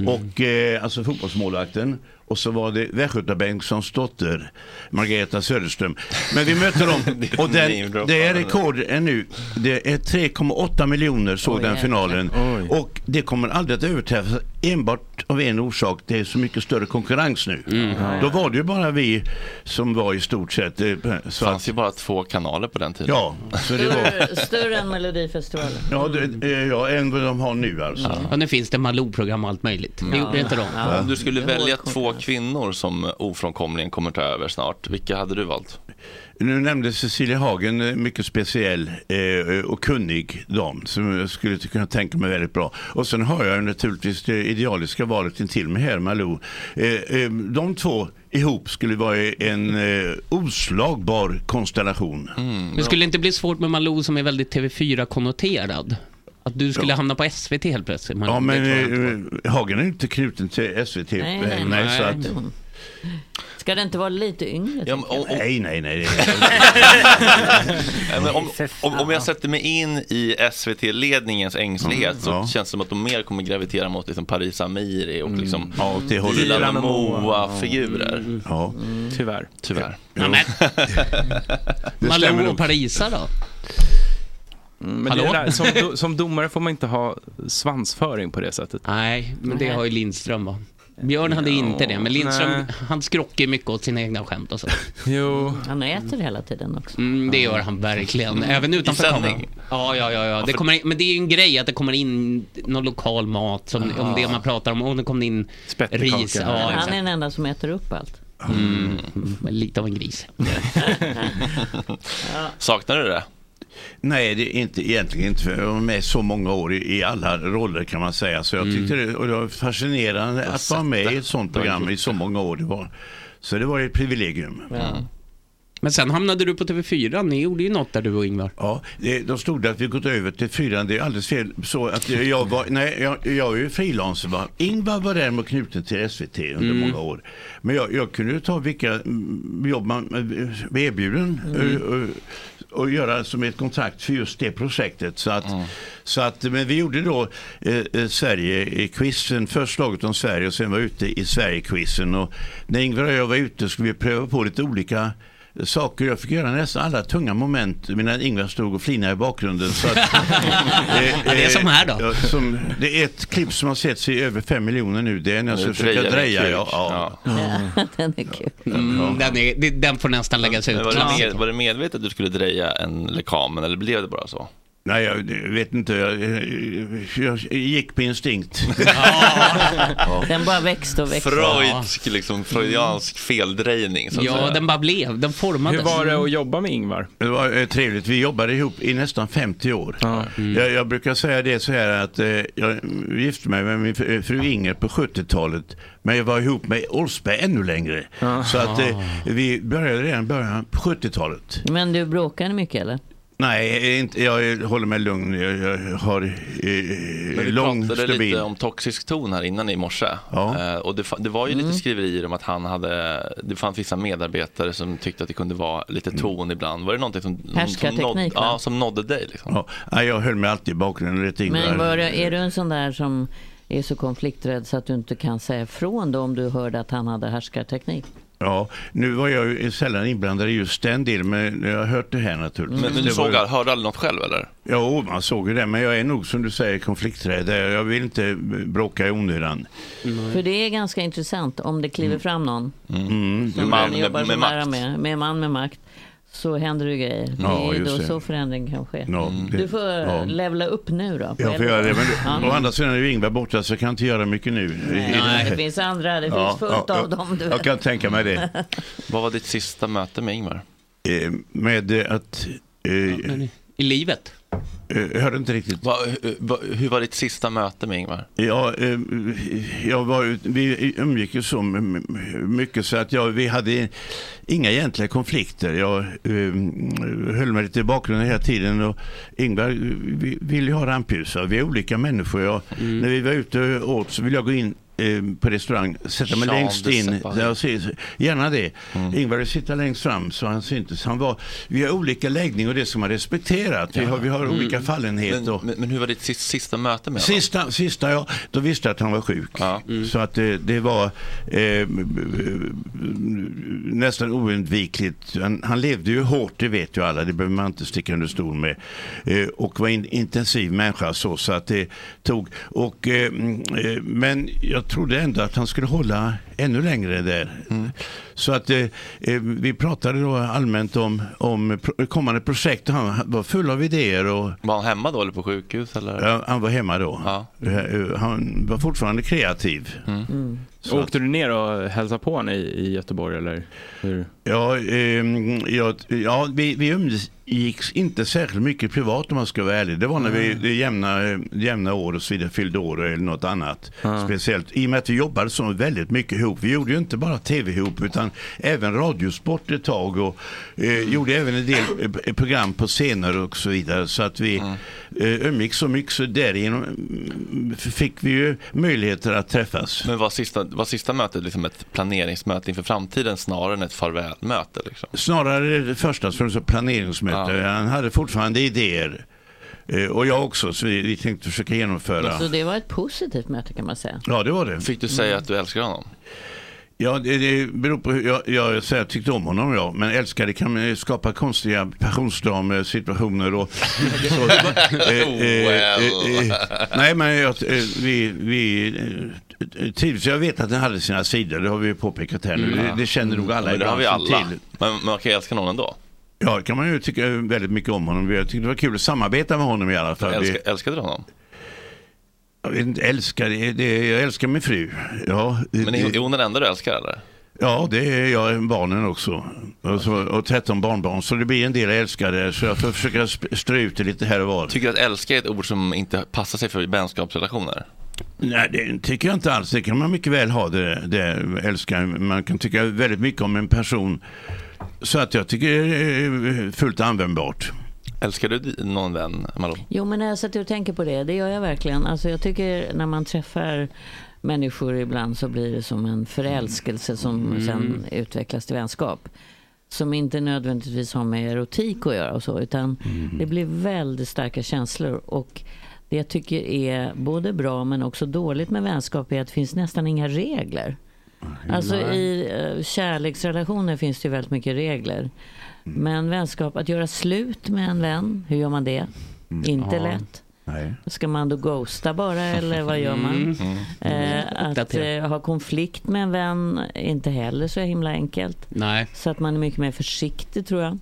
och, eh, alltså fotbollsmålvakten. Och så var det Västgöta Bengtssons dotter, Margareta Söderström. Men vi mötte dem och den, det är rekord ännu. Det är 3,8 miljoner såg
Oj,
den
jäklar.
finalen. Och det kommer aldrig att överträffas enbart av en orsak. Det är så mycket större konkurrens nu.
Mm.
Då var det ju bara vi som var i stort sett... eh, Så fanns
ju bara två kanaler på den tiden.
Ja, så det var,
Större, större än Melodifestivalen.
ja, det, eh, ja, än vad de har nu alltså.
Ja, nu finns det Malou-program och allt möjligt. Det gjorde inte de.
Om du skulle välja två kvinnor som ofrånkomligen kommer ta över snart, vilka hade du valt?
Nu nämnde Cecilia Hagen, eh, mycket speciell eh, och kunnig dam som jag skulle ty- kunna tänka mig väldigt bra. Och sen har jag ju naturligtvis det idealiska valet intill mig här, Malou. Eh, eh, de två ihop skulle vara en eh, oslagbar konstellation.
Mm,
Det skulle inte bli svårt med Malou som är väldigt TV4-konnoterad. Att du skulle hamna på SVT helt plötsligt. Malou.
Ja, men
Det tror jag inte.
eh, Hagen är inte knuten till SVT.
Nej, nej, nej.
eh, så att,
Ska det inte vara lite yngre?
Ja, men om, om,
nej, nej, nej.
Nej,
[laughs]
men om, om, om jag sätter mig in i SVT-ledningens ängslighet så
Mm, ja.
känns det som att de mer kommer gravitera mot liksom Paris Amiri och
Mm.
liksom
Mm. Ja, åt det hållet.
Dilan
Dilan och Moa.
Moa-figurer.
Ja.
Tyvärr.
Tyvärr. [laughs]
Det stämmer
Malou
nog.
och Parisa då?
Mm, Men
Hallå?
Det är där, som,
[laughs]
do, som domare får man inte ha svansföring på det sättet.
Nej, men det har ju Lindström va? Björn hade inte det, men Lindström,
nej.
han skrockar mycket åt sina egna skämt [laughs] och så.
Jo.
Han äter hela tiden också.
Mm, det gör han verkligen,
Mm.
även
I
utanför
sändning?
kameran. Ja, ja, ja. ja. Det
för-
kommer in, men det är ju en grej att det kommer in någon lokal mat, som, om
Ja.
det man pratar om. Och det kommer in ris. Ja,
han är
exakt.
den enda som äter upp allt.
Mm, lite av en gris.
[laughs] Saknar du det?
Nej, det är inte, egentligen inte. För jag var med så många år i, i alla roller kan man säga. Så jag
Mm.
tyckte det, och det var fascinerande att vara med i ett sånt program i så många år. Det var. Så det var ett privilegium. Mm.
Men sen hamnade du på TV4, ni gjorde ju något där du och Ingvar.
Ja, det, då stod det att vi gått över till fyran. Det är alldeles fel. Så att jag, var, nej, jag, jag är ju frilansare. va. Ingvar var däremot knuten till SVT under
Mm.
många år. Men jag, jag kunde ju ta vilka mm, jobb man eh, blev erbjuden
Mm.
eh, och, och göra som ett kontrakt för just det projektet. Så att, så att, men vi gjorde då eh, eh, Sverige-quizen, först laget om Sverige och sen var jag ute i Sverige-quizen. Och när Ingvar och jag var ute skulle vi pröva på lite olika saker. Jag fick göra nästan alla tunga moment medan Ingvar stod och flinade i bakgrunden. Så
[laughs]
att, eh,
Ja, det är som här då.
ja, som, det är ett klipp som har setts i över fem miljoner nu. Det är när jag ska
Det
försöka
drejar
dreja.
kul.
Ja, ja.
[laughs] den är kul.
Mm, den, är, det- den får nästan läggas ut.
Men var, det
Ja.
med, var det medvetet att du skulle dreja en lekamen eller blev det bara så?
Nej, jag vet inte. Jag, jag, jag gick på instinkt. [laughs]
Den bara växte och växte.
Freudsk, liksom, freudiansk feldrejning. Så att säga.
bara blev, den formades. Mm.
Hur var det att jobba med Ingvar?
Det var eh, trevligt. Vi jobbade ihop i nästan 50 år.
Mm.
Jag, jag brukar säga det så här att eh, jag gifte mig med min fru fru Inger på 70-talet. Men jag var ihop med Olsberg ännu längre. Så att eh, vi började redan i början på 70-talet.
Men du bråkade mycket eller?
Nej, inte, jag håller mig lugn. Jag, jag har
Men
eh,
vi
lång,
pratade
stabil...
lite om toxisk ton här innan i morse. Eh, och det, fa- det var ju lite skriverier om att han hade, det fanns vissa medarbetare som tyckte att det kunde vara lite
Mm.
ton ibland. Var det någonting som, som,
Härskarteknik,
nådde,
va?
ja, som nådde dig? Liksom?
Ja, nej, jag höll mig alltid i bakgrunden. Lite
Men
Ingvar.
var du, är du en sån där som är så konflikträdd så att du inte kan säga ifrån då om du hörde att han hade härskarteknik?
Ja, nu var jag ju sällan inblandad i just den delen, men jag har hört det här naturligtvis.
Men, men
Det
du
var
såg,
ju-
all- hörde aldrig något själv eller?
Jo, man såg ju det, men jag är nog som du säger konflikträdd. Jag vill inte bråka i onödan.
För det är ganska intressant om det kliver fram någon
Mm.
som man jobbar så nära med, med man med makt, så händer det grejer.
Ja,
det är
just
då
det.
så förändring kan ske.
Ja, det-
Du får
ja.
levla upp nu då. på
Jag får
äldre
göra det, men
dagar.
å andra sidan är ju Ingvar borta så jag kan inte göra mycket nu.
Nej, det finns andra, det finns
Ja,
fullt
ja,
av dem. Du vet.
Jag kan tänka mig det.
Vad var ditt sista möte med Ingvar?
Eh, Med eh, att... eh,
I livet?
Jag hörde inte riktigt.
Va, hu- va, hur var ditt sista möte med Ingvar?
Ja, eh, jag var, ju- vi umgick ju så m- m- mycket så att jag, vi hade inga egentliga konflikter. Jag eh, höll mig lite i bakgrunden hela tiden och Ingvar eh, vi- ville ju ha rampljus. va. Vi är olika människor. Jag, När vi var ute och åt så ville jag gå in eh, på restaurang, sätta mig
Jean
längst
de
in.
Sepaille.
Jag ser, gärna det. Ingvar vill sitta längst fram så han syntes. Han var, vi har olika läggning och det som man respeterat. Vi har, vi har olika fallenhet.
Men,
och,
men, men hur var ditt sista, sista möte med honom?
Sista, sista ja, då visste jag att han var sjuk. Mm. Så att det, det var eh, nästan oundvikligt. Han, han levde ju hårt, det vet ju alla. Det behöver man inte sticka under stol med. Eh, och var en intensiv människa så, så att det tog. Och, eh, eh, men jag trodde ändå att han skulle hålla ännu längre där.
Mm.
Så att eh, eh, vi pratade då allmänt om, om pro- kommande projekt. och Han var full av idéer. Och,
Var han hemma då eller på sjukhus? Eller?
Ja, han var hemma då. Eh, Han var fortfarande kreativ. Så
Åkte du ner Mm. och hälsade på honom i, i Göteborg eller hur?
Ja, ehm, ja, ja vi, vi umgicks inte särskilt mycket privat om man ska vara ärlig. Det var när vi det jämna, eh, jämna år och så vidare fyllde år eller något annat. Speciellt i och med att vi jobbade så väldigt mycket ihop. Vi gjorde ju inte bara tv ihop utan även radiosport ett tag och eh, gjorde även en del eh, program på scener och så vidare. Så att vi eh, umgicks så mycket så därigenom mm, fick vi ju möjligheter att träffas.
Men var sista, var sista mötet liksom ett planeringsmöte inför framtiden snarare än ett farvälmöte? Liksom?
Snarare det första som så planeringsmöte. Han hade fortfarande idéer. Eh, Och jag också, så vi, vi tänkte försöka genomföra.
Så det var ett positivt möte kan man säga.
Ja, det var det.
Fick du säga att du älskar honom?
Ja, det, det beror på hur jag, jag, säger jag tyckte om honom, ja. Men älskade kan eh, skapa konstiga passionsdramer, situationer
[laughs]
och... så, eh,
Oh, Well.
nej, men jag, eh, vi, vi eh, trivs. Jag vet att den hade sina sidor, det har vi ju påpekat här nu. Mm, Det, det känner nog alla
Mm. Men Det har vi
i branschen
alla. Men man kan ju älska någon ändå.
Ja, det kan man ju tycka väldigt mycket om honom. Jag tyckte det var kul att samarbeta med honom i alla fall.
Älskar,
Vi-
älskade du honom?
Jag vet inte, älskar, det, det, jag älskar min fru. Ja,
Men är
det,
är hon den enda du älskar eller?
ja, det är jag, barnen också. Och, så, och 13 barnbarn, så det blir en del jag älskar där. Så jag får försöka sp- strö ut det lite här och var.
Tycker du att älska är ett ord som inte passar sig för vänskapsrelationer?
Nej, det tycker jag inte alls. Det kan man mycket väl ha, det, det älskar. Man kan tycka väldigt mycket om en person. Så att jag tycker det är eh, fullt användbart.
Älskar du di- någon vän, Malou?
Jo, men när jag sitter och tänker på det, det gör jag verkligen. Alltså, jag tycker när man träffar människor ibland så blir det som en förälskelse som
Mm.
sen utvecklas till vänskap. Som inte nödvändigtvis har med erotik att göra och så, utan det blir väldigt starka känslor. Och det jag tycker är både bra men också dåligt med vänskap är att det finns nästan inga regler. Alltså
Nej.
i eh, kärleksrelationer finns det ju väldigt mycket regler. Men vänskap, att göra slut med en vän, hur gör man det? Inte
Ja.
lätt. Ska man då ghosta bara eller vad gör man?
Mm.
Eh, att
Uppdatera.
eh, ha konflikt med en vän är inte heller så himla enkelt.
Nej.
Så att man är mycket mer försiktig tror jag.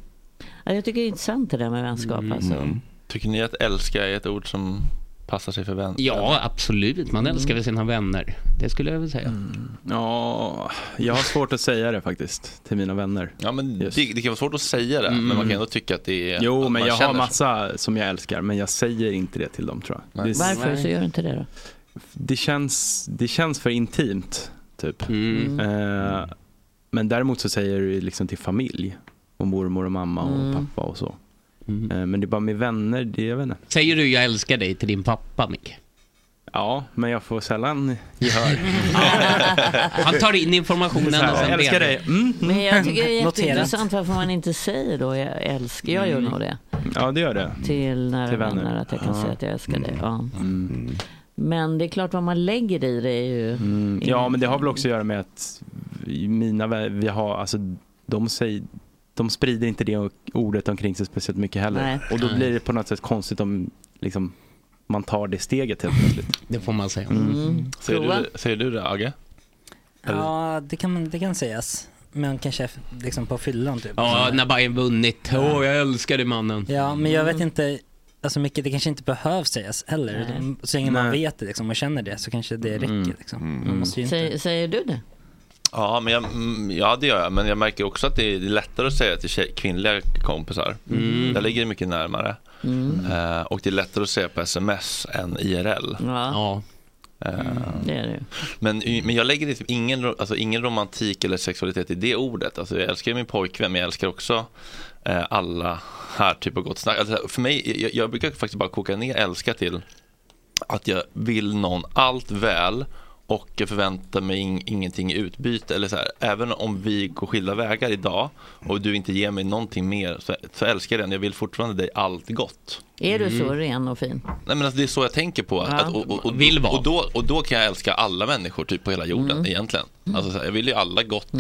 Ja, Jag tycker det är intressant det där med vänskap.
Mm.
Alltså.
Mm.
Tycker ni att älska är ett ord som passar sig för vän?
Ja, absolut. Man älskar väl sina vänner. Det skulle jag väl säga.
Mm. Ja, jag har svårt att säga det faktiskt till mina vänner.
Ja, men
Just.
det, det kan vara svårt att säga det, men
Mm.
man kan ändå tycka att det är... att
Jo, men
man
jag
känner
har
så.
massa som jag älskar, men jag säger inte det till dem tror jag. Det,
Varför så gör du inte det då?
det, känns, det känns för intimt, typ.
Mm.
Mm.
Eh, men däremot så säger du liksom till familj, och mormor och mamma och
Mm.
pappa och så. Eh, men det är bara med vänner, det jag vet inte.
Säger du jag älskar dig till din pappa, Micke?
Ja, men jag får sällan gehör.
Han tar in [laughs] informationen
Så här,
och sen
jag älskar
bearbetar.
dig. Mm.
Men jag tycker [laughs] det är
[laughs] Noterat.
jätteintressant varför man inte säger då jag älskar, jag gör
Mm.
nog det.
Ja, det gör det.
Till nära
Till vänner. Mm.
vänner att jag kan
Ja.
säga att jag älskar
Mm.
dig. Ja. Men det är klart vad man lägger i det är ju...
Mm. Ja, men det har väl också att göra med att mina vä- vi har, alltså de säger de sprider inte det ordet omkring sig speciellt mycket heller.
Nej.
Och då
Nej.
blir det på något sätt konstigt om liksom, man tar det steget helt plötsligt.
Det får man säga.
Mm.
Säger, du,
Prova.
det- säger du det, Agge?
Ja, det kan, det kan sägas. Men kanske liksom på fyllan typ.
Ja, när Bayern vunnit. Åh, jag älskar dig mannen.
Ja, men jag vet inte, alltså mycket, det kanske inte behövs sägas heller.
Nej.
Så länge man
Nej.
vet det liksom, och känner det så kanske det räcker. Liksom. Man måste ju inte...
Säger, säger du det?
Ja, men jag, mm, ja, det gör jag. Men jag märker också att det är lättare att säga till tjej, kvinnliga kompisar.
Mm.
Där ligger det mycket närmare.
Mm.
Eh, och det är lättare att säga på sms än IRL.
Ja. Mm.
Eh,
Det är det ju.
Men, men jag lägger liksom ingen, ro- alltså ingen romantik eller sexualitet i det ordet. Alltså jag älskar ju min pojkvän, men jag älskar också eh, alla här typ av gott snack. Alltså för mig, jag, jag brukar faktiskt bara koka ner älska till att jag vill någon allt väl
och jag förväntar mig ing- ingenting i utbyte. Eller så här, även om vi går skilda vägar idag och du inte ger mig någonting mer så, så älskar jag den. Jag vill fortfarande dig allt gott.
Är du så ren och fin?
Nej, men alltså, det är så jag tänker på.
Ja.
Att, och, och, och,
Vill vara.
och, då, och då kan jag älska alla människor typ, på hela jorden
Mm.
egentligen. Alltså, så här, jag vill ju alla gott.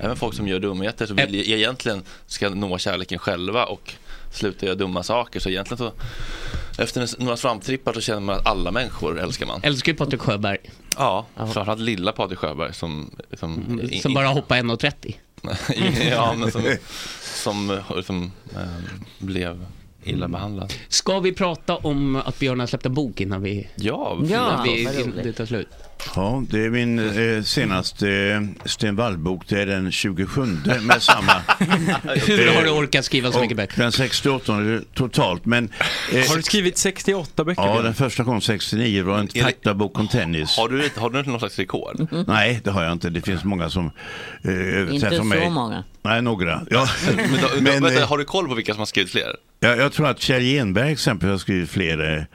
Även folk som gör dumheter så vill jag jag egentligen ska nå kärleken själva och sluta göra dumma saker. Så egentligen så efter en- några svamptrippar så känner man att alla människor älskar man.
Älskar ju Patrik Sjöberg.
Ja, framförallt lilla Patrik Sjöberg som... Som,
Mm.
i-
Mm, Som
i-
bara
[laughs]
hoppar 1,30.
[laughs] ja, men som, som, som eh, blev illa behandlad.
Ska vi prata om att Björn har släppt en bok innan vi...
Ja,
innan vi,
vad
innan det tar slut.
Ja, det är min eh, senaste eh, Sten Wall-bok. Det är den 27
[laughs]
med samma.
Hur har du orkat skriva så
Och
mycket böcker?
Den 68 totalt. Men, eh,
Har du skrivit 68 böcker?
Ja,
Björn?
den första kom 69. Det var en faktabok om tennis.
Har du, har du någon slags rekord?
Nej, det har jag inte. Det finns många som eh, överträffar
Inte så
mig.
många.
Nej, några. Ja.
Men, då,
Men,
vänta,
eh,
har du koll på vilka som har skrivit fler?
Jag, jag tror att Kjell Genberg exempelvis har skrivit fler.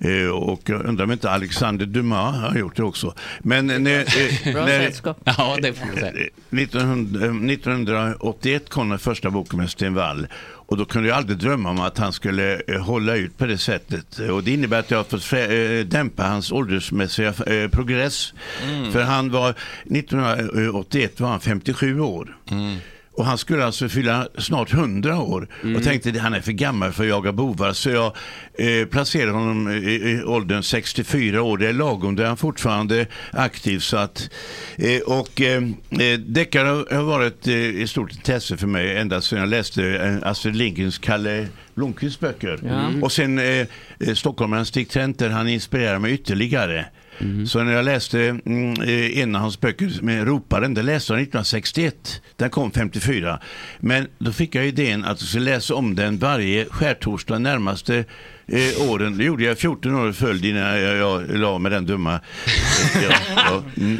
eh, eh, Och jag undrar om inte Alexander Dumas har gjort det också. Men eh, när, eh,
Bra
när,
sällskap. Ja, det får man säga.
eh, 1900, eh, 1981 kom den första boken med Sten Wall. Och då kunde jag aldrig drömma om att han skulle eh, hålla ut på det sättet. Och det innebär att jag har fått frä- eh, dämpa hans åldersmässiga eh, progress.
Mm.
För han var, 1981 var han 57 år. Och han skulle alltså fylla snart 100 år och tänkte att han är för gammal för att jaga bovar. Så jag eh, placerade honom i, i åldern 64 år. Det är lagom, där han fortfarande är aktiv. Så att, eh, och eh, eh, deckare har har varit eh, ett stort intresse för mig ända sedan jag läste eh, Astrid Lindgrens Kalle Blomkvists böcker.
Ja.
Och sen eh, eh, stockholmaren Stig Trenter, han inspirerar mig ytterligare. Så när jag läste mm, eh, en av hans böcker med Roparen, det läste jag 1961. Den kom 54. Men då fick jag idén att jag skulle läsa om den varje skärtorsdag närmaste eh, åren. Det gjorde jag 14 år i följd innan jag, jag la med den dumma. ja, ja, mm.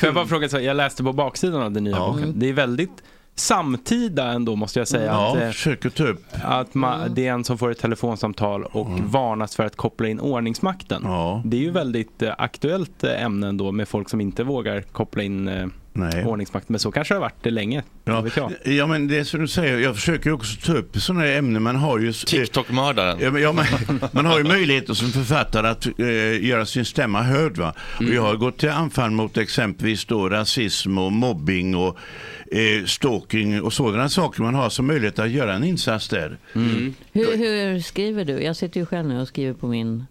Får jag bara fråga, så här, jag läste på baksidan av den nya boken. Det är väldigt samtida ändå måste jag säga.
Ja,
eh,
försöker typ. ta upp.
Att man, det är en som får ett telefonsamtal och
Mm.
varnas för att koppla in ordningsmakten. Det är ju väldigt eh, aktuellt eh, ämne ändå med folk som inte vågar koppla in eh, ordningsmakten. Men så kanske det har varit det länge.
Ja.
vet jag.
ja, men det är som du säger, jag försöker ju också ta upp sådana här ämnen. Man har ju... eh,
TikTok-mördaren.
Ja, men, [laughs] ja, men, man har ju möjligheter som författare att eh, göra sin stämma hörd. Va?
Mm.
Och jag har gått till anfall mot exempelvis då rasism och mobbing och eh, stalking och sådana saker. Man har som möjlighet att göra en insats där.
Mm.
Hur, hur skriver du? Jag sitter ju själv nu och skriver på min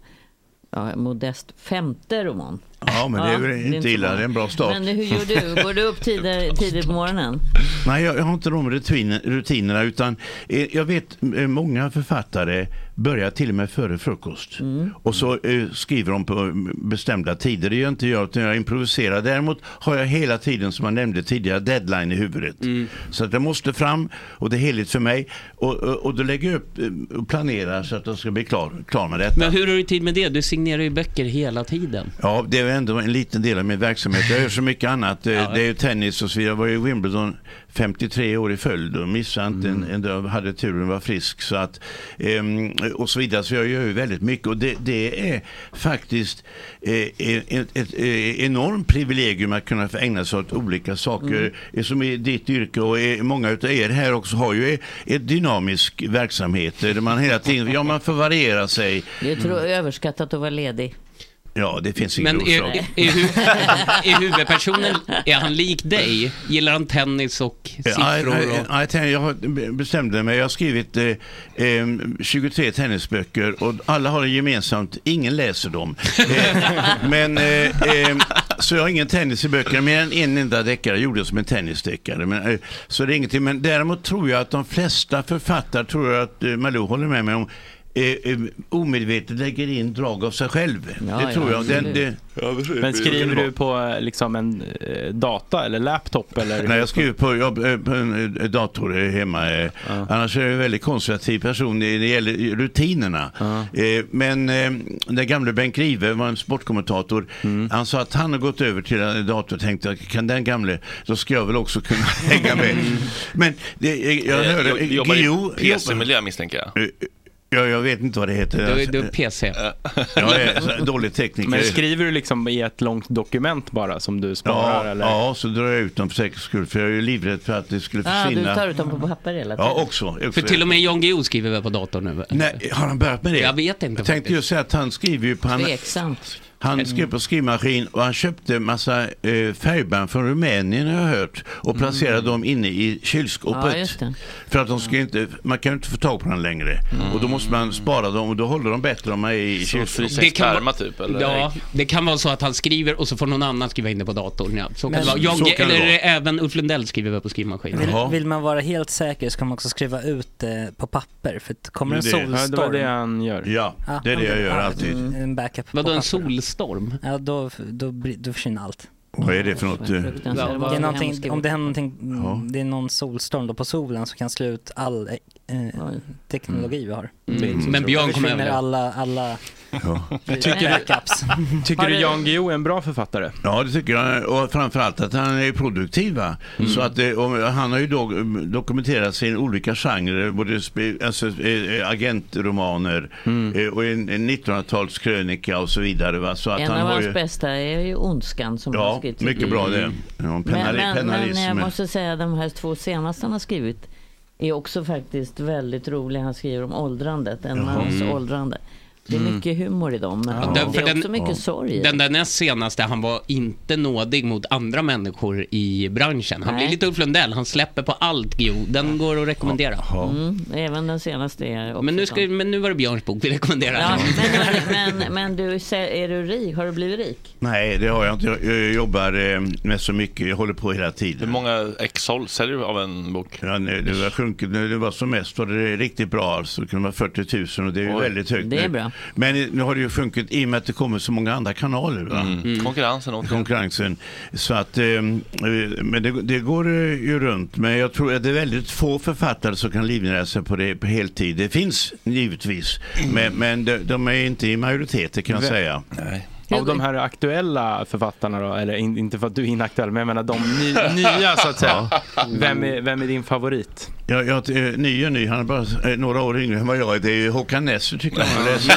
ja, modest femte roman.
Ja, men det är väl
Ja,
inte
så
illa.
bra.
Det är en bra start. Mm.
Men hur gör du? Går du
[laughs]
upp tidigt, tidigt på morgonen?
Nej, jag, jag har inte de rutin, rutinerna utan eh, jag vet eh, många författare börjar till och med före frukost. Och så eh, skriver de på mm, bestämda tider. Det gör inte jag utan jag improviserar. Däremot har jag hela tiden som jag nämnde tidigare deadline i huvudet. Så att jag måste fram och det är heligt för mig. Och, och, och då lägger jag upp eh, och planerar så att jag ska bli klar, klar med detta.
Men hur har du tid med det? Du signerar ju böcker hela tiden.
Ja, det är ändå en liten del av min verksamhet. Jag gör så mycket annat. Eh, Det är ju tennis och så vidare. Jag var ju i Wimbledon 53 år i följd och missade inte en, en dag. Hade turen var frisk så att, ehm, och så vidare. Så jag gör ju väldigt mycket och det, det är faktiskt eh, ett, ett, ett enormt privilegium att kunna få ägna sig åt olika saker. Eh, Som i ditt yrke och eh, många av er här också har ju en dynamisk verksamhet. eh, Där man hela tiden, ja man får variera sig. Mm.
Det är tro, överskattat att vara ledig.
Ja, det finns inget
Men är,
orsak.
är, är, hu- [laughs] är huvudpersonen, är han lik dig? Gillar han tennis och siffror?
Nej, nej,
Och...
nej, tennis- Jag har- bestämde mig. Jag har skrivit eh, eh, 23 tennisböcker och alla har det gemensamt. Ingen läser dem.
[laughs]
Eh, men, eh, eh, så jag har ingen tennis i böckerna. Mer än en enda deckare gjorde jag som en tennisdeckare. Men, eh, så det är ingenting. Men däremot tror jag att de flesta författare, tror jag att eh, Malou håller med mig om, eh, eh, omedvetet lägger in drag av sig själv. det tror jag. Den, det,
Men skriver du på eh, liksom en eh, data eller laptop? Eller?
Nej, jag skriver på, jag, eh, på en eh, dator eh, hemma. eh. Annars är jag en väldigt konservativ person när det gäller rutinerna. Eh, Men eh, den gamle Bengt Grive var en sportkommentator. Han sa att han har gått över till en dator och tänkte att kan den gamle, då ska jag väl också kunna [laughs] hänga med. Men det, eh, jag
Eh,
hörde...
du jobbar
Guillou-
i PC-miljö misstänker jag.
Eh, Ja, jag vet inte vad det heter. Alltså,
Du- du är PC.
Eh,
Eh.
Jag är så här
[laughs]
dålig tekniker.
Men skriver du liksom i ett långt dokument bara som du sparar
ja,
eller?
ja, så drar jag ut dem för säkerhets skull. För jag är ju livrädd för att det skulle
Ah, du
försvinna.
tar ut dem på papper hela tiden?
Ja, också.
För till och med Jan Guillou skriver väl på datorn nu?
Nej, har han börjat med det?
Jag vet inte
Jag tänkte ju
faktiskt.
säga att han skriver ju på... Han,
Tveksamt.
han skrev på skrivmaskin och han köpte en massa eh, färgband från Rumänien har jag hört och placerade dem inne i
Mm. Ja,
kylskåpet.
just det. Mm.
för att de ska inte, man kan ju inte få tag på dem längre. Och då måste man spara dem och då håller de bättre om man är i kylskåpet.
Ja, det kan vara så att han skriver och så får någon annan skriva in det på datorn. Ja. Så kan
Men-
det vara. Jag,
Så kan det
eller
vara.
även Ulf Lundell skriver väl på skrivmaskinen.
Vill, vill man vara helt säker så kan man också skriva ut det på papper för att kommer en
Det är det.
solstorm.
Ja, det var det han gör.
Ja,
Ah,
det är det jag
okej.
gör
Ah,
alltid.
en- En backup på
Vadå, en
papper.
solstorm?
Ja, då, då, blir- då försvinner allt.
Vad är det för något? eh?
Det är någonting, om det händer någonting, mm,
Ja.
det är någon solstorm då på solen så kan slå ut all eh, eh, teknologi vi har.
Mm. Men Björn
Då
kommer
försvinner
över.
alla, alla
Jag tycker-
backups.
Tycker du Jan Guillou är en bra författare?
Ja, det tycker jag. Och framförallt att han är produktiv. Va?
Mm.
Så att, eh, och han har ju do dokumenterat sin olika genrer, både spe- alltså, eh, agentromaner
Mm.
eh, och en, en 1900-talskrönika och så vidare. Va? Så att
en
han
av
har
hans
ju,
bästa är ju Ondskan som han har
Ja,
skrivit. Mm.
mycket bra det. Ja, en
Men,
pennali-
men, men
pennalism.
jag måste säga de här två senaste han har skrivit är också faktiskt väldigt roliga. Han skriver om åldrandet, en
Jaha.
mans
Mm.
åldrande. Det är
Mm.
mycket humor i dem, men
Ja,
det
för
är också mycket sorg i
Den
det.
där näst senaste, han var inte nådig mot andra människor i branschen. Han
Nej.
blir lite Ulf Lundell, han släpper på allt Guillou. Den går att rekommendera.
Mm, även den senaste är också
Men, nu ska,
sån.
men nu var det Björns bok vi rekommenderar.
Ja, men, men, men du, sä- är du rik? Har du blivit rik?
Nej, det har jag inte. Jag, jag jobbar eh, med så mycket. Jag håller på hela tiden. Hur
många ex säljer du av en bok?
Ja, nej, det var sjunkit. När det var som mest var det riktigt bra. Så det kunde vara 40 000 och det är ju
Oj,
väldigt högt
det är
nu.
bra.
Men eh, nu har det ju sjunkit i och med att det kommer så många andra kanaler. Va?
Mm. Konkurrensen åt
konkurrensen. Så att, eh, men det, det går eh, ju runt. Men jag tror att det är väldigt få författare som kan livnära sig på det på heltid. Det finns givetvis, men, men de, de är inte i majoritet det kan jag
Vä-
säga.
Av de här aktuella författarna då, eller in, inte för att du är inaktuell, men jag menar de ny, nya så att säga. Vem är, vem är din favorit?
Jag, jag, eh, ny och ny, han är bara eh, några år yngre än vad jag är. Det är ju Håkan Ness som tycker om att läsa.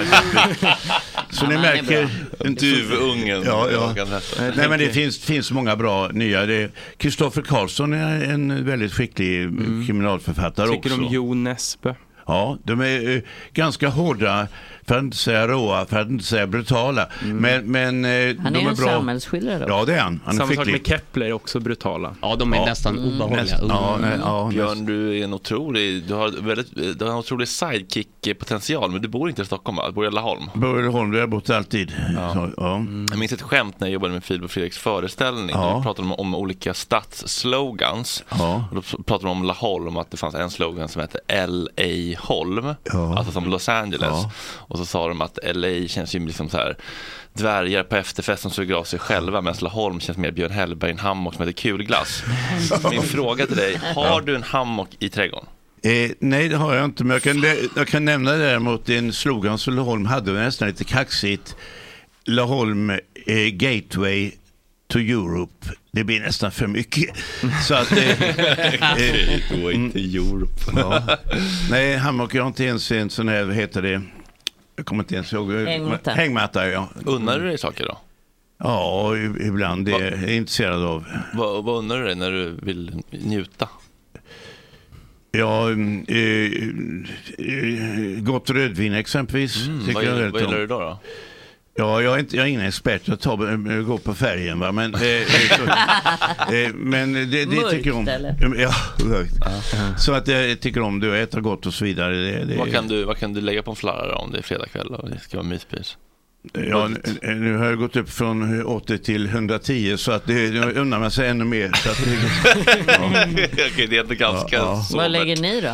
Så ni
Ja, men han är
märker.
bra. Duvungen,
Ja, ja.
Håkan Ness.
Nej, men det finns, finns många bra nya. Det- Kristoffer Karlsson är en väldigt skicklig eh, kriminalförfattare
Mm. Tycker
också.
du om Jon Nesbø?
Ja, de är eh, ganska hårda, för att inte säga råa, för att inte säga brutala.
Mm.
Men, men eh,
Han
de
är ju
är,
en
bra.
samhällsskildrare också.
Ja, det är han. Han är
Samma sak
skicklig.
med Kepler, också brutala.
Ja, de är nästan
Mm.
obehagliga. Mm.
Näst- ja, nej, ja,
Mm. Björn, du är en otrolig, du har, väldigt, du har en otrolig sidekick-potential, men du bor inte i Stockholm va? Du bor i Laholm.
Borgholm, där har jag bott alltid. Så, ja.
Mm. Jag minns ett skämt när jag jobbade med Filip och Fredriks föreställning.
Ja.
Då pratade de om olika stadsslogans.
Ja.
Och Då pratade de om Laholm, att det fanns en slogan som hette LA Holm. Alltså som Los Angeles. Och så sa de att LA känns ju liksom så här dvärgar på efterfest som suger av sig själva medan Laholm känns mer Björn Hellberg i en hammock som heter
[laughs]
kulglass. Min fråga till dig, har du en hammock i
[laughs]
trädgården?
Eh, nej, det har jag inte, men jag kan, jag kan nämna däremot en slogan som Laholm hade, det var nästan lite kaxigt. Laholm eh, Gateway to Europe. Det blir nästan för mycket. Så att, eh,
[laughs]
Gateway to Europe.
ja. Nej, hammock, jag har inte ens en sån här, vad heter det? Jag kommer inte ens ihåg.
Hängmatta.
Hängmatta, ja.
Unnar du dig saker då?
Ja, i- ibland. Det är jag intresserad av.
Vad, vad undrar du dig när du vill njuta?
Ja, mm, eh, eh, gott rödvin exempelvis.
Mm,
tycker
vad
jag
gillar-
väldigt
vad gillar
om.
du då, då?
Ja, jag är, inte, jag är ingen expert, jag tar, eh, går på färgen. Va? Men, eh, eh,
[laughs]
så, eh, men det, det
Mörkt,
tycker jag om.
eller?
Ja, mörkt. Så att jag tycker om det och äta gott och så vidare. Det, det,
Vad kan, du, vad kan du lägga på en flarra då om det är fredag kväll och det ska vara myspys?
Ja, nu, nu har jag gått upp från 80 till 110 så att det, nu undrar man sig ännu mer. Så att det,
[laughs]
ja.
Okej, det är inte ganska
Mm. Ja, ja.
sobert.
Vad lägger ni då?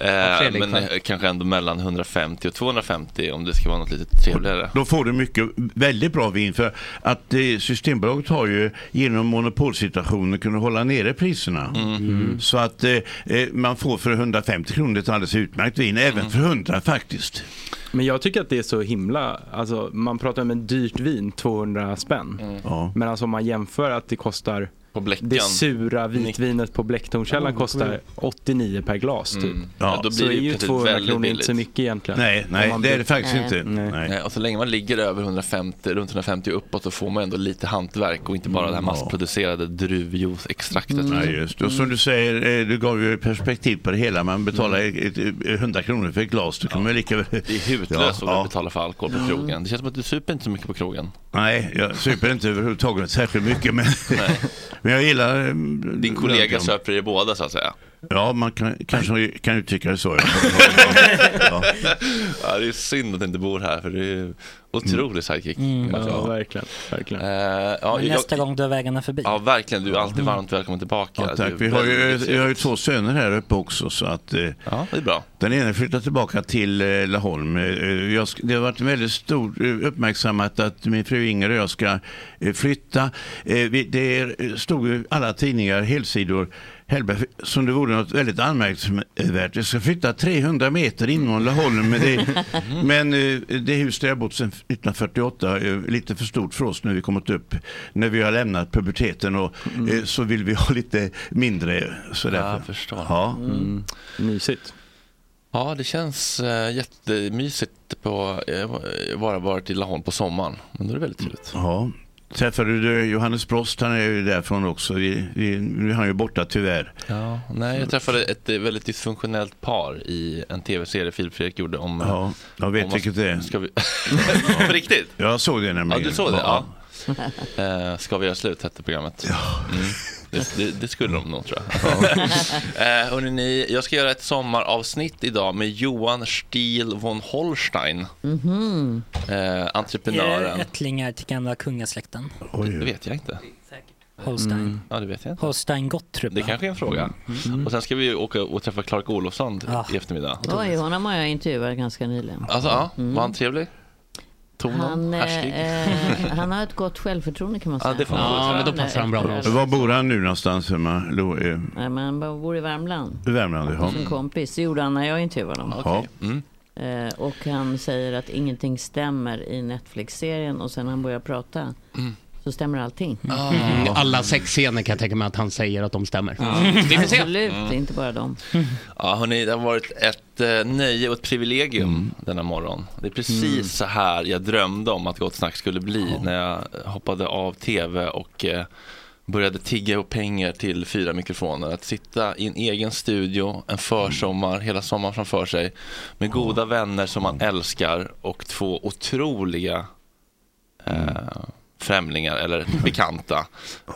Eh,
Fredrik,
men
va?
eh, kanske ändå mellan 150 och 250 om det ska vara något lite trevligare.
Då får du mycket, väldigt bra vin för att eh, Systembolaget har ju genom monopolsituationen kunnat hålla nere priserna.
Mm.
Så att eh, eh, man får för 150 kronor ett alldeles utmärkt vin, även
Mm.
för 100 faktiskt.
Men jag tycker att det är så himla, alltså man pratar om en dyrt vin, 200 spänn. Men alltså om man jämför att det kostar
Mm. På bläckan.
Det sura vitvinet på Blecktornskällan
Ja,
kostar
mm.
89 per glas typ.
Mm. Ja, då blir
så
det
är
ju
ju
plötsligt
200
väldigt
kronor inte
billigt.
så mycket egentligen. Om man blir-
Nej, Och så länge man ligger över 150, runt 150 uppåt så får man ändå lite hantverk och inte bara det här
Mm, ja.
massproducerade druvjuiceextraktet.
Mm. Ja, just. Och
Mm.
Mm.
som du säger, eh, du gav ju perspektiv på det hela. Man betalar ett- ett- 100 kronor för ett glas. Då kan man lika väl... Det
Mm. är hutlöst vad man betalar för alkohol på krogen. Det känns som att du super inte så mycket på krogen.
Nej, jag super inte överhuvudtaget särskilt mycket. Men, [laughs] men jag gillar... eh,
Din kollega söper i båda så att säga.
Ja, man kan, kanske kan uttrycka det så.
[laughs]
ja.
Ja. det är synd att du inte bor här för du är ju otrolig sidekick. Eh,
Mm. Ja,
verkligen. verkligen.
ja,
Men
jag,
nästa gång du vägarna förbi.
ja, verkligen. Du är alltid varmt välkommen tillbaka.
Ja, tack.
Du
Vi
är
har, ju,
väldigt
vi har ju två söner här uppe också. Så att, eh,
ja, det är bra.
Den ena flyttar tillbaka till eh, Laholm. Eh, Jag, sk- det har varit väldigt stort eh, uppmärksammat att min fru Inger och jag ska eh, flytta. Eh, vi- Det är- stod i alla tidningar, helsidor, Hellberg, som det vore något väldigt anmärkningsvärt. Jag ska flytta 300 meter inom Laholm. Men det,
[laughs]
men eh, det hus där jag bott sedan 1948 är lite för stort för oss när vi kommit upp. När vi har lämnat puberteten och eh, så vill vi ha [laughs] lite mindre. eh, Så därför.
Mm. Jag förstår.
Ja.
Mm.
Mysigt.
Ja, det känns eh, jättemysigt på eh, bara varit i Laholm på sommaren. Men då är det väldigt trevligt.
Ja. Träffade du eh, Johannes Brost? Han är ju därifrån också. Vi, vi, nu är han ju borta tyvärr.
Ja, nej, jag träffade ett eh, väldigt dysfunktionellt par i en tv-serie Filip Fredrik gjorde om...
Ja, jag vet
om-
vilket det är.
Ska vi... [laughs] På riktigt?
Jag såg det nämligen.
Ja, du såg det? Ja. Eh, Ska vi göra slut hette programmet. Mm. Det, det, det skulle de nog tror jag. [laughs] eh, hörrni, ni, jag ska göra ett sommaravsnitt idag med Johan Stiel von Holstein.
Mhm.
Eh,
Är det
entreprenören.
ättlingar till gamla kungasläkten?
Det vet jag inte. Mm.
Holstein.
Ja, det vet jag inte.
Holstein Gottrup. Mm.
Det kanske är en fråga. Och sen ska vi ju åka och träffa Clark Olofsson
Ah.
i eftermiddag.
Oj, honom har jag intervjuat ganska nyligen.
Alltså, ja.
Mm.
Var han trevlig? Tonen?
Han, eh,
Härslig?
eh, han har ett gott självförtroende kan man säga.
Var bor han nu någonstans? Emma? Lo, eh,
Nej, men han bor i Värmland.
I Värmland? Ja.
Hos en kompis. Det gjorde han när jag intervjuade honom.
Ja. Mm.
Eh, Och han säger att ingenting stämmer i Netflix-serien och sen när han börjar prata så stämmer allting.
Mm, alla sexscener kan jag tänka mig att han säger att de stämmer. Vi får se.
Absolut,
Mm.
det är inte bara dem.
Ja, hörni, det har varit ett eh, nöje och ett privilegium denna morgon. Det är precis
Mm.
så här jag drömde om att Gott Snack skulle bli när jag hoppade av tv och eh, började tigga ihop pengar till fyra mikrofoner. Att sitta i en egen studio en försommar, hela sommaren framför sig med goda vänner som man älskar och två otroliga eh, främlingar eller bekanta.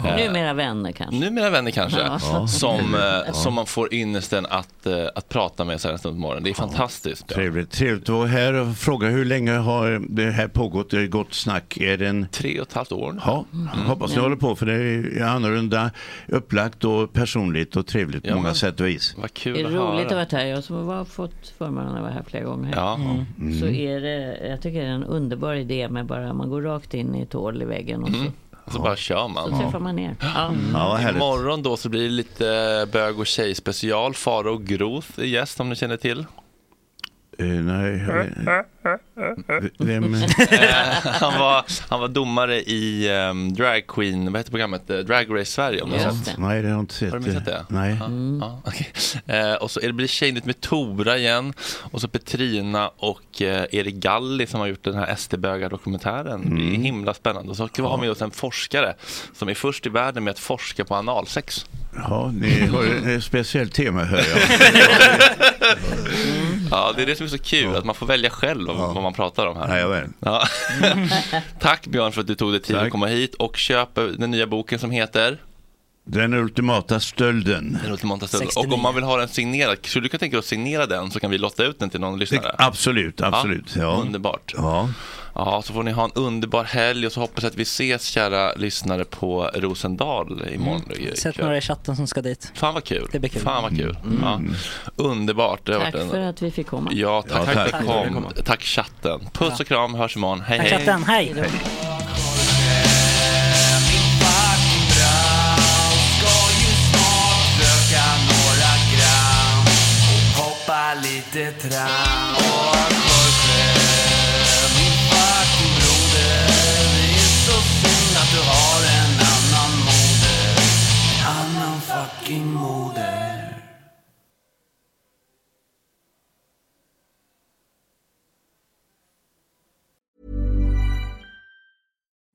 Eh,
Numera vänner kanske.
Numera vänner kanske.
Ja.
[laughs]
Ja.
Som, eh,
Ja.
som man får ynnesten att, eh, att prata med så här en stund på morgonen. Det är fantastiskt.
Trevligt, trevligt att vara här och fråga hur länge har det här pågått? Det är gott snack. Är det en...
Tre och ett halvt år.
Ja, hoppas ni
Mm.
håller på för det är annorlunda upplagt och personligt och trevligt på
Ja,
många
men-
sätt och vis.
Vad
Det
kul
är
att
roligt att
höra.
vara här. Jag som har fått förmånen att vara här flera gånger.
Ja.
Mm.
Så är det, jag tycker det är en underbar idé med bara, man går rakt in i ett hål i väggen och så,
Mm. Så bara kör man.
så träffar man er. Ja.
vad härligt.
Imorgon då så blir det lite bög och tjej special. Faro Groth är gäst om ni känner till.
Eh, nej, eh, vem?
[laughs]
Mm.
Eh, han, var, han var domare i um, Drag Queen, vad heter programmet? Eh, Drag Race Sverige om ni har sett.
Nej, det har jag inte sett.
Har du missat det?
Nej.
Ja,
Mm.
ja, okej. [laughs] eh, och så är det blir Tjejnytt med Tora igen. Och så Petrina och eh, Erik Galli som har gjort den här SD-bögar-dokumentären. Det är himla spännande. Och så ska vi ha med oss en forskare som är först i världen med att forska på analsex.
Ja, ni har ju ett speciellt tema hör jag.
[laughs] Ja, det är det som är så kul, att man får välja själv vad, vad man pratar om här.
Ja,
ja. [laughs] Tack Björn för att du tog dig tid att komma hit och köp eh, den nya boken som heter
Den ultimata stölden.
Den ultimata stölden. Och om man vill ha den signerad, skulle du kunna tänka dig att signera den så kan vi lotta ut den till någon lyssnare?
Absolut, absolut. Ja.
Underbart.
Ja.
ja, så får ni ha en underbar helg och så hoppas jag att vi ses kära lyssnare på Rosendal imorgon. Mm.
Sätt några i chatten som ska dit.
Fan vad kul.
Det blir kul.
Fan vad kul.
Mm.
Ja. Underbart. Det har
Tack
varit en-
för att vi fick komma.
Ja,
Ja,
tack, tack,
tack.
för att du kom. Tack chatten. Puss och kram, hörs imorgon. Hej,
Tack
hej.
chatten, hej!
Röka några gram och hoppa lite tram. Och Jorge, min fucking broder, det är så synd att du har en annan moder. fucking moder.